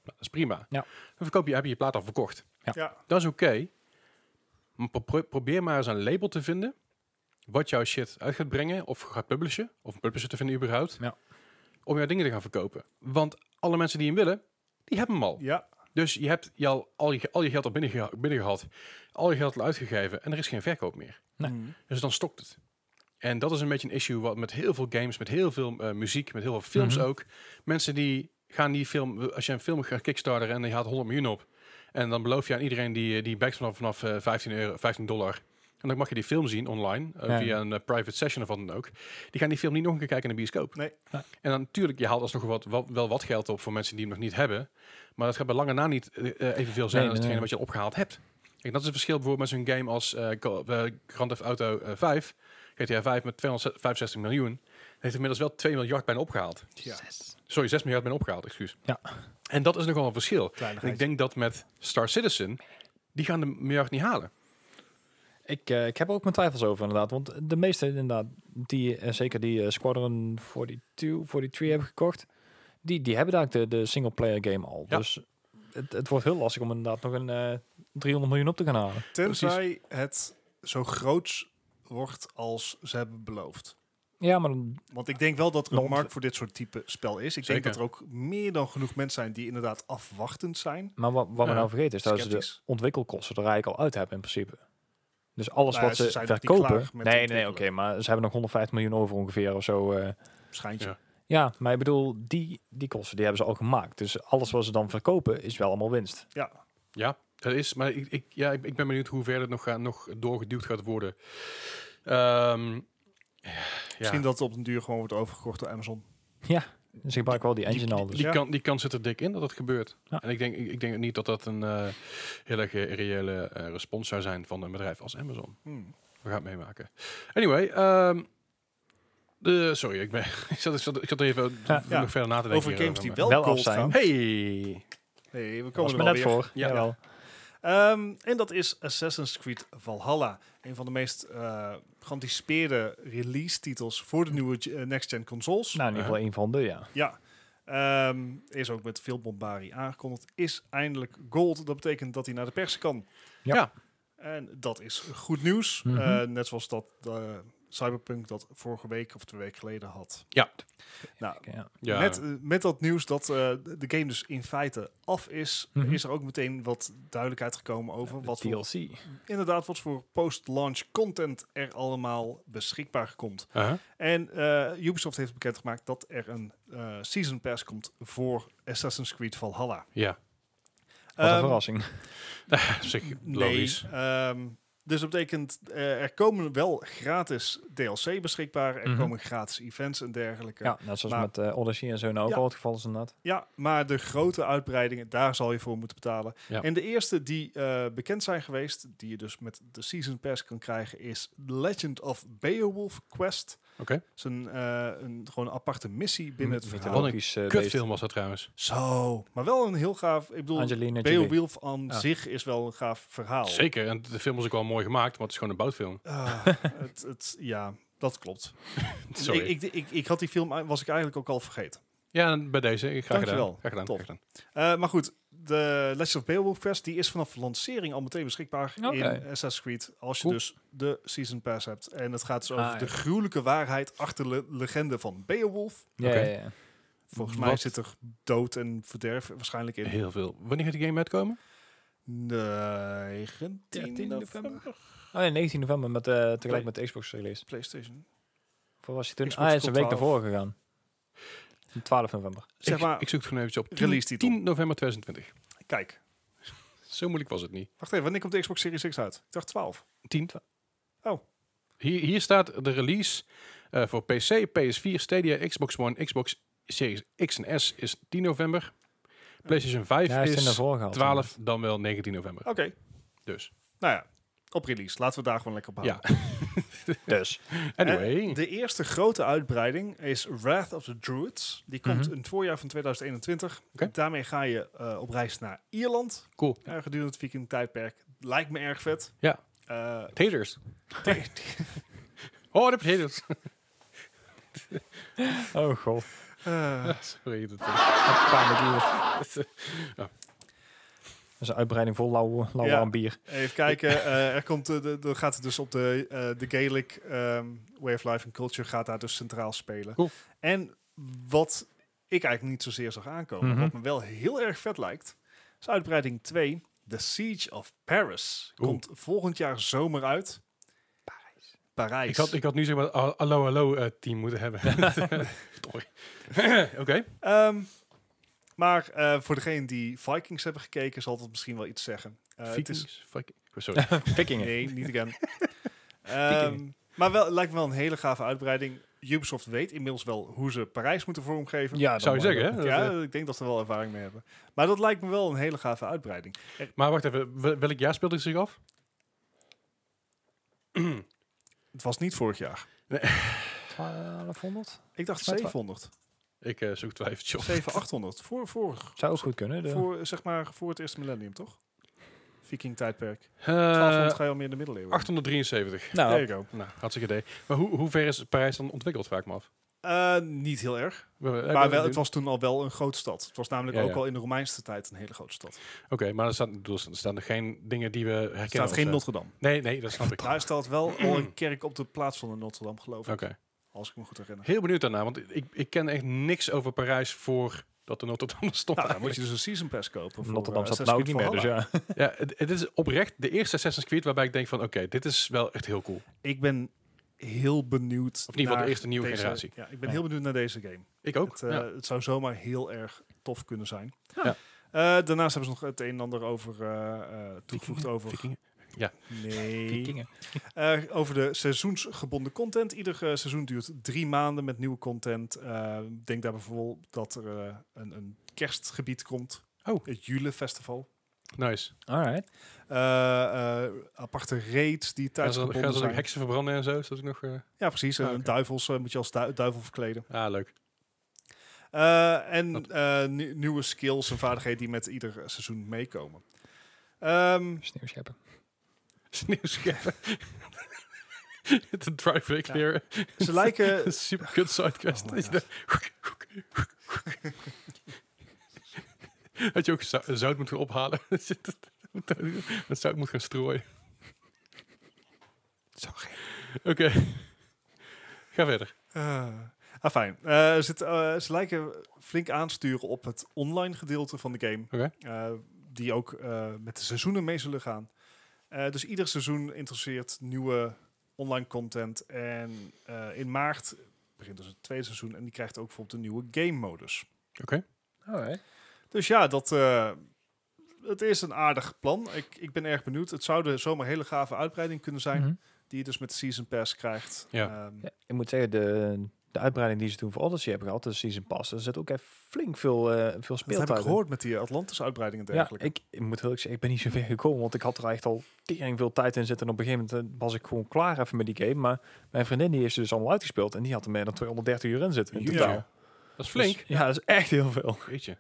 Speaker 1: dat is prima.
Speaker 3: Ja.
Speaker 1: Dan verkoop je, heb je je plaat al verkocht.
Speaker 2: Ja.
Speaker 1: Dat is oké. Maar pro- pro- probeer maar eens een label te vinden wat jouw shit uit gaat brengen of gaat publishen, of een publisher te vinden überhaupt,
Speaker 3: Ja.
Speaker 1: om jouw dingen te gaan verkopen. Want alle mensen die hem willen, die hebben hem al.
Speaker 2: Ja,
Speaker 1: Dus je hebt je al, al, je, al je geld al binnen, geha- binnen gehad, al je geld al uitgegeven en er is geen verkoop meer.
Speaker 3: Nee.
Speaker 2: Mm.
Speaker 1: Dus dan stokt het. En dat is een beetje een issue wat met heel veel games, met heel veel eh, muziek, met heel veel films
Speaker 3: Mhm.
Speaker 1: ook. Mensen die gaan die film, als je een film gaat kickstarteren en die haalt 100 miljoen op. En dan beloof je aan iedereen die, die backs vanaf, vanaf eh, 15, euro, 15 dollar. En dan mag je die film zien online, eh,
Speaker 3: Ja.
Speaker 1: via een eh, private session of wat dan ook. Die gaan die film niet nog een keer kijken in de bioscoop.
Speaker 2: Nee.
Speaker 3: Ja.
Speaker 1: En dan natuurlijk, je haalt alsnog wat, wel, wel wat geld op voor mensen die hem nog niet hebben. Maar dat gaat bij lange na niet eh, eh, evenveel zijn
Speaker 3: Nee, nee,
Speaker 1: als hetgene
Speaker 3: nee.
Speaker 1: wat je al opgehaald hebt. Kijk, dat is het verschil bijvoorbeeld met zo'n game als eh, Call- eh, Grand Theft Auto eh, 5. GTA 5 met 265 miljoen. Heeft inmiddels wel 2 miljard bijna opgehaald.
Speaker 2: ja.
Speaker 1: Sorry, 6 miljard bijna opgehaald, excuus.
Speaker 3: Ja.
Speaker 1: En dat is nogal een verschil. En
Speaker 2: Kleinigheid.
Speaker 1: ik denk dat met Star Citizen, die gaan de miljard niet halen.
Speaker 3: Ik, eh, ik heb er ook mijn twijfels over inderdaad. Want de meeste inderdaad, die, eh, zeker die eh, Squadron 42, 43 hebben gekocht, die, die hebben daar de, de single-player game al.
Speaker 1: Ja.
Speaker 3: Dus het, het wordt heel lastig om inderdaad nog een eh 300 miljoen op te gaan halen.
Speaker 2: Tenzij het zo groots wordt als ze hebben beloofd.
Speaker 3: Ja, maar dan-
Speaker 2: Want ik denk wel dat er een
Speaker 3: Nou,
Speaker 2: markt voor dit soort type spel is. Ik
Speaker 1: Zeker.
Speaker 2: denk dat er ook meer dan genoeg mensen zijn die inderdaad afwachtend zijn.
Speaker 3: maar wat, wat
Speaker 1: Ja,
Speaker 3: we nou vergeten is dat ze de
Speaker 2: sceptisch.
Speaker 3: ontwikkelkosten er eigenlijk al uit hebben in principe. Dus alles
Speaker 2: Nou ja,
Speaker 3: wat
Speaker 2: ze
Speaker 3: ze,
Speaker 2: zijn nog niet
Speaker 3: verkopen...
Speaker 2: klaar met
Speaker 3: Nee, nee, oké,
Speaker 2: ontwikkelen.
Speaker 3: maar ze hebben nog 150 miljoen over ongeveer of zo. eh,
Speaker 2: Schijntje.
Speaker 1: Ja.
Speaker 3: Ja, maar ik bedoel, die, die kosten die hebben ze al gemaakt. Dus alles wat ze dan verkopen is wel allemaal winst.
Speaker 2: Ja.
Speaker 1: Ja, dat is. Maar ik, ik, ja, ik, ik ben benieuwd hoe ver het nog, gaat- nog doorgeduwd gaat worden. Ehm, ja,
Speaker 2: Misschien dat het op den duur gewoon wordt overgekocht door Amazon.
Speaker 3: Dus ik gebruik wel die engine al.
Speaker 1: die,
Speaker 3: Dus.
Speaker 1: die,
Speaker 2: Ja.
Speaker 1: kan, die kans zit er dik in dat dat gebeurt.
Speaker 3: Ja.
Speaker 1: En ik denk, ik, ik denk niet dat dat een eh, heel erg eh, reële eh, respons zou zijn van een bedrijf als Amazon.
Speaker 2: Hmm.
Speaker 1: We gaan het meemaken. Anyway, ehm, de, sorry, ik, ben, ik, zat, ik, zat, ik zat er even
Speaker 3: Ja.
Speaker 1: nog verder na te denken.
Speaker 2: Over games
Speaker 1: hierover,
Speaker 2: die
Speaker 1: maar-
Speaker 2: wel,
Speaker 3: Wel
Speaker 2: cold
Speaker 3: af zijn.
Speaker 2: gaan.
Speaker 1: Hey!
Speaker 2: Hey, we
Speaker 3: Dat was
Speaker 2: komen
Speaker 3: me
Speaker 2: er
Speaker 3: net
Speaker 2: wel weer.
Speaker 3: voor.
Speaker 1: Ja.
Speaker 3: Jawel.
Speaker 2: Ehm, en dat is Assassin's Creed Valhalla. Een van de meest eh, geanticipeerde release-titels voor de nieuwe ge- eh, next-gen consoles.
Speaker 3: Nou, in ieder geval één van de, ja.
Speaker 2: Ja. Ehm, is ook met veel bombarie aangekondigd. Is eindelijk gold. Dat betekent dat hij naar de pers kan.
Speaker 3: Ja.
Speaker 1: Ja.
Speaker 2: En dat is goed nieuws.
Speaker 3: Mhm.
Speaker 2: Eh, net zoals dat eh, Cyberpunk dat vorige week of twee weken geleden had.
Speaker 1: Ja.
Speaker 2: Nou,
Speaker 3: ja.
Speaker 1: Ja,
Speaker 2: met, eh, met dat nieuws dat eh, de game dus in feite af is,
Speaker 3: Mhm.
Speaker 2: is er ook meteen wat duidelijkheid gekomen over wat voor,
Speaker 3: DLC.
Speaker 2: inderdaad, wat voor post-launch content er allemaal beschikbaar komt.
Speaker 1: uh-huh.
Speaker 2: En eh, Ubisoft heeft bekendgemaakt dat er een eh, season pass komt voor Assassin's Creed Valhalla.
Speaker 1: ja.
Speaker 3: Wat een
Speaker 2: Ehm,
Speaker 3: verrassing.
Speaker 1: op zich
Speaker 2: Nee.
Speaker 1: logisch.
Speaker 2: ehm, dus dat betekent, eh, er komen wel gratis DLC beschikbaar. Er
Speaker 3: Mhm.
Speaker 2: komen gratis events en dergelijke.
Speaker 3: Ja, net zoals
Speaker 2: maar-
Speaker 3: met eh, Odyssey en zo nou ook
Speaker 2: Ja.
Speaker 3: al het geval is inderdaad.
Speaker 2: Ja, maar de grote uitbreidingen, daar zal je voor moeten betalen.
Speaker 1: Ja.
Speaker 2: En de eerste die eh, bekend zijn geweest, die je dus met de Season Pass kan krijgen, is The Legend of Beowulf Quest.
Speaker 1: Oké. Hmm,
Speaker 2: Dat is een, eh, een, gewoon een aparte missie binnen het verhaal.
Speaker 1: Wat een
Speaker 3: Mythologisch eh, beest.
Speaker 1: Kutfilm was dat trouwens.
Speaker 2: Zo, maar wel een heel gaaf... Ik bedoel,
Speaker 3: Angelina Jolie.
Speaker 2: Beowulf aan
Speaker 3: Ja.
Speaker 2: zich is wel een gaaf verhaal.
Speaker 1: Zeker, en de film was ook wel mooi gemaakt, maar het is gewoon een boutfilm.
Speaker 2: Ah, het, het, ja, dat klopt.
Speaker 1: Sorry.
Speaker 2: Ik, ik, ik, ik had die film, was ik eigenlijk ook al vergeten.
Speaker 1: ja, en bij deze, ik- graag gedaan.
Speaker 2: Dankjewel.
Speaker 1: Graag gedaan.
Speaker 2: Top.
Speaker 1: graag gedaan.
Speaker 2: Eh, maar goed, de Legend of Beowulf Quest die is vanaf lancering al meteen beschikbaar
Speaker 3: Oké.
Speaker 2: in Assassin's Creed. Als je
Speaker 3: Cool.
Speaker 2: dus de Season Pass hebt. En het gaat dus over
Speaker 3: Ah, ja.
Speaker 2: de gruwelijke waarheid achter de legende van Beowulf.
Speaker 3: Ja,
Speaker 1: Oké.
Speaker 3: ja, ja.
Speaker 2: Volgens
Speaker 1: Wat-
Speaker 2: mij zit er dood en verderf waarschijnlijk in.
Speaker 1: Heel veel. Wanneer gaat die game uitkomen?
Speaker 2: 19 november.
Speaker 3: Oh, ja, 19 november met, eh,
Speaker 2: Nee.
Speaker 3: tegelijk met de Xbox release.
Speaker 2: PlayStation.
Speaker 3: Voor was hij toen?
Speaker 2: Xbox
Speaker 3: ah, hij is een week
Speaker 2: komt
Speaker 3: naar voren gegaan. 12 november.
Speaker 2: Zeg
Speaker 1: ik,
Speaker 2: maar,
Speaker 1: ik zoek het gewoon eventjes op. 10,
Speaker 2: Ah. Release titel.
Speaker 1: 10 november 2020.
Speaker 2: kijk.
Speaker 1: Zo moeilijk was het niet.
Speaker 2: Wacht even, wanneer komt de Xbox Series X uit? Ik dacht 12.
Speaker 1: 10.
Speaker 2: Oh.
Speaker 1: Hier, hier staat de release eh, voor PC, PS4, Stadia, Xbox One, Xbox Series X en S is 10 november. PlayStation 5
Speaker 3: Ja, hij is toen naar
Speaker 1: is
Speaker 3: voren gehaald.
Speaker 1: 12, dan wel 19 november.
Speaker 2: Oké,
Speaker 1: Dus.
Speaker 2: nou ja. op release. Laten we daar gewoon lekker op houden.
Speaker 1: Ja.
Speaker 3: Dus.
Speaker 1: Anyway.
Speaker 2: En de eerste grote uitbreiding is Wrath of the Druids. Die komt
Speaker 3: Mhm.
Speaker 2: in het voorjaar van 2021.
Speaker 1: Oké.
Speaker 2: Daarmee ga je eh, op reis naar Ierland.
Speaker 1: Cool.
Speaker 2: eh, gedurende het viking tijdperk. Lijkt me erg vet.
Speaker 1: Ja.
Speaker 2: Eh,
Speaker 1: Taters.
Speaker 2: te-
Speaker 1: Oh, de potatoes.
Speaker 3: Oh god.
Speaker 2: eh,
Speaker 1: Sorry. Dat,
Speaker 3: Pijnlijk hier.
Speaker 1: eh,
Speaker 3: Dat is een uitbreiding vol lauw, lauw
Speaker 2: Ja.
Speaker 3: warm bier.
Speaker 2: even kijken. eh, er komt, eh, de, de- gaat het dus op de, eh, de Gaelic ehm, Way of Life and Culture gaat daar dus centraal spelen.
Speaker 1: Cool.
Speaker 2: En wat ik eigenlijk niet zozeer zag aankomen,
Speaker 3: Mhm.
Speaker 2: wat me wel heel erg vet lijkt, is uitbreiding 2. The Siege of Paris
Speaker 1: Oeh.
Speaker 2: komt volgend jaar zomer uit. Parijs. Parijs.
Speaker 1: ik, had, ik had nu zeg maar al- hallo hallo eh, team moeten hebben. Sorry. Oké.
Speaker 2: Ehm, maar eh, voor degene die Vikings hebben gekeken, zal dat misschien wel iets zeggen. Eh, het is
Speaker 1: Vikings. Fuck. oh, Sorry.
Speaker 3: Vikingen.
Speaker 2: Nee, niet again. Ehm, maar wel, lijkt me wel een hele gave uitbreiding. Ubisoft weet inmiddels wel hoe ze Parijs moeten vormgeven.
Speaker 3: Ja, dan
Speaker 1: Zou je
Speaker 3: maar-
Speaker 1: zeggen, hè? Dat,
Speaker 2: Ja,
Speaker 1: eh,
Speaker 2: ik denk dat ze er wel ervaring mee hebben. Maar dat lijkt me wel een hele gave uitbreiding.
Speaker 1: Maar wacht even. wel- Welk jaar speelde het zich af?
Speaker 2: Het was niet vorig jaar.
Speaker 3: 1200?
Speaker 2: Ik dacht
Speaker 3: Maar twa-
Speaker 2: 700.
Speaker 1: Ik eh, zoek twijfeltje op.
Speaker 2: 700, 800. Voor, voor,
Speaker 3: Zou ook goed kunnen. De,
Speaker 2: voor, zeg maar, voor het eerste millennium, toch? Viking tijdperk.
Speaker 1: Eh,
Speaker 2: 1200 ga je al meer in de middeleeuwen.
Speaker 1: 873.
Speaker 2: There
Speaker 3: nou,
Speaker 2: you go.
Speaker 1: Nou, hartstikke idee. Maar hoe, hoe ver is Parijs dan ontwikkeld, vraag ik me af?
Speaker 2: Eh, niet heel erg.
Speaker 1: We- we-
Speaker 2: Maar
Speaker 1: we-
Speaker 2: wel, het was toen al wel een grote stad. Het was namelijk
Speaker 1: Ja,
Speaker 2: ook
Speaker 1: ja.
Speaker 2: al in de Romeinse tijd een hele grote stad. Er
Speaker 1: Oké, maar er staan, ik bedoel, er staan er geen dingen die we herkennen.
Speaker 2: staat
Speaker 1: als,
Speaker 2: geen
Speaker 1: eh,
Speaker 2: Notre-Dame.
Speaker 1: Nee, nee, dat snap ik. Oké.
Speaker 2: Daar staat wel al een kerk op de plaats van de Notre-Dame, geloof ik. Als ik me goed herinner.
Speaker 1: Heel benieuwd daarna, want ik, ik ken echt niks over Parijs voor dat de Notre-Dame stond.
Speaker 2: Nou, dan moet je
Speaker 1: eigenlijk.
Speaker 2: dus een season pass kopen. voor,
Speaker 3: Rotterdam
Speaker 2: eh,
Speaker 3: zat er
Speaker 2: Assassin's
Speaker 3: nou ook niet
Speaker 2: Creed
Speaker 3: meer. Dus
Speaker 2: Valhalla.
Speaker 3: ja.
Speaker 1: Ja, het, het is oprecht de eerste Assassin's Creed waarbij ik denk van, oké, dit is wel echt heel cool.
Speaker 2: Ik ben heel benieuwd.
Speaker 1: Of in ieder geval de
Speaker 2: naar
Speaker 1: eerste nieuwe
Speaker 2: deze-
Speaker 1: generatie.
Speaker 2: Ja, ik ben
Speaker 3: Ja.
Speaker 2: heel benieuwd naar deze game.
Speaker 1: Ik ook.
Speaker 2: Het, eh,
Speaker 1: ja.
Speaker 2: het zou zomaar heel erg tof kunnen zijn.
Speaker 1: Ja.
Speaker 2: Eh, daarnaast hebben ze nog het een en ander over eh, eh, toegevoegd over.
Speaker 1: Vikingen.
Speaker 2: Nee.
Speaker 3: Vikingen.
Speaker 2: Eh, over de seizoensgebonden content. Ieder eh, seizoen duurt drie maanden met nieuwe content. Eh, denk daar bijvoorbeeld dat er eh, een, een kerstgebied komt.
Speaker 1: Oh.
Speaker 2: Het Jule Festival.
Speaker 1: Nice.
Speaker 3: Alright.
Speaker 2: Eh, eh, aparte raids die
Speaker 1: Gaan ze,
Speaker 2: tijdsgebonden
Speaker 1: gaan ze ook
Speaker 2: zijn.
Speaker 1: heksen verbranden en zo? Is dat ook nog... eh,
Speaker 2: Ja, precies. En
Speaker 1: Ah, oké.
Speaker 2: duivels eh, moet je als du- duivel verkleden.
Speaker 1: Ah, leuk.
Speaker 2: Eh, en
Speaker 1: Dat-
Speaker 2: eh, nie- nieuwe skills en vaardigheden die met ieder seizoen meekomen. Ehm,
Speaker 3: Sneeuwscheppen.
Speaker 1: Sneeuwscheppen. De driveway clear.
Speaker 2: ze lijken...
Speaker 1: Super kut sidequest.
Speaker 2: Oh my
Speaker 1: Is
Speaker 2: God.
Speaker 1: dat- Had je ook zou- zout moeten ophalen? Dat zout moet gaan strooien. Oké. Ga verder.
Speaker 2: eh, ah, fijn. Eh, ze, t- eh, ze lijken flink aansturen op het online gedeelte van de game.
Speaker 1: Oké.
Speaker 2: Eh, die ook eh, met de seizoenen mee zullen gaan. Eh, dus ieder seizoen interesseert nieuwe online content. En eh, in maart begint dus het tweede seizoen. En die krijgt ook bijvoorbeeld een nieuwe game modus.
Speaker 3: Alright.
Speaker 2: Dus ja, dat, eh, het is een aardig plan. Ik, ik ben erg benieuwd. Het zou de zomaar hele gave uitbreiding kunnen zijn.
Speaker 3: Mhm.
Speaker 2: Die je dus met de Season Pass krijgt.
Speaker 1: Ja.
Speaker 2: Ehm,
Speaker 3: Ja, ik moet zeggen, de, de uitbreiding die ze toen voor Odyssey hebben gehad, de Season Pass, er zit ook echt flink veel, eh veel
Speaker 2: dat
Speaker 3: speeltijd
Speaker 2: heb ik
Speaker 3: in.
Speaker 2: gehoord met die Atlantis-uitbreiding en
Speaker 3: Ja,
Speaker 2: dergelijke.
Speaker 3: ik, ik moet heel erg zeggen, ik ben niet zo ver gekomen, want ik had er echt al tering veel tijd in zitten. En op een gegeven moment eh, was ik gewoon klaar even met die game. Maar mijn vriendin die heeft ze dus allemaal uitgespeeld en die had er meer dan 230 uur in zitten in
Speaker 2: Ja.
Speaker 3: totaal.
Speaker 2: Ja.
Speaker 1: Dat is flink.
Speaker 3: Dus, ja, dat is echt heel veel.
Speaker 1: Jeetje.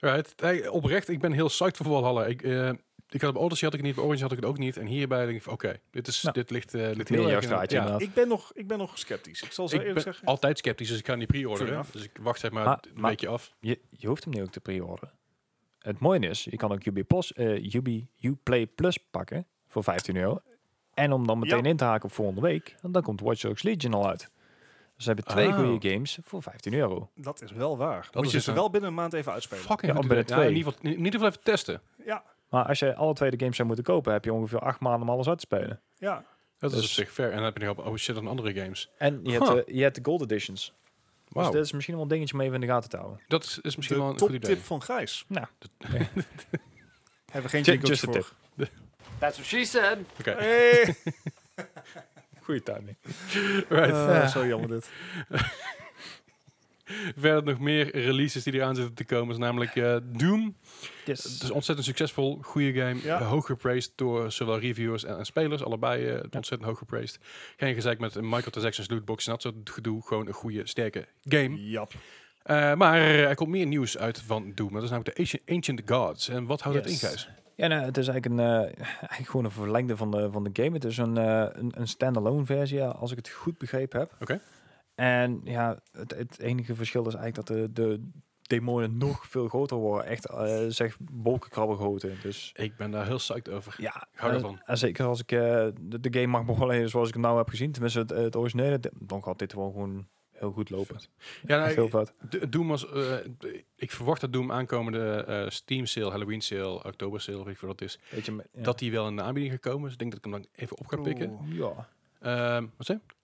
Speaker 1: Alright. Hey, oprecht, ik ben heel psyched voor Valhalla. Ik, eh, ik had op Odyssey had ik het niet, bij Orange had ik het ook niet. En hierbij denk ik van, oké, dit, is
Speaker 3: Nou,
Speaker 1: dit ligt, eh, ligt heel
Speaker 3: Meer jouw
Speaker 1: erg... in-
Speaker 3: straatje
Speaker 1: ja.
Speaker 3: inderdaad.
Speaker 2: Ik, ben nog, ik ben nog sceptisch. Ik zal zo
Speaker 1: Ik
Speaker 2: eerlijk
Speaker 1: ben
Speaker 2: zeggen.
Speaker 1: altijd sceptisch, dus ik ga niet
Speaker 2: Fair
Speaker 1: pre-orderen.
Speaker 2: enough.
Speaker 1: Dus ik wacht zeg maar,
Speaker 3: Maar-
Speaker 1: een
Speaker 3: maar-
Speaker 1: beetje af.
Speaker 3: Je, je hoeft hem nu ook te pre-orderen. Het mooie is, je kan ook UB Plus, eh, UB Uplay Plus pakken voor 15 euro. En om dan meteen
Speaker 2: Ja.
Speaker 3: in te haken op volgende week, want dan komt Watch Dogs Legion al uit. Dus we hebben twee
Speaker 2: Ah.
Speaker 1: Oh.
Speaker 3: goede games voor 15 euro.
Speaker 2: Dat is wel waar.
Speaker 1: is
Speaker 2: Moet je
Speaker 1: het,
Speaker 2: ze
Speaker 1: hè?
Speaker 2: wel binnen een maand even uitspelen.
Speaker 1: Fucking
Speaker 3: Ja,
Speaker 1: goed
Speaker 3: bij de
Speaker 1: idee. Ja, in,
Speaker 3: twee.
Speaker 1: ieder geval, in ieder geval even testen.
Speaker 2: Ja,
Speaker 3: Maar als je alle twee de games zou moeten kopen, heb je ongeveer acht maanden om alles uit te spelen.
Speaker 2: ja.
Speaker 1: Dat is
Speaker 3: Dus-
Speaker 1: op zich fair. En dan heb je nog op, oh shit, aan andere games.
Speaker 3: En je,
Speaker 1: Huh.
Speaker 3: hebt, de- je hebt de Gold Editions.
Speaker 1: Wauw,
Speaker 3: Dus dat is misschien wel een dingetje om even in de gaten te houden.
Speaker 1: dat is, is misschien wel
Speaker 2: De
Speaker 1: een goed idee.
Speaker 2: toptip van Gijs.
Speaker 3: Nou.
Speaker 2: Hebben we geen
Speaker 3: Ju-
Speaker 2: jingles
Speaker 3: just a
Speaker 2: voor.
Speaker 3: tip.
Speaker 4: That's what she said.
Speaker 1: Oké,
Speaker 3: Eh.
Speaker 2: Hey.
Speaker 3: Goeie timing.
Speaker 1: alright.
Speaker 2: Eh, zo jammer dit.
Speaker 1: verder nog meer releases die eraan zitten te komen. Is namelijk eh, Doom. Het is
Speaker 3: Yes.
Speaker 1: ontzettend succesvol, goede game.
Speaker 2: Ja.
Speaker 1: eh, Hoog gepraised door eh, zowel reviewers en, en spelers, allebei eh, ontzettend hoog gepraised. Geen gezeik met microtransactions, lootboxen en dat soort gedoe. Gewoon een goede, sterke game.
Speaker 2: Ja.
Speaker 1: Eh, maar er komt meer nieuws uit van Doom. Dat is namelijk de Ancient, Ancient Gods. En wat houdt dat in,
Speaker 3: Yes.
Speaker 1: Gijs?
Speaker 3: Ja, nou, het is eigenlijk, een, eh, eigenlijk gewoon een verlengde van de, van de game. Het is een, eh, een, een standalone versie, ja, als ik het goed begrepen heb.
Speaker 1: Oké.
Speaker 3: En ja, het, het enige verschil is eigenlijk dat de, de demonen nog veel groter worden. Echt, eh zeg, bolkenkrabber groter. Dus
Speaker 1: Ik ben daar heel psyched over.
Speaker 3: ja,
Speaker 1: Ik hou
Speaker 3: eh,
Speaker 1: ervan.
Speaker 3: en zeker als ik eh, de, de game mag beoordelen zoals ik hem nou heb gezien. Tenminste, het, het originele. Dan gaat dit gewoon, gewoon heel goed lopen.
Speaker 1: Ja,
Speaker 3: Echt
Speaker 1: nou,
Speaker 3: heel vet.
Speaker 1: D- Doom was, eh, d- ik verwacht dat Doom aankomende eh, Steam sale, Halloween sale, oktober sale, weet ik veel wat het is,
Speaker 3: Weet je, met- ja.
Speaker 1: dat die wel in de aanbieding gaat komen. Dus ik denk dat ik hem dan even op ga pikken.
Speaker 2: Oeh.
Speaker 3: Ja.
Speaker 1: Ehm, wat zei? je?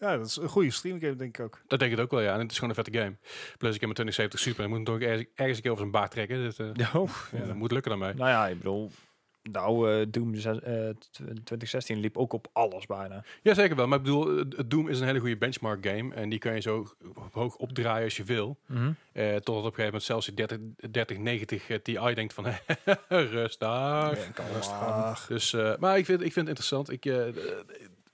Speaker 2: Ja, dat is een goede streamgame, denk ik ook.
Speaker 1: Dat denk ik ook wel, ja. En het is gewoon een vette game. Plus ik heb mijn 2070 Super. Ik moet hem toch ergens, ergens een keer over zijn baard trekken. Dus, eh,
Speaker 3: Oh,
Speaker 1: ja, dat moet lukken dan mij.
Speaker 3: Nou ja, ik bedoel, de oude Doom zes- eh, tw- 2016 liep ook op alles bijna.
Speaker 1: Ja, zeker wel. Maar ik bedoel, eh, Doom is een hele goede benchmark game. En die kan je zo hoog opdraaien als je wil. Eh, totdat op een gegeven moment zelfs je 30, 30 90 eh, Ti denkt van rustig.
Speaker 2: Rustig aan.
Speaker 3: Ah,
Speaker 1: Dus, eh, maar ik vind, ik vind het interessant. Ik, eh, eh, het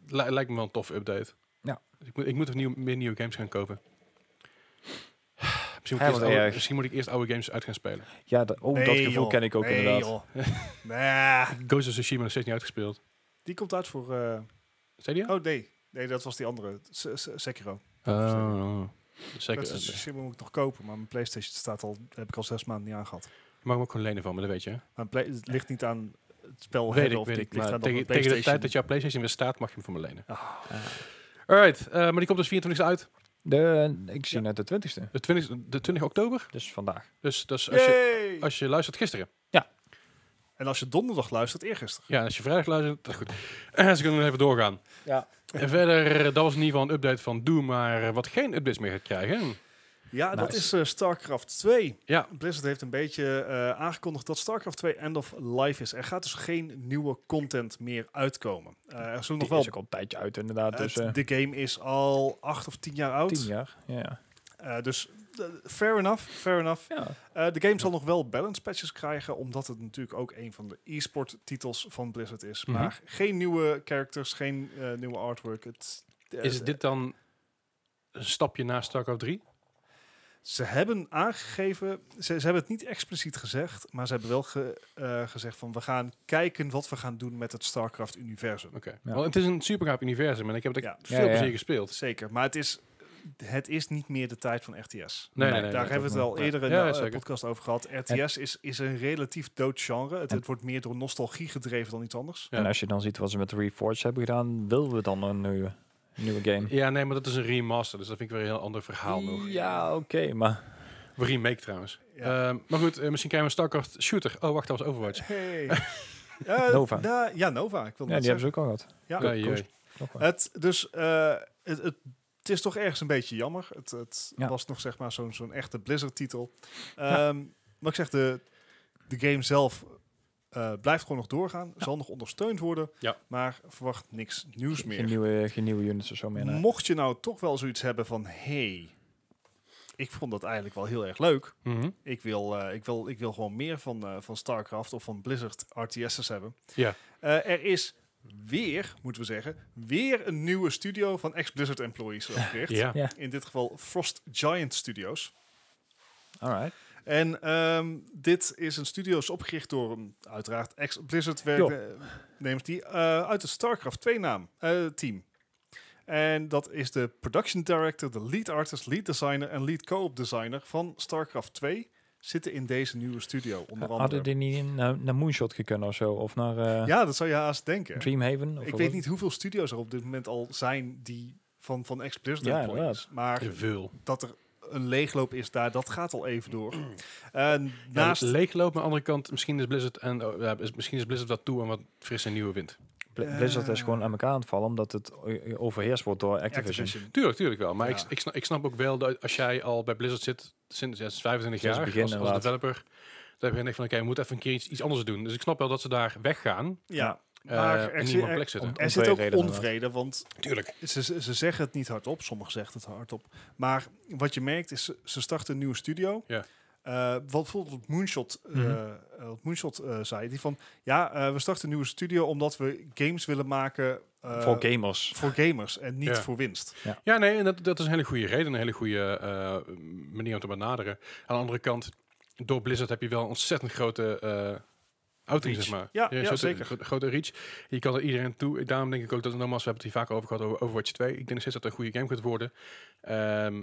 Speaker 1: li- lijkt me wel een toffe update.
Speaker 3: Ja.
Speaker 1: Dus ik, moet, ik moet er nieuw, meer nieuwe games gaan kopen. Misschien moet, ik eerst
Speaker 3: Hij was
Speaker 1: oude,
Speaker 3: erg.
Speaker 1: misschien moet ik eerst oude games uit gaan spelen.
Speaker 3: ja, dat, oh, dat
Speaker 2: Nee,
Speaker 3: gevoel
Speaker 2: joh.
Speaker 3: ken ik ook
Speaker 2: Nee,
Speaker 3: inderdaad.
Speaker 2: joh. Nah,
Speaker 1: Ghost of Tsushima nog steeds niet uitgespeeld.
Speaker 2: die komt uit voor... eh,
Speaker 1: Zei die? al?
Speaker 2: Oh, nee. Nee, dat was die andere. S- S- Sekiro.
Speaker 1: Oh, oh. Zeker.
Speaker 2: Dat is
Speaker 1: eh,
Speaker 2: Sekiro moet ik nog kopen, maar mijn Playstation staat al, heb ik al zes maanden niet aangehad.
Speaker 1: Je mag hem ook gewoon lenen van me, dat weet je. hè?
Speaker 2: Mijn play, het ligt niet aan het spel
Speaker 1: Weet
Speaker 2: hebben
Speaker 1: ik,
Speaker 2: of
Speaker 1: weet
Speaker 2: niet.
Speaker 1: ik.
Speaker 2: Het ligt
Speaker 1: Maar
Speaker 2: aan
Speaker 1: tegen,
Speaker 2: tegen, PlayStation.
Speaker 1: tegen de tijd dat jouw PlayStation weer staat, mag je hem van me lenen.
Speaker 2: Ah.
Speaker 1: Alright, eh, maar die komt dus 24 uit.
Speaker 3: De, ik zie net de 20ste,
Speaker 1: De 20, de 20 oktober.
Speaker 3: dus vandaag.
Speaker 1: Dus, dus als, je,
Speaker 2: Yay!
Speaker 1: als je luistert gisteren.
Speaker 2: En als je donderdag luistert, eergisteren.
Speaker 1: Ja, en als je vrijdag luistert, dat is goed. ze kunnen we even doorgaan.
Speaker 3: Ja.
Speaker 1: En verder, eh, dat was in ieder geval een update van Doom, maar eh, wat geen updates meer gaat krijgen.
Speaker 2: Ja, dat
Speaker 3: Nice.
Speaker 2: is eh, StarCraft 2.
Speaker 1: Ja.
Speaker 2: Blizzard heeft een beetje eh, aangekondigd dat StarCraft 2 end of life is. Er gaat dus geen nieuwe content meer uitkomen. Eh, er zullen
Speaker 3: Die
Speaker 2: nog wel...
Speaker 3: is ook al een tijdje uit inderdaad, dus eh
Speaker 2: het- de game is al acht of tien jaar oud.
Speaker 3: 10 jaar. Ja.
Speaker 2: Eh, dus eh, fair enough, fair enough.
Speaker 3: Ja.
Speaker 2: Eh, de game zal nog wel balance patches krijgen, omdat het natuurlijk ook een van de e-sport titels van Blizzard is.
Speaker 1: Mhm.
Speaker 2: Maar geen nieuwe characters, geen eh, nieuwe artwork. Het, eh,
Speaker 1: Is dit dan een stapje naar StarCraft 3?
Speaker 2: Ze hebben aangegeven, ze, ze hebben het niet expliciet gezegd, maar ze hebben wel ge- eh, gezegd van we gaan kijken wat we gaan doen met het StarCraft-universum.
Speaker 1: Oké.
Speaker 3: Ja.
Speaker 1: Want het is een super gaaf universum en ik heb het
Speaker 2: Ja.
Speaker 1: echt veel
Speaker 3: Ja, ja, ja.
Speaker 1: plezier gespeeld.
Speaker 2: Zeker, maar het is, het is niet meer de tijd van RTS.
Speaker 1: Nee, nee,
Speaker 3: Nee,
Speaker 1: nee.
Speaker 2: Daar
Speaker 1: nee.
Speaker 2: hebben we het
Speaker 1: ook
Speaker 2: al
Speaker 1: niet.
Speaker 2: eerder in
Speaker 1: Ja,
Speaker 2: de
Speaker 1: ja,
Speaker 2: eh,
Speaker 1: zeker.
Speaker 2: podcast over gehad. RTS is, is een relatief dood genre. Het,
Speaker 3: En-
Speaker 2: het wordt meer door nostalgie gedreven dan iets anders.
Speaker 1: Ja.
Speaker 3: En als je dan ziet wat ze met Reforged hebben gedaan, willen we dan een nieuwe, nieuwe game?
Speaker 1: Ja, nee, maar dat is een remaster, dus dat vind ik weer een heel ander verhaal nog.
Speaker 3: Ja, oké, maar...
Speaker 1: Of Remake trouwens.
Speaker 2: Ja.
Speaker 1: Ehm, maar goed, eh, misschien krijgen we een StarCraft shooter. Oh, wacht, dat was Overwatch.
Speaker 2: Hey. Eh,
Speaker 3: Nova.
Speaker 2: da- ja, Nova. Ik wil
Speaker 3: Ja,
Speaker 2: net
Speaker 3: die hebben ze
Speaker 2: zeggen.
Speaker 3: ook al gehad.
Speaker 2: Ja.
Speaker 1: Ai, ai.
Speaker 3: Koos. Nog wel.
Speaker 2: Het, dus eh, het, het, het is toch ergens een beetje jammer. Het, het
Speaker 3: Ja.
Speaker 2: was nog zeg maar zo'n zo'n echte Blizzard-titel. Ehm Maar ik zeg, de, de game zelf eh, blijft gewoon nog doorgaan. Zal nog ondersteund worden.
Speaker 1: Ja.
Speaker 2: Maar verwacht niks nieuws meer.
Speaker 3: Geen nieuwe, geen nieuwe units of zo meer. nee.
Speaker 2: Mocht je nou toch wel zoiets hebben van... hey, ik vond dat eigenlijk wel heel erg leuk.
Speaker 1: Mhm.
Speaker 2: Ik wil, eh, ik wil, ik wil gewoon meer van, eh, van StarCraft of van Blizzard RTS'ers hebben.
Speaker 1: Ja.
Speaker 2: Eh, er is weer, moeten we zeggen, weer een nieuwe studio van ex-Blizzard employees opgericht.
Speaker 1: Ja.
Speaker 3: Ja.
Speaker 2: In dit geval Frost Giant Studios.
Speaker 3: Alright.
Speaker 2: En ehm, dit is een studio is opgericht door um, uiteraard ex-Blizzard werknemers die eh, uit het StarCraft 2 naam, eh, team. En dat is de production director, de lead artist, lead designer en lead co-op designer van StarCraft 2 zitten in deze nieuwe studio onder andere.
Speaker 3: Hadden die niet in, naar, naar Moonshot gekund of zo? Of naar eh,
Speaker 2: Ja, dat zou je haast denken.
Speaker 3: Dreamhaven? Of
Speaker 2: Ik
Speaker 3: wat?
Speaker 2: weet niet hoeveel studio's er op dit moment al zijn die van, van ex-Blizzard
Speaker 3: Ja,
Speaker 2: employees. Maar
Speaker 1: Te veel.
Speaker 2: dat er een leegloop is daar, dat gaat al even door. En
Speaker 1: Naast...
Speaker 2: naast
Speaker 1: leeglopen, aan de andere kant, misschien is Blizzard, en, oh, ja, is, misschien is Blizzard wat toe en wat frisse nieuwe wind.
Speaker 3: Bl- Blizzard is
Speaker 2: Eh.
Speaker 3: gewoon aan elkaar aan het vallen, omdat het eh, overheerst wordt door Activision.
Speaker 2: Activision.
Speaker 1: Tuurlijk, tuurlijk wel. Maar ik,
Speaker 2: Ja.
Speaker 1: ik, snap, ik snap ook wel dat als jij al bij Blizzard zit sinds, ja, sinds 25
Speaker 3: Sinds
Speaker 1: jaar
Speaker 3: het begin,
Speaker 1: als, als
Speaker 3: inderdaad.
Speaker 1: developer, dan begin ik van oké, we moeten even een keer iets, iets anders doen. Dus ik snap wel dat ze daar weggaan.
Speaker 2: Ja. Maar
Speaker 1: eh
Speaker 2: er
Speaker 1: in
Speaker 2: zit-
Speaker 1: iemand
Speaker 2: er-
Speaker 1: plek zitten.
Speaker 2: Er
Speaker 3: om
Speaker 2: zit
Speaker 3: twee
Speaker 2: ook
Speaker 3: redenen
Speaker 2: onvrede, want
Speaker 1: Tuurlijk.
Speaker 2: ze, ze ze zeggen het niet hardop. Sommigen zeggen het hardop. Maar wat je merkt is, ze- ze starten een nieuwe studio.
Speaker 1: Ja.
Speaker 2: Eh, wat bijvoorbeeld wat Moonshot, eh,
Speaker 3: Mhm.
Speaker 2: eh, wat Moonshot eh, zei. Die van, ja, eh, we starten een nieuwe studio omdat we games willen maken... eh,
Speaker 3: voor gamers.
Speaker 2: voor gamers en niet
Speaker 1: Ja.
Speaker 2: voor winst.
Speaker 1: Ja, nee, en dat, dat is een hele goede reden, een hele goede eh, manier om te benaderen. Aan de andere kant, door Blizzard heb je wel een ontzettend grote eh outing,
Speaker 2: Reach.
Speaker 1: zeg maar.
Speaker 2: Ja,
Speaker 1: Je
Speaker 2: ja,
Speaker 1: hebt zo'n
Speaker 2: zeker.
Speaker 1: gro- grote reach. Je kan er iedereen toe. Daarom denk ik ook dat, nogmaals, we hebben het hier vaak over gehad over Overwatch 2. Ik denk nog steeds dat het een goede game gaat worden. Ehm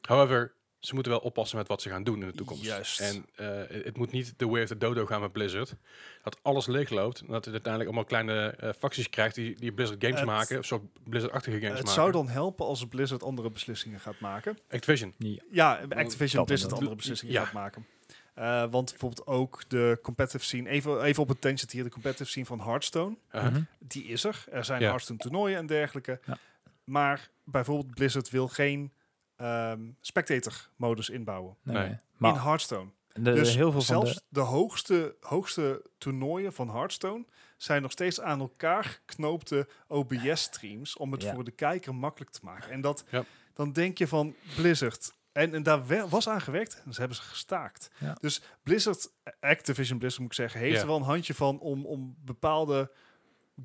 Speaker 1: however, ze moeten wel oppassen met wat ze gaan doen in de toekomst.
Speaker 2: Juist.
Speaker 1: En eh, het moet niet de way of the dodo gaan met Blizzard. Dat alles leegloopt. En dat het uiteindelijk allemaal kleine eh, facties krijgt die, die Blizzard games
Speaker 2: Het-
Speaker 1: maken. Of soort Blizzard-achtige games
Speaker 2: het
Speaker 1: maken.
Speaker 2: zou dan helpen als Blizzard andere beslissingen gaat maken.
Speaker 1: Activision.
Speaker 2: Ja, Activision
Speaker 3: dat
Speaker 2: Blizzard
Speaker 3: dan.
Speaker 2: andere beslissingen
Speaker 1: Ja.
Speaker 2: gaat maken. Eh, want bijvoorbeeld ook de competitive scene, even, even op het tangent hier, de competitive scene van Hearthstone,
Speaker 1: Uh-huh.
Speaker 3: Mhm.
Speaker 2: die is er. Er zijn
Speaker 1: Ja.
Speaker 2: Hearthstone toernooien en dergelijke.
Speaker 3: Ja.
Speaker 2: Maar bijvoorbeeld Blizzard wil geen ehm, spectator modus inbouwen
Speaker 3: Nee,
Speaker 1: Nee.
Speaker 3: nee.
Speaker 2: in
Speaker 3: Maar
Speaker 2: Hearthstone.
Speaker 3: de,
Speaker 2: dus
Speaker 3: heel veel van
Speaker 2: zelfs
Speaker 3: de...
Speaker 2: de, hoogste, hoogste toernooien van Hearthstone zijn nog steeds aan elkaar geknoopte OBS-streams om het
Speaker 3: Ja.
Speaker 2: voor de kijker makkelijk te maken. En dat,
Speaker 1: Ja.
Speaker 2: dan denk je van Blizzard. En, en daar we- was aan gewerkt en ze hebben ze gestaakt.
Speaker 3: Ja.
Speaker 2: Dus Blizzard, Activision Blizzard moet ik zeggen, heeft
Speaker 1: Ja.
Speaker 2: er wel een handje van om, om bepaalde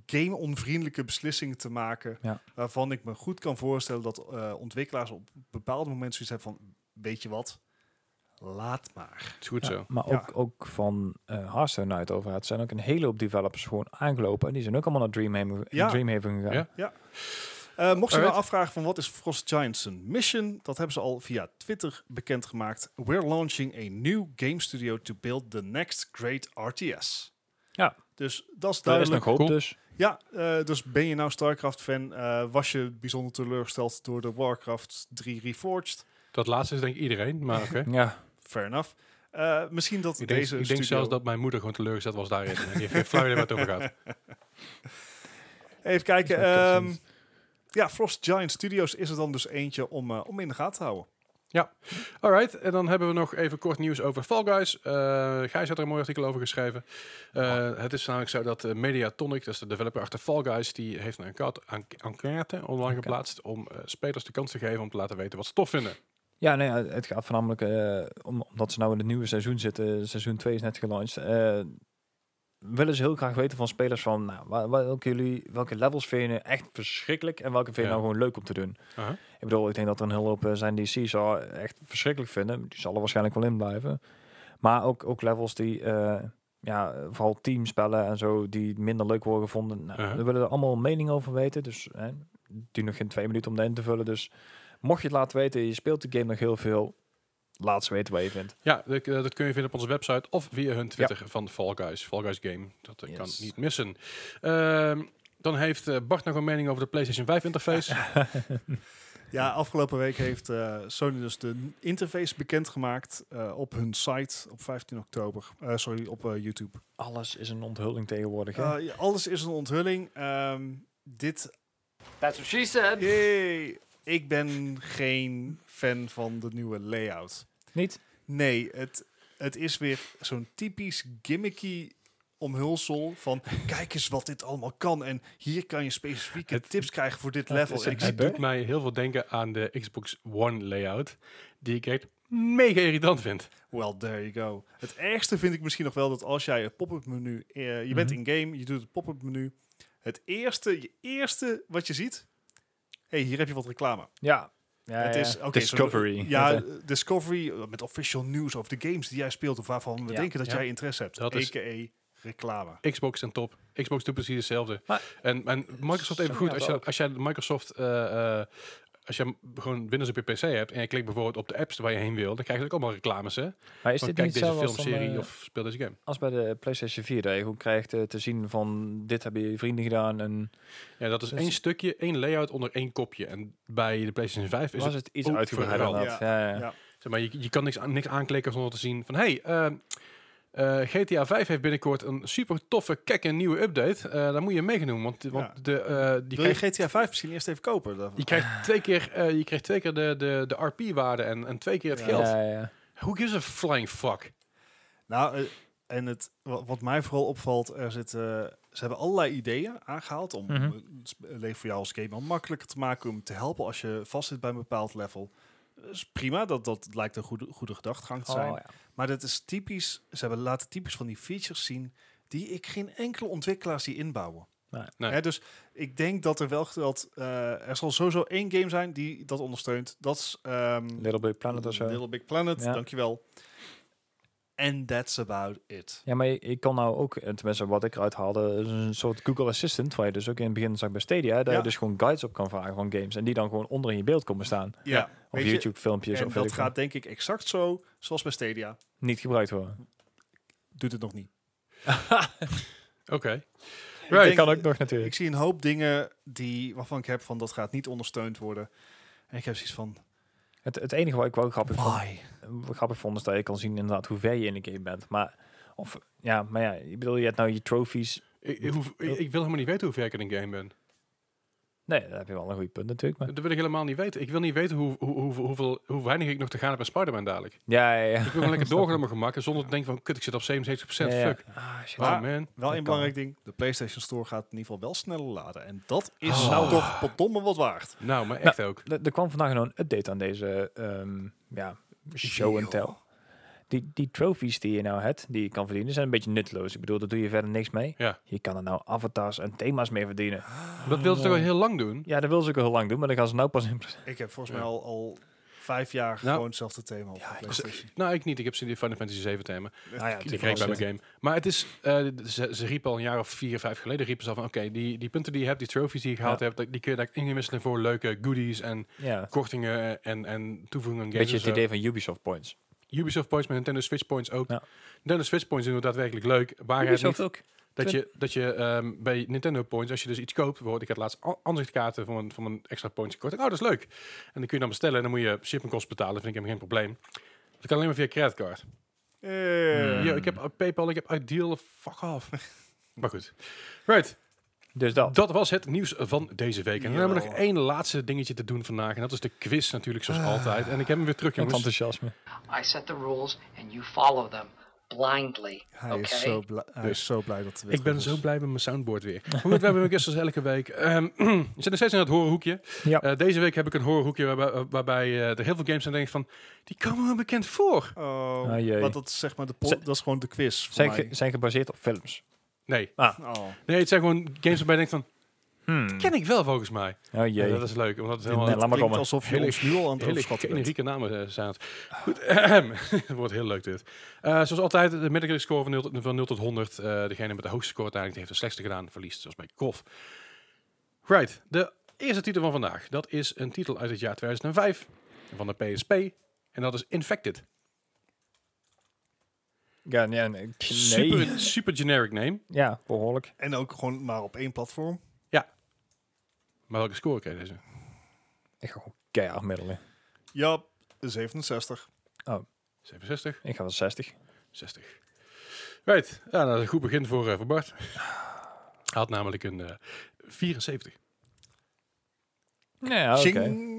Speaker 2: game-onvriendelijke beslissingen te maken.
Speaker 3: Ja.
Speaker 2: Waarvan ik me goed kan voorstellen dat eh, ontwikkelaars op bepaalde momenten zoiets hebben van, weet je wat, laat maar.
Speaker 1: Het is goed
Speaker 3: Ja,
Speaker 1: zo.
Speaker 3: Maar
Speaker 2: Ja.
Speaker 3: ook, ook van eh Hearthstone uit overheid zijn ook een hele hoop developers gewoon aangelopen. En die zijn ook allemaal naar Dreamhaven,
Speaker 2: Ja.
Speaker 3: Dreamhaven gegaan.
Speaker 1: Ja.
Speaker 2: Eh, mocht je nou
Speaker 1: Alright.
Speaker 2: afvragen van wat is Frost Giants een mission, dat hebben ze al via Twitter bekendgemaakt. We're launching a new game studio to build the next great RTS.
Speaker 3: Ja.
Speaker 2: Dus dat is
Speaker 3: Daar is
Speaker 2: duidelijk.
Speaker 3: nog hoop
Speaker 1: Cool.
Speaker 3: dus.
Speaker 2: Ja, eh, dus ben je nou StarCraft-fan, eh, was je bijzonder teleurgesteld door de Warcraft 3 Reforged?
Speaker 1: Dat laatste is denk ik iedereen, maar oké.
Speaker 3: Ja,
Speaker 2: Fair enough. Eh, misschien dat
Speaker 1: Ik denk,
Speaker 2: deze
Speaker 1: ik denk
Speaker 2: studio...
Speaker 1: zelfs dat mijn moeder gewoon teleurgesteld was daarin. En die heeft geen flauw idee waar het over gaat.
Speaker 2: Even
Speaker 3: Dat
Speaker 2: kijken.
Speaker 3: is wel
Speaker 2: ehm,
Speaker 3: constant.
Speaker 2: ja, Frost Giant Studios is er dan dus eentje om, eh, om in de gaten te houden.
Speaker 1: Alright, en dan hebben we nog even kort nieuws over Fall Guys. Eh Gijs had er een mooi artikel over geschreven. Eh, Het is namelijk zo dat eh, Mediatonic, dat is de developer achter Fall Guys, die heeft een enquête- en- enquête online geplaatst om eh, spelers de kans te geven om te laten weten wat ze tof vinden.
Speaker 3: ja nee, eh, het gaat voornamelijk, eh, om, omdat ze nou in het nieuwe seizoen zitten, seizoen 2 is net gelanceerd, eh, willen ze heel graag weten van spelers van nou, wa- welke, jullie, welke levels vind je echt verschrikkelijk en welke vind je
Speaker 1: Ja.
Speaker 3: nou gewoon leuk om te doen.
Speaker 1: Aha.
Speaker 3: Ik bedoel, ik denk dat er een hele hoop eh, zijn die Caesar echt verschrikkelijk vinden. Die zal er waarschijnlijk wel in blijven. Maar ook, ook levels die, eh, ja, eh, vooral teamspellen en zo, die minder leuk worden gevonden. Nou,
Speaker 1: Uh-huh.
Speaker 3: We willen er allemaal mening over weten. Dus hè, die nog geen twee minuten om de in te vullen. Dus mocht je het laten weten, je speelt de game nog heel veel. Laat ze weten wat je vindt.
Speaker 1: Ja, dat, eh, dat kun je vinden op onze website of via hun Twitter van Fall Guys. Fall Guys Game, dat eh, kan
Speaker 3: Yes.
Speaker 1: niet missen. Ehm, dan heeft eh, Bart nog een mening over de PlayStation 5 interface.
Speaker 2: Ja, afgelopen week heeft eh, Sony dus de n- interface bekendgemaakt eh, op hun site op 15 oktober. Eh, sorry, op eh, YouTube.
Speaker 3: Alles is een onthulling tegenwoordig. hè?
Speaker 2: Eh, ja, alles is een onthulling. Ehm, dit,
Speaker 4: That's what she said.
Speaker 2: yay, ik ben geen fan van de nieuwe layout.
Speaker 3: Niet?
Speaker 2: Nee, het, het is weer zo'n typisch gimmicky omhulsel van kijk eens wat dit allemaal kan en hier kan je specifieke
Speaker 1: Het-
Speaker 2: tips krijgen voor dit
Speaker 1: Het-
Speaker 2: level.
Speaker 1: het-
Speaker 2: En ik
Speaker 1: het
Speaker 2: zie-
Speaker 1: doet mij heel veel denken aan de Xbox One layout, die ik echt mega irritant vind.
Speaker 2: Well, there you go. Het ergste vind ik misschien nog wel dat als jij het pop-up menu... eh, je bent
Speaker 3: Mhm.
Speaker 2: in-game, je doet het pop-up menu. Het eerste, je eerste wat je ziet... hey, hier heb je wat reclame.
Speaker 3: Ja. ja
Speaker 2: het
Speaker 3: ja.
Speaker 2: is, oké, zo-
Speaker 3: Discovery.
Speaker 2: ja,
Speaker 3: Dat, eh,
Speaker 2: eh, Discovery eh, met official news over de games die jij speelt... of waarvan we
Speaker 3: Ja.
Speaker 2: denken dat
Speaker 1: Ja.
Speaker 2: jij interesse hebt.
Speaker 1: Dat is-
Speaker 2: A.k.a. reclame.
Speaker 1: Xbox en top. Xbox doet precies hetzelfde.
Speaker 3: Maar-
Speaker 1: en, en Microsoft even
Speaker 3: Zo
Speaker 1: goed.
Speaker 3: gaat
Speaker 1: Als
Speaker 3: het
Speaker 1: je,
Speaker 3: ook.
Speaker 1: als jij Microsoft... eh, eh, als je gewoon Windows op je PC hebt en je klikt bijvoorbeeld op de apps waar je heen wil, dan krijg je ook allemaal reclames. Hè?
Speaker 3: maar is
Speaker 1: Van,
Speaker 3: dit
Speaker 1: oh, kijk
Speaker 3: niet
Speaker 1: deze
Speaker 3: hetzelfde als dan,
Speaker 1: filmserie
Speaker 3: eh,
Speaker 1: of speel deze game.
Speaker 3: als bij de PlayStation 4, dat je gewoon krijgt eh, te zien van dit hebben je vrienden gedaan en
Speaker 1: Ja, dat is
Speaker 3: Dus-
Speaker 1: één stukje, één layout onder één kopje. En bij de PlayStation 5 is
Speaker 3: was
Speaker 1: het,
Speaker 3: het iets
Speaker 1: ook
Speaker 3: uitgebreider dan
Speaker 1: verhaal.
Speaker 3: dat.
Speaker 2: Ja.
Speaker 3: Ja, ja.
Speaker 2: Ja.
Speaker 1: Zeg maar, je, je kan niks, aan, niks aanklikken zonder te zien van... Hey, eh, eh, GTA 5 heeft binnenkort een super toffe, kekke nieuwe update. Eh daar moet je mee gaan doen, want, want de, eh, die
Speaker 2: Wil je
Speaker 1: krijgt,
Speaker 2: GTA 5 misschien eerst even kopen? Dan-
Speaker 1: je krijgt twee keer, eh, je krijgt twee keer de, de, de RP-waarde en, en twee keer het
Speaker 2: Ja.
Speaker 1: geld.
Speaker 3: Ja, ja, ja.
Speaker 1: Who gives a flying fuck?
Speaker 2: Nou, eh, En het, wa- wat mij vooral opvalt, er zitten, ze hebben allerlei ideeën aangehaald om
Speaker 3: Mhm.
Speaker 2: eh, sp- het leven voor jou als gamer makkelijker te maken, om te helpen als je vast zit bij een bepaald level. Dat is prima, dat, dat lijkt een goede, goede gedachtegang te zijn.
Speaker 3: Oh, ja.
Speaker 2: Maar dat is typisch, ze hebben laten typisch van die features zien die ik geen enkele ontwikkelaar zie inbouwen.
Speaker 3: Nee.
Speaker 1: Nee.
Speaker 2: Hè, dus ik denk dat er wel dat eh, er zal sowieso één game zijn die dat ondersteunt. Dat is ehm,
Speaker 3: Little Big Planet of zo.
Speaker 2: Little Big Planet,
Speaker 3: Ja.
Speaker 2: dankjewel. And that's about it.
Speaker 3: Ja, maar je, je kan nou ook, eh, tenminste wat ik eruit haalde, is een soort Google Assistant, waar je dus ook in het begin zag bij Stadia, dat
Speaker 2: Ja.
Speaker 3: je dus gewoon guides op kan vragen van games en die dan gewoon onder in je beeld komen staan.
Speaker 2: Ja,
Speaker 3: Of
Speaker 2: weet je,
Speaker 3: YouTube filmpjes
Speaker 2: en
Speaker 3: of weet
Speaker 2: dat
Speaker 3: ik wat.
Speaker 2: gaat denk ik exact zo, zoals bij Stadia.
Speaker 3: niet gebruikt worden.
Speaker 2: Doet het nog niet.
Speaker 1: Oké.
Speaker 2: Right.
Speaker 3: Ik
Speaker 2: denk-
Speaker 3: kan ook nog
Speaker 2: Ik
Speaker 3: natuurlijk.
Speaker 2: zie een hoop dingen die, waarvan ik heb van dat gaat niet ondersteund worden. En ik heb zoiets van,
Speaker 3: Het, het enige wat ik wel grappig vond,
Speaker 2: why?
Speaker 3: wat ik grappig vond is dat je kan zien inderdaad hoe ver je in de game bent. Maar, of, ja, maar ja, ik bedoel, je hebt nou je trophies.
Speaker 1: Ik, ik, hoef- ik- ik wil helemaal niet weten hoe ver ik in een game ben.
Speaker 3: Nee, daar heb je wel een goed punt natuurlijk. Maar,
Speaker 1: Dat wil ik helemaal niet weten. Ik wil niet weten hoe, hoe, hoe, hoeveel, hoe weinig ik nog te gaan heb bij Spider-Man dadelijk. Ik
Speaker 3: ja, ja, ja.
Speaker 1: wil gewoon lekker doorgaan op mijn gemak. en Zonder te denken van, kut, ik zit op 77%.
Speaker 3: Ja, ja.
Speaker 1: Fuck.
Speaker 3: Ah, shit.
Speaker 1: Oh,
Speaker 2: Maar-
Speaker 1: man.
Speaker 2: Wel
Speaker 3: Dat
Speaker 2: een
Speaker 3: kan.
Speaker 2: belangrijk ding, de PlayStation Store gaat in ieder geval wel sneller laden. En dat is
Speaker 1: Oh.
Speaker 2: nou toch potdomme wat waard.
Speaker 1: Nou, maar echt ook.
Speaker 3: Er er kwam vandaag nog een update aan deze ehm, ja, show and tell. Die, die trophies die je nou hebt, die je kan verdienen, zijn een beetje nutteloos. Ik bedoel, daar doe je verder niks mee.
Speaker 1: Ja.
Speaker 3: Je kan er nou avatars en thema's mee verdienen.
Speaker 1: Dat
Speaker 3: Ah,
Speaker 1: wilden ze toch al heel lang doen?
Speaker 3: Ja, dat wil ze ook al heel lang doen, maar dan gaan ze nou pas in...
Speaker 2: Ik heb volgens
Speaker 1: Ja.
Speaker 2: mij al, al vijf jaar
Speaker 1: Nou.
Speaker 2: gewoon hetzelfde thema op de PlayStation.
Speaker 1: Nou, ik niet. Ik heb ze in die Final Fantasy 7 thema.
Speaker 3: Nou ja,
Speaker 1: Die kreeg ik bij mijn game. Maar het is, eh, ze, ze riepen al een jaar of vier, vijf geleden, riepen ze al van, oké, die, die punten die je hebt, die trophies die je gehaald
Speaker 3: Ja.
Speaker 1: hebt, dat- die kun je daar ingewisselen voor leuke goodies en
Speaker 3: Ja,
Speaker 1: kortingen en, en toevoegingen aan games.
Speaker 3: beetje het
Speaker 1: en zo.
Speaker 3: idee van Ubisoft Points.
Speaker 1: Ubisoft Points met Nintendo Switch Points ook.
Speaker 3: Ja.
Speaker 1: Nintendo Switch Points doen het daadwerkelijk leuk. Waar het niet
Speaker 3: ook.
Speaker 1: dat je, dat je ehm, bij Nintendo Points, als je dus iets koopt, bijvoorbeeld ik had laatst a- aanzichtkaarten van een, van een extra points gekocht. Ik, Oh, dat is leuk. En dan kun je dan bestellen en dan moet je shippingkosten betalen. vind ik helemaal geen probleem. Dat kan alleen maar via creditcard.
Speaker 2: Eh,
Speaker 1: Yo, ik heb uh, PayPal, ik heb Ideal, fuck off. maar goed. Right.
Speaker 3: Dus dat.
Speaker 1: Dat was het nieuws van deze week. En dan hebben we nog
Speaker 2: Jawel.
Speaker 1: één laatste dingetje te doen vandaag. En dat is de quiz natuurlijk, zoals altijd. En ik heb hem weer terug,
Speaker 3: Met
Speaker 1: jongens.
Speaker 3: enthousiasme.
Speaker 6: I set the rules and you follow them blindly.
Speaker 2: Hij,
Speaker 6: okay?
Speaker 2: is zo blij, hij
Speaker 1: Dus.
Speaker 2: is zo blij dat het weer
Speaker 1: Ik ben
Speaker 2: terug
Speaker 1: zo
Speaker 2: is.
Speaker 1: blij met mijn soundboard weer. Maar goed, we hebben weer gisteren elke week. Ehm, we zijn nog steeds in het horenhoekje.
Speaker 3: Ja.
Speaker 1: Eh, deze week heb ik een horenhoekje waarbij, waarbij eh, er heel veel games aan denk ik van... Die komen wel bekend voor.
Speaker 2: Oh,
Speaker 3: Ah, jee.
Speaker 2: want dat is zeg maar de pol-
Speaker 3: Zijn-
Speaker 2: dat is gewoon de quiz voor
Speaker 3: Zijn,
Speaker 2: mij.
Speaker 3: ge- zijn gebaseerd op films. Ah,
Speaker 1: Nee.
Speaker 2: Oh.
Speaker 1: Nee, het zijn gewoon games waarbij je denkt van...
Speaker 3: Hmm.
Speaker 1: Ken ik wel volgens mij.
Speaker 3: Oh
Speaker 1: Ja,
Speaker 3: jee.
Speaker 1: dat is leuk, omdat het
Speaker 3: Nee,
Speaker 1: helemaal...
Speaker 3: laat maar
Speaker 2: Klinkt
Speaker 3: komen.
Speaker 2: alsof je
Speaker 1: Hele-
Speaker 2: ons nu al aan het
Speaker 1: Hele
Speaker 2: overschatten bent.
Speaker 1: generieke namen eh, zijn het. Goed, ehem. het wordt heel leuk dit. Eh, zoals altijd, de middelgrade score van 0 tot, van 0 tot 100. Eh, degene met de hoogste score uiteindelijk die heeft de slechtste gedaan, verliest, zoals bij golf. Right, de eerste titel van vandaag. Dat is een titel uit het jaar 2005 van de PSP. En dat is Infected.
Speaker 3: Ja, nee, nee. nee.
Speaker 1: Super, super generic name.
Speaker 3: Ja, behoorlijk.
Speaker 2: En ook gewoon maar op één platform.
Speaker 1: Maar welke score kreeg deze?
Speaker 3: Ik ga gewoon keihard middelen.
Speaker 2: Ja, 67.
Speaker 1: 67,
Speaker 3: Ik ga wel 60.
Speaker 1: 60. Right, ja, dat is een goed begin voor, eh, voor Bart. Hij had namelijk een eh, 74.
Speaker 3: Nee, oké.
Speaker 2: Ching.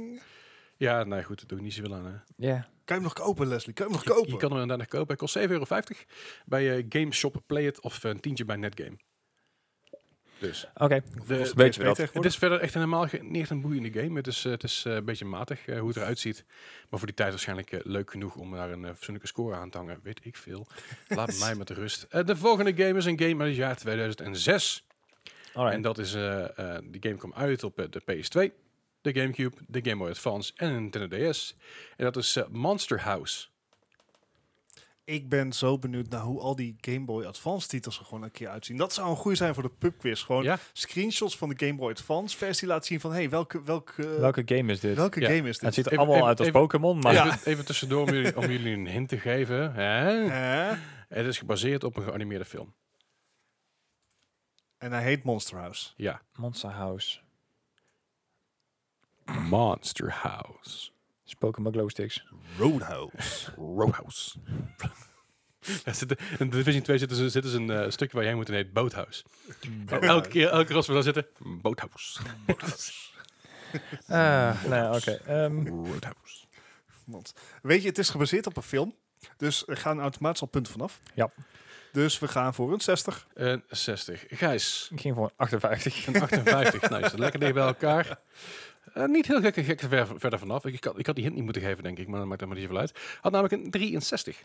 Speaker 1: Ja, nou goed, dat doe ik niet zoveel aan. Hè.
Speaker 3: Ja.
Speaker 2: Kan je hem nog kopen, Leslie? Kan je hem nog
Speaker 1: Je-
Speaker 2: kopen?
Speaker 1: Je kan hem inderdaad nog kopen. Hij kost 7,50 euro bij eh, Gameshop Play It of eh, een tientje bij Netgame. Dus
Speaker 3: Oké.
Speaker 1: de,
Speaker 3: Weet je
Speaker 2: PSP
Speaker 3: dat?
Speaker 1: het
Speaker 2: tegenwoordig?
Speaker 1: is verder echt helemaal ge- niet echt een boeiende game. Het is, eh, het is eh, een beetje matig eh, hoe het eruit ziet. Maar voor die tijd waarschijnlijk eh, leuk genoeg om daar een eh, fatsoenlijke score aan te hangen. Weet ik veel. Laat mij met rust. Eh, de volgende game is een game uit het jaar 2006. En
Speaker 3: Alright.
Speaker 1: dat is, eh, eh, die game kwam uit op eh, de PS2, de Gamecube, de Game Boy Advance en een Nintendo DS. En dat is eh, Monster House.
Speaker 2: Ik ben zo benieuwd naar hoe al die Game Boy Advance titels er gewoon een keer uitzien. Dat zou een goede zijn voor de pubquiz. Gewoon
Speaker 1: Ja.
Speaker 2: screenshots van de Game Boy Advance versie laten zien van... hey, welke, welke,
Speaker 3: Welke game is dit?
Speaker 2: welke
Speaker 1: Ja.
Speaker 2: game is
Speaker 3: Het
Speaker 2: dit?
Speaker 3: ziet er
Speaker 1: Even-
Speaker 3: allemaal
Speaker 1: even-
Speaker 3: uit als
Speaker 1: even-
Speaker 3: Pokémon, maar...
Speaker 1: Even, even tussendoor om jullie, om jullie een hint te geven. Hè?
Speaker 2: Hè?
Speaker 1: Het is gebaseerd op een geanimeerde film.
Speaker 2: En hij heet Monster House.
Speaker 1: Ja.
Speaker 3: Monster House.
Speaker 1: Monster House.
Speaker 3: Is Pokémon Glowsticks.
Speaker 2: Roadhouse.
Speaker 1: Rowhouse. Ja, zit, in Division 2 zitten ze, zitten ze een eh, stukje waar jij moet en heet Boothouse. Elke keer, elke keer als we daar zitten, Boothouse.
Speaker 3: Ah, nee, oké. Ehm,
Speaker 1: Roadhouse.
Speaker 2: Want, weet je, het is gebaseerd op een film. Dus er gaan automatisch al punten vanaf.
Speaker 3: ja.
Speaker 2: Dus we gaan voor een 60.
Speaker 1: Een 60. Eh, Gijs,
Speaker 3: Ik ging voor een 58.
Speaker 1: een 58. nou, is dat lekker dicht bij elkaar. Eh, niet heel gek, gek ver, verder vanaf. Ik, ik, had, ik had die hint niet moeten geven, denk ik, maar dat maakt helemaal niet zoveel uit. Had namelijk een 63.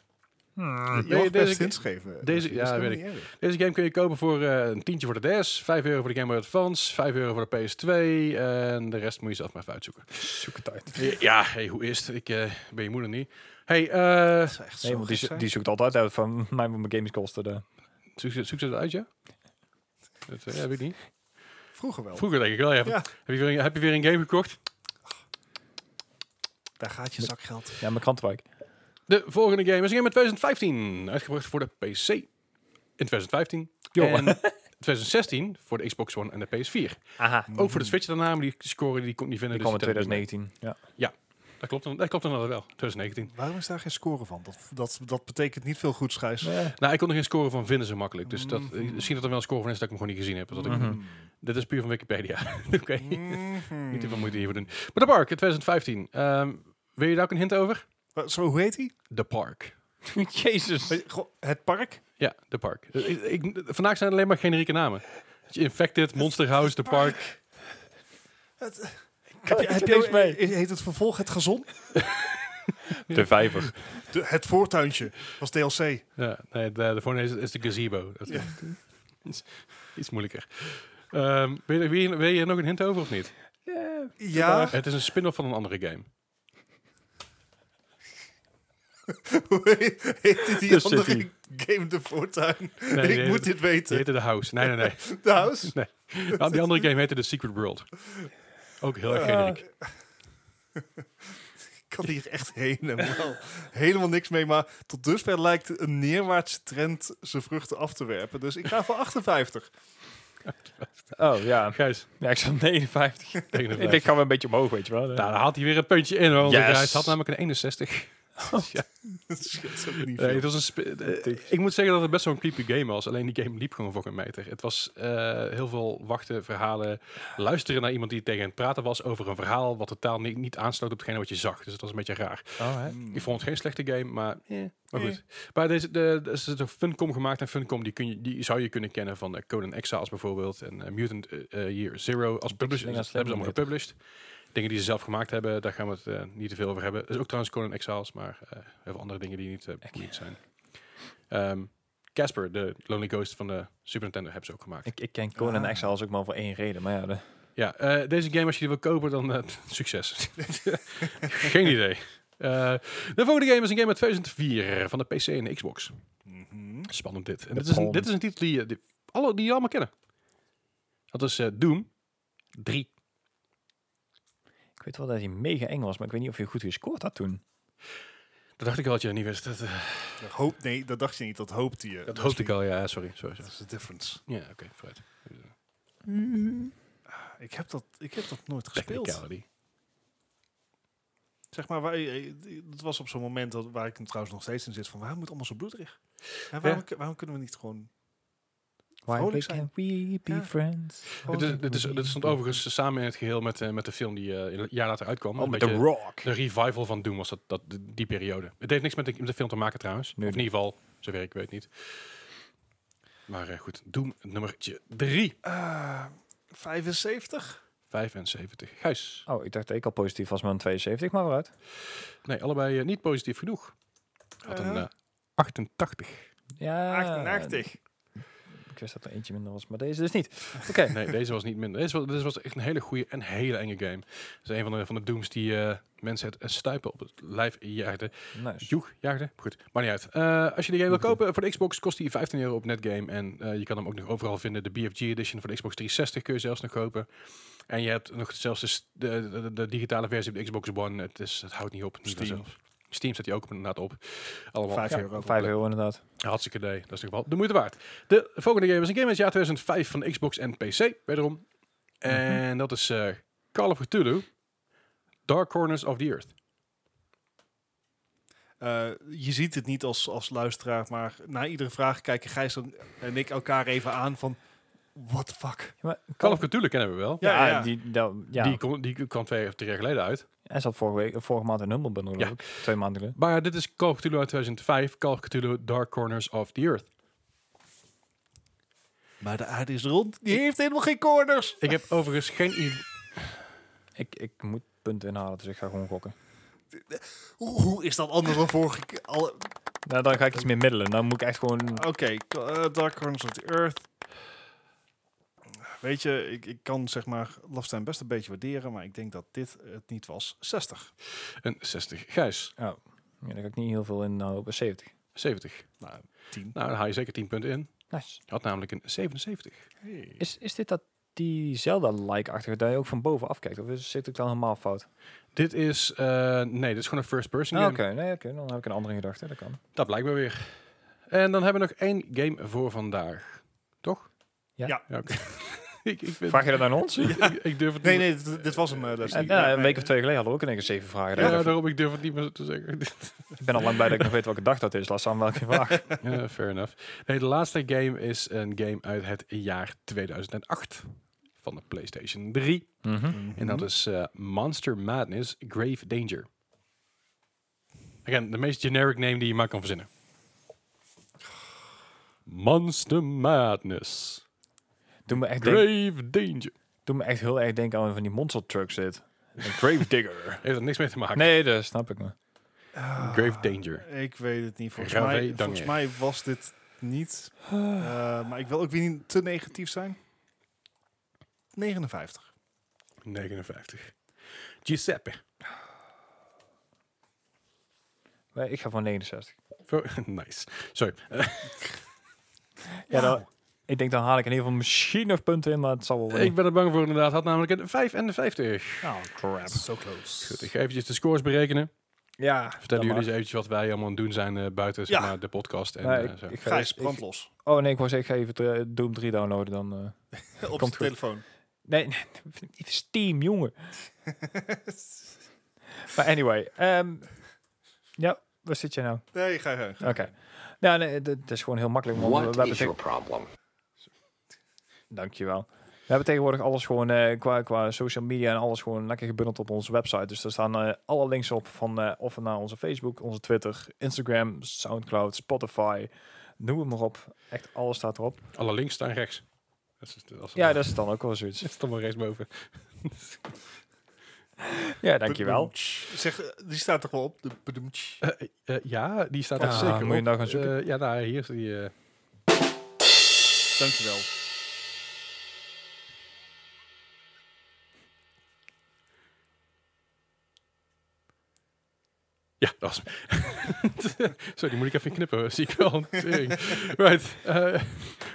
Speaker 2: Je mag
Speaker 1: deze
Speaker 2: best
Speaker 1: keer-
Speaker 2: hints geven.
Speaker 1: deze-
Speaker 2: Dus dat
Speaker 1: ja,
Speaker 2: is helemaal
Speaker 1: weet
Speaker 2: niet erg.
Speaker 1: Deze game kun je kopen voor eh, een tientje voor de DS, 5 euro voor de Game Boy Advance, 5 euro voor de PS2 eh, en de rest moet je zelf maar even uitzoeken.
Speaker 3: Zoek het uit.
Speaker 1: Ja, hey, hoe is het? Ik eh, ben je moeder niet. Hey, eh,
Speaker 2: Dat is echt
Speaker 3: Nee,
Speaker 2: zo
Speaker 3: want die,
Speaker 2: gek
Speaker 3: zo-
Speaker 2: zijn.
Speaker 3: die zoekt altijd uit van mij moet mijn games kosten. De,
Speaker 1: zoek, ze- zoek ze dat uit, ja? Dat eh, heb ik niet.
Speaker 2: Vroeger wel.
Speaker 1: Vroeger denk ik wel, ja. van,
Speaker 2: Ja.
Speaker 1: Heb, je weer een, heb je weer een game gekocht?
Speaker 2: Daar gaat je zakgeld.
Speaker 3: ja, mijn krantenwijk.
Speaker 1: De volgende game is een game uit 2015, uitgebracht voor de PC in 2015.
Speaker 3: Jo.
Speaker 1: En 2016 voor de Xbox One en de PS4.
Speaker 3: Aha.
Speaker 1: Ook voor de Switch daarna, maar die score die kon ik niet vinden.
Speaker 3: Die kwam in
Speaker 1: dus die telt niet
Speaker 3: 2019. Ja.
Speaker 1: mee. Dat klopt, dan- dat klopt inderdaad wel, 2019.
Speaker 2: Waarom is daar geen score van? Dat, dat, dat betekent niet veel goeds, Gijs.
Speaker 1: Nou, ik kon er geen score van vinden zo makkelijk. Dus dat, misschien dat er wel een score van is dat ik hem gewoon niet gezien heb. Dat ik, Dit is puur van Wikipedia. Oké.
Speaker 2: Mhm.
Speaker 1: Niet te veel moeite hiervoor doen. Maar The Park in 2015. Ehm, wil je daar ook een hint over?
Speaker 2: Wat, Zo, hoe heet die?
Speaker 1: The Park.
Speaker 3: Jezus.
Speaker 2: Weet je, goh, Het park?
Speaker 1: Ja, The Park. Eh, ik, ik- vandaag zijn het alleen maar generieke namen. Infected, Monster House, The Park.
Speaker 2: Heb je,
Speaker 3: ik
Speaker 2: heb
Speaker 3: heb
Speaker 2: je-
Speaker 3: niks mee.
Speaker 2: Heet het vervolg Het Gezond?
Speaker 3: De vijver.
Speaker 2: De- het Voortuintje was DLC.
Speaker 1: Ja, nee, de, de volgende is, is de Gazebo. Dat is
Speaker 2: Ja.
Speaker 1: iets, iets moeilijker. Ehm, wil, je, wil, je, wil je er nog een hint over of niet?
Speaker 2: Ja,
Speaker 1: Het is een spin-off van een andere game.
Speaker 2: hoe heette die
Speaker 3: Dus zit
Speaker 2: andere
Speaker 3: hij.
Speaker 2: game De Voortuin?
Speaker 1: die
Speaker 2: ik
Speaker 1: heet-
Speaker 2: moet dit
Speaker 1: Die
Speaker 2: weten.
Speaker 1: heette The House. Nee, nee, nee.
Speaker 2: De house?
Speaker 1: Nou, die andere game heette The Secret World. Ook heel
Speaker 3: Ah.
Speaker 1: erg generiek.
Speaker 2: Ik kan hier echt helemaal, helemaal niks mee. Maar tot dusver lijkt een neerwaartse trend zijn vruchten af te werpen. Dus ik ga voor 58.
Speaker 3: Oh ja.
Speaker 1: Gijs,
Speaker 3: ja ik zat 59. ik
Speaker 1: tegen de
Speaker 3: denk,
Speaker 1: vijf.
Speaker 3: gaan we een beetje omhoog, weet je wel.
Speaker 1: Nou, dan haalt hij weer een puntje in. Hoor, yes.
Speaker 3: Yes.
Speaker 1: Hij had namelijk een 61. ja,
Speaker 2: Dat scheelt ook niet
Speaker 1: nee,
Speaker 2: veel.
Speaker 1: het was een spe- eh, ik moet zeggen dat het best wel een creepy game was. Alleen die game liep gewoon voor een meter. Het was eh, heel veel wachten, verhalen, luisteren naar iemand die tegen hen praten was over een verhaal wat totaal niet, niet aansloot op hetgene wat je zag. Dus het was een beetje raar. Ik vond het geen slechte game, maar, eh, maar goed. Maar deze, de, de, is door Funcom gemaakt en Funcom die, kun je, die zou je kunnen kennen van eh, Conan Exiles bijvoorbeeld en eh, Mutant eh, eh, Year Zero als publisher.
Speaker 3: dingen
Speaker 1: Dat hebben
Speaker 3: als
Speaker 1: ze
Speaker 3: Slam
Speaker 1: allemaal gepublished. Dingen die ze zelf gemaakt hebben, daar gaan we het eh, niet te veel over hebben. Er is ook trouwens Conan Exiles, maar eh, heel veel andere dingen die niet eh, boeiend zijn. Ehm, Casper, de Lonely Ghost van de Super Nintendo, hebben ze ook gemaakt.
Speaker 3: Ik, ik ken Conan Exiles ook maar voor één reden. Maar ja, de-
Speaker 1: Ja, eh, deze game, als je die wil kopen, dan eh, succes. Geen idee. Eh, de volgende game is een game uit 2004 van de PC en de Xbox. Spannend dit. En dit, is een,
Speaker 3: Palm.
Speaker 1: dit is een titel die, eh, die, alle, die je allemaal kennen. Dat is eh, Doom 3.
Speaker 3: ik weet wel dat hij mega eng was, maar ik weet niet of hij goed gescoord had toen.
Speaker 1: Dat dacht ik al dat je dat niet wist. Dat, eh,
Speaker 2: Dat Hoop, nee, dat dacht je niet. Dat hoopte je.
Speaker 1: dat hoopte ik al, ja. Sorry. sorry,
Speaker 2: Dat
Speaker 1: sorry.
Speaker 2: is de difference.
Speaker 1: Ja, oké, vooruit.
Speaker 2: Ah, Ik heb dat, ik heb dat nooit gespeeld.
Speaker 1: Technicality.
Speaker 2: Zeg maar, waar, eh, het was op zo'n moment dat, waar ik hem trouwens nog steeds in zit. Van waarom moet het allemaal zo bloederig? En waarom, waarom kunnen we niet gewoon...
Speaker 3: Why
Speaker 2: Vrolijk
Speaker 3: we
Speaker 2: zijn.
Speaker 3: can we be
Speaker 2: Ja.
Speaker 3: friends?
Speaker 1: Dit, is, dit, is, dit stond overigens samen in het geheel met, eh, met de film die eh, een jaar later uitkwam.
Speaker 3: Oh,
Speaker 1: Een
Speaker 3: met The
Speaker 1: beetje-
Speaker 3: Rock.
Speaker 1: De revival van Doom was dat, dat die die periode. Het heeft niks met de, met de film te maken trouwens.
Speaker 3: Nee,
Speaker 1: of in
Speaker 3: nee.
Speaker 1: ieder geval, zover ik weet niet. Maar eh, goed, Doom nummertje 3.
Speaker 2: eh, 75?
Speaker 1: 75. Gijs.
Speaker 3: Oh, ik dacht dat ik al positief was, maar een 72, maar vooruit.
Speaker 1: Nee, allebei eh, niet positief genoeg. Had een
Speaker 2: Eh?
Speaker 1: eh, 88.
Speaker 3: Ja,
Speaker 1: Ah,
Speaker 2: 88?
Speaker 3: Ik wist dat er eentje minder was, maar deze dus niet. Oké.
Speaker 1: Nee, deze was niet minder. Deze was, deze was echt een hele goede en hele enge game. Dat is een van de, van de Dooms die eh, mensen het eh, stuipen op het lijf jaagden.
Speaker 3: Nice.
Speaker 1: Joeg, jaagde. Goed, maar niet uit. Eh, als je die game wil kopen voor de Xbox, kost die 15 euro op Netgame. En eh, je kan hem ook nog overal vinden. De BFG Edition voor de Xbox 360 kun je zelfs nog kopen. En je hebt nog zelfs de, s- de, de, de digitale versie op de Xbox One. Het, is, het houdt niet op. Niet
Speaker 2: Steam.
Speaker 1: vanzelf. Steam staat die ook op, inderdaad op. Allemaal
Speaker 2: 5
Speaker 1: ja,
Speaker 2: euro.
Speaker 3: 5 euro inderdaad.
Speaker 1: Hartstikke idee. Dat is toch wel de moeite waard. De volgende game is een game uit het jaar 2005 van Xbox en PC. Wederom. En dat is eh, Call of Cthulhu. Dark Corners of the Earth.
Speaker 2: Eh, je ziet het niet als, als luisteraar, maar na iedere vraag kijken Gijs en- en ik elkaar even aan van... What the fuck?
Speaker 3: Ja, maar
Speaker 1: Call of Cthulhu kennen we wel.
Speaker 2: Ja,
Speaker 3: Ja,
Speaker 2: ja.
Speaker 3: Die, dat- ja.
Speaker 1: Die, kon, die kwam twee of drie jaar geleden uit.
Speaker 3: hij zat vorige, week, vorige maand in Humble Bundle,
Speaker 1: Ja.
Speaker 3: ook. twee maanden geleden.
Speaker 1: Maar dit is Call of Cthulhu uit 2005. Call of Cthulhu Dark Corners of the Earth.
Speaker 2: Maar de aarde is rond. Die heeft helemaal geen corners.
Speaker 1: Ik heb overigens geen idee.
Speaker 3: Ik, ik moet punten inhalen, dus ik ga gewoon gokken.
Speaker 2: Hoe, hoe is dat anders dan vorige keer? Alle-
Speaker 3: Nou, dan ga ik iets meer middelen. Dan moet ik echt gewoon... Oh.
Speaker 2: Oké, eh, Dark Corners of the Earth. Weet je, ik, ik kan zeg maar Lafstein best een beetje waarderen, maar ik denk dat dit het niet was. 60.
Speaker 1: Een 60. Gijs,
Speaker 3: Oh, ja, daar ga ik niet heel veel in nou, hopen. 70.
Speaker 1: 70.
Speaker 2: Nou, 10.
Speaker 1: Nou, dan haal je zeker 10 punten in.
Speaker 3: Nice.
Speaker 1: Je had namelijk een 77.
Speaker 3: Is, is dit dat die Zelda-like-achtige, dat je ook van boven afkijkt? Of is, zit ik dan helemaal fout?
Speaker 1: Dit is... eh, nee, dit is gewoon een first-person
Speaker 3: Ah,
Speaker 1: game.
Speaker 3: Oké, nee, oké. dan heb ik een andere gedachte. Dat kan.
Speaker 1: Dat blijkt wel weer. En dan hebben we nog één game voor vandaag. Toch?
Speaker 3: Ja.
Speaker 2: Ja.
Speaker 1: oké. ik, ik vind-
Speaker 3: Vraag je dat aan ons?
Speaker 1: ik, ik- ik durf het
Speaker 2: Nee,
Speaker 1: niet
Speaker 2: nee, dit, dit was hem. eh, Leslie.
Speaker 3: En, ja, een week of twee geleden hadden we ook in één keer zeven vragen.
Speaker 1: meer- Ja,
Speaker 3: daarover.
Speaker 1: daarom, ik durf het niet meer te zeggen.
Speaker 3: Ik ben al lang blij dat ik nog weet welke dag dat is. Laat staan welke vraag.
Speaker 1: Ja, fair enough. Nee, de laatste game is een game uit het jaar 2008 van de PlayStation 3.
Speaker 3: Mhm.
Speaker 1: En dat is eh, Monster Madness Grave Danger. Again, de meest generic name die je maar kan verzinnen. Monster Madness
Speaker 3: Doe, me echt denk,
Speaker 1: Grave Danger.
Speaker 3: doe me echt heel erg denken aan een van die monster trucks zit. Een grave digger.
Speaker 1: Heeft er niks mee te maken. Ah.
Speaker 3: Nee, dat snap ik me.
Speaker 1: Grave Danger.
Speaker 2: Ik weet het niet. Volgens,
Speaker 1: Gravé
Speaker 2: mij,
Speaker 1: Danger.
Speaker 2: volgens mij was dit niet.
Speaker 3: Ah.
Speaker 2: Eh, maar ik wil ook weer niet te negatief zijn. 59.
Speaker 1: 59. Giuseppe.
Speaker 3: Maar Ik ga voor 69.
Speaker 1: Vo- nice. Sorry. Eh,
Speaker 3: Ja, dan, ik denk dan haal ik in ieder geval misschien nog punten in, maar het zal wel weer
Speaker 1: ik ben er bang voor inderdaad. Had namelijk een 55.
Speaker 3: Oh, crap.
Speaker 2: So close.
Speaker 1: Goed, ik ga eventjes de scores berekenen.
Speaker 3: Ja,
Speaker 1: Vertellen jullie
Speaker 3: dat
Speaker 1: eens eventjes wat wij allemaal aan het doen zijn eh, buiten zeg
Speaker 2: Ja.
Speaker 1: maar, de podcast. En,
Speaker 3: mag. Nee,
Speaker 1: eh,
Speaker 3: ik,
Speaker 1: zo.
Speaker 3: ik ga,
Speaker 2: Gijs,
Speaker 3: ik-
Speaker 2: brand los.
Speaker 3: oh nee, ik was ik ga even eh, Doom 3 downloaden dan. eh.
Speaker 2: Op de
Speaker 3: goed.
Speaker 2: telefoon.
Speaker 3: Nee, nee, Steam, jongen. maar anyway. ehm, ja, waar zit je nou?
Speaker 2: Nee, ga je.
Speaker 3: Oké. Nou, nee, dat dat is gewoon heel makkelijk. want we- we hebben teg-
Speaker 6: problem?
Speaker 3: Dankjewel. We hebben tegenwoordig alles gewoon eh, qua, qua social media en alles gewoon lekker gebundeld op onze website. Dus daar staan eh, alle links op van eh, of naar onze Facebook, onze Twitter, Instagram, Soundcloud, Spotify. Noem het maar op. Echt alles staat erop.
Speaker 1: Alle links staan rechts. Dat is, dat is-
Speaker 3: Ja, dat is dan ook wel zoiets.
Speaker 1: dat is dan maar rechtsboven.
Speaker 3: Ja, dankjewel.
Speaker 2: Zeg, eh, die staat toch wel op? De bedoemtsch.
Speaker 1: Eh, eh, ja, die staat er
Speaker 3: Ah,
Speaker 1: zeker
Speaker 3: moet je
Speaker 1: op.
Speaker 3: nou gaan zoeken?
Speaker 1: Eh, ja, nou, hier is die... eh,
Speaker 2: Dankjewel.
Speaker 1: Ja, dat was... Sorry, die moet ik even knippen, zie ik wel. Tering. right. eh, maar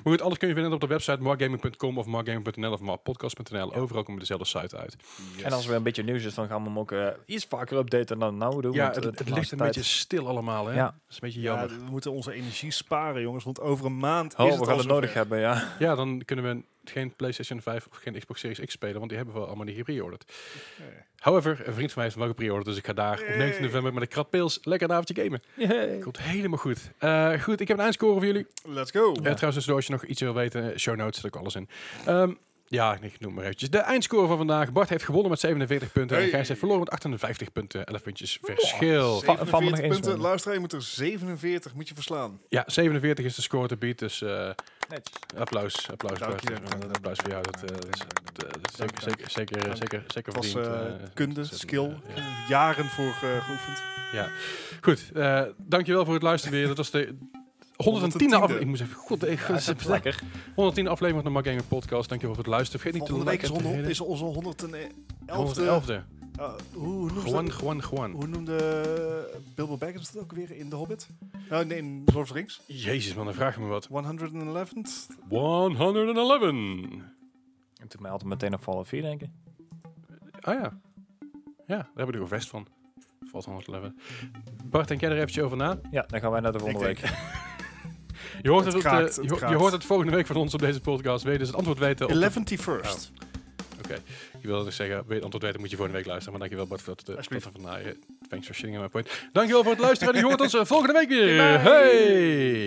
Speaker 1: goed, alles kun je vinden op de website margaming.com of margaming.nl of marpodcast.nl. Overal komen dezelfde site uit.
Speaker 3: En als er weer een beetje nieuws is, dan gaan we hem ook eh, iets vaker updaten dan nou doen.
Speaker 1: Ja,
Speaker 3: want,
Speaker 1: het,
Speaker 3: eh,
Speaker 1: het
Speaker 3: de
Speaker 1: ligt
Speaker 3: laatste
Speaker 1: een
Speaker 3: tijd-
Speaker 1: beetje stil allemaal, hè?
Speaker 3: Ja.
Speaker 1: Dat is een beetje
Speaker 2: Ja,
Speaker 1: jammer.
Speaker 2: we moeten onze energie sparen, jongens. Want over een maand is
Speaker 3: Oh,
Speaker 2: het
Speaker 3: we
Speaker 2: al
Speaker 3: gaan het
Speaker 2: zover.
Speaker 3: nodig hebben, ja.
Speaker 1: Ja, dan kunnen we geen PlayStation 5 of geen Xbox Series X spelen, want die hebben we allemaal niet gepreorderd.
Speaker 2: Nee.
Speaker 1: However, een vriend van mij heeft hem wel gepreorderd, dus ik ga daar op 19 november met een krat pils lekker een avondje gamen. Komt helemaal goed. Eh, goed, ik heb een eindscore voor jullie.
Speaker 2: Let's go.
Speaker 1: Eh, trouwens, dus als je nog iets wil weten, eh, show notes zet ook alles in. Ehm, ja, ik noem maar eventjes. De eindscore van vandaag. Bart heeft gewonnen met 47 punten. En
Speaker 2: Hey.
Speaker 1: Gijs heeft verloren met 58 punten. 11 puntjes verschil.
Speaker 3: Van- van me nog
Speaker 2: 47
Speaker 3: eens,
Speaker 2: punten.
Speaker 3: man.
Speaker 2: Luister, je moet er 47 moet je verslaan.
Speaker 1: Ja, 47 is de score te beat. Dus eh,
Speaker 3: Netjes.
Speaker 1: applaus. Applaus,
Speaker 2: Dank
Speaker 1: Bart.
Speaker 2: je, dank je.
Speaker 1: Een applaus voor jou. Dat, eh, dat is- dat, eh, dat is
Speaker 2: Dank,
Speaker 1: zeker, zeker, zeker,
Speaker 2: Dank.
Speaker 1: zeker, zeker
Speaker 2: Het was
Speaker 1: verdiend.
Speaker 2: eh,
Speaker 1: eh,
Speaker 2: kunde,
Speaker 1: dat is een,
Speaker 2: skill.
Speaker 1: eh, ja.
Speaker 2: Jaren voor eh, geoefend.
Speaker 1: Goed, eh, dankjewel voor het luisteren weer. Dat was de 110e
Speaker 2: 110e.
Speaker 1: aflevering. Ik moest even... God, ik,
Speaker 3: lekker.
Speaker 1: 110 aflevering van de Mark Gaming Podcast. Dankjewel voor het luisteren. Vergeet niet
Speaker 2: Volgende
Speaker 1: te
Speaker 2: week is,
Speaker 1: liken.
Speaker 2: honderd-
Speaker 1: te
Speaker 2: is onze 111e.
Speaker 1: 111e.
Speaker 2: eh, hoe, noemde,
Speaker 1: Gewoon, gewoon, gewoon.
Speaker 2: hoe noemde eh, Bilbo Baggins dat ook weer in The Hobbit? Nou, nee, in Lord of the Rings.
Speaker 1: Jezus man, dan vraag je me wat.
Speaker 2: 111th.
Speaker 1: 111.
Speaker 3: En toen mij altijd meteen op Fallout 4 denken.
Speaker 1: Ah ja. Ja, daar hebben we er een vest van. Valt 111. Bart, denk jij er eventjes over na?
Speaker 3: Ja, dan gaan wij naar de volgende
Speaker 2: denk-
Speaker 3: week.
Speaker 1: Je hoort
Speaker 2: Het
Speaker 1: het, op de-
Speaker 2: kraakt, het
Speaker 1: je, ho- je
Speaker 2: kraakt.
Speaker 1: hoort het volgende week van ons op deze podcast. Weet dus het antwoord weten op...
Speaker 2: 111st.
Speaker 1: Oké, ik wilde dus zeggen, weet het antwoord weten moet je volgende week luisteren. Maar dankjewel Bart voor dat, eh,
Speaker 2: Alsjeblieft.
Speaker 1: dat van Thanks for shitting on my point. Dankjewel voor het luisteren en je hoort ons eh, volgende week weer. Hey!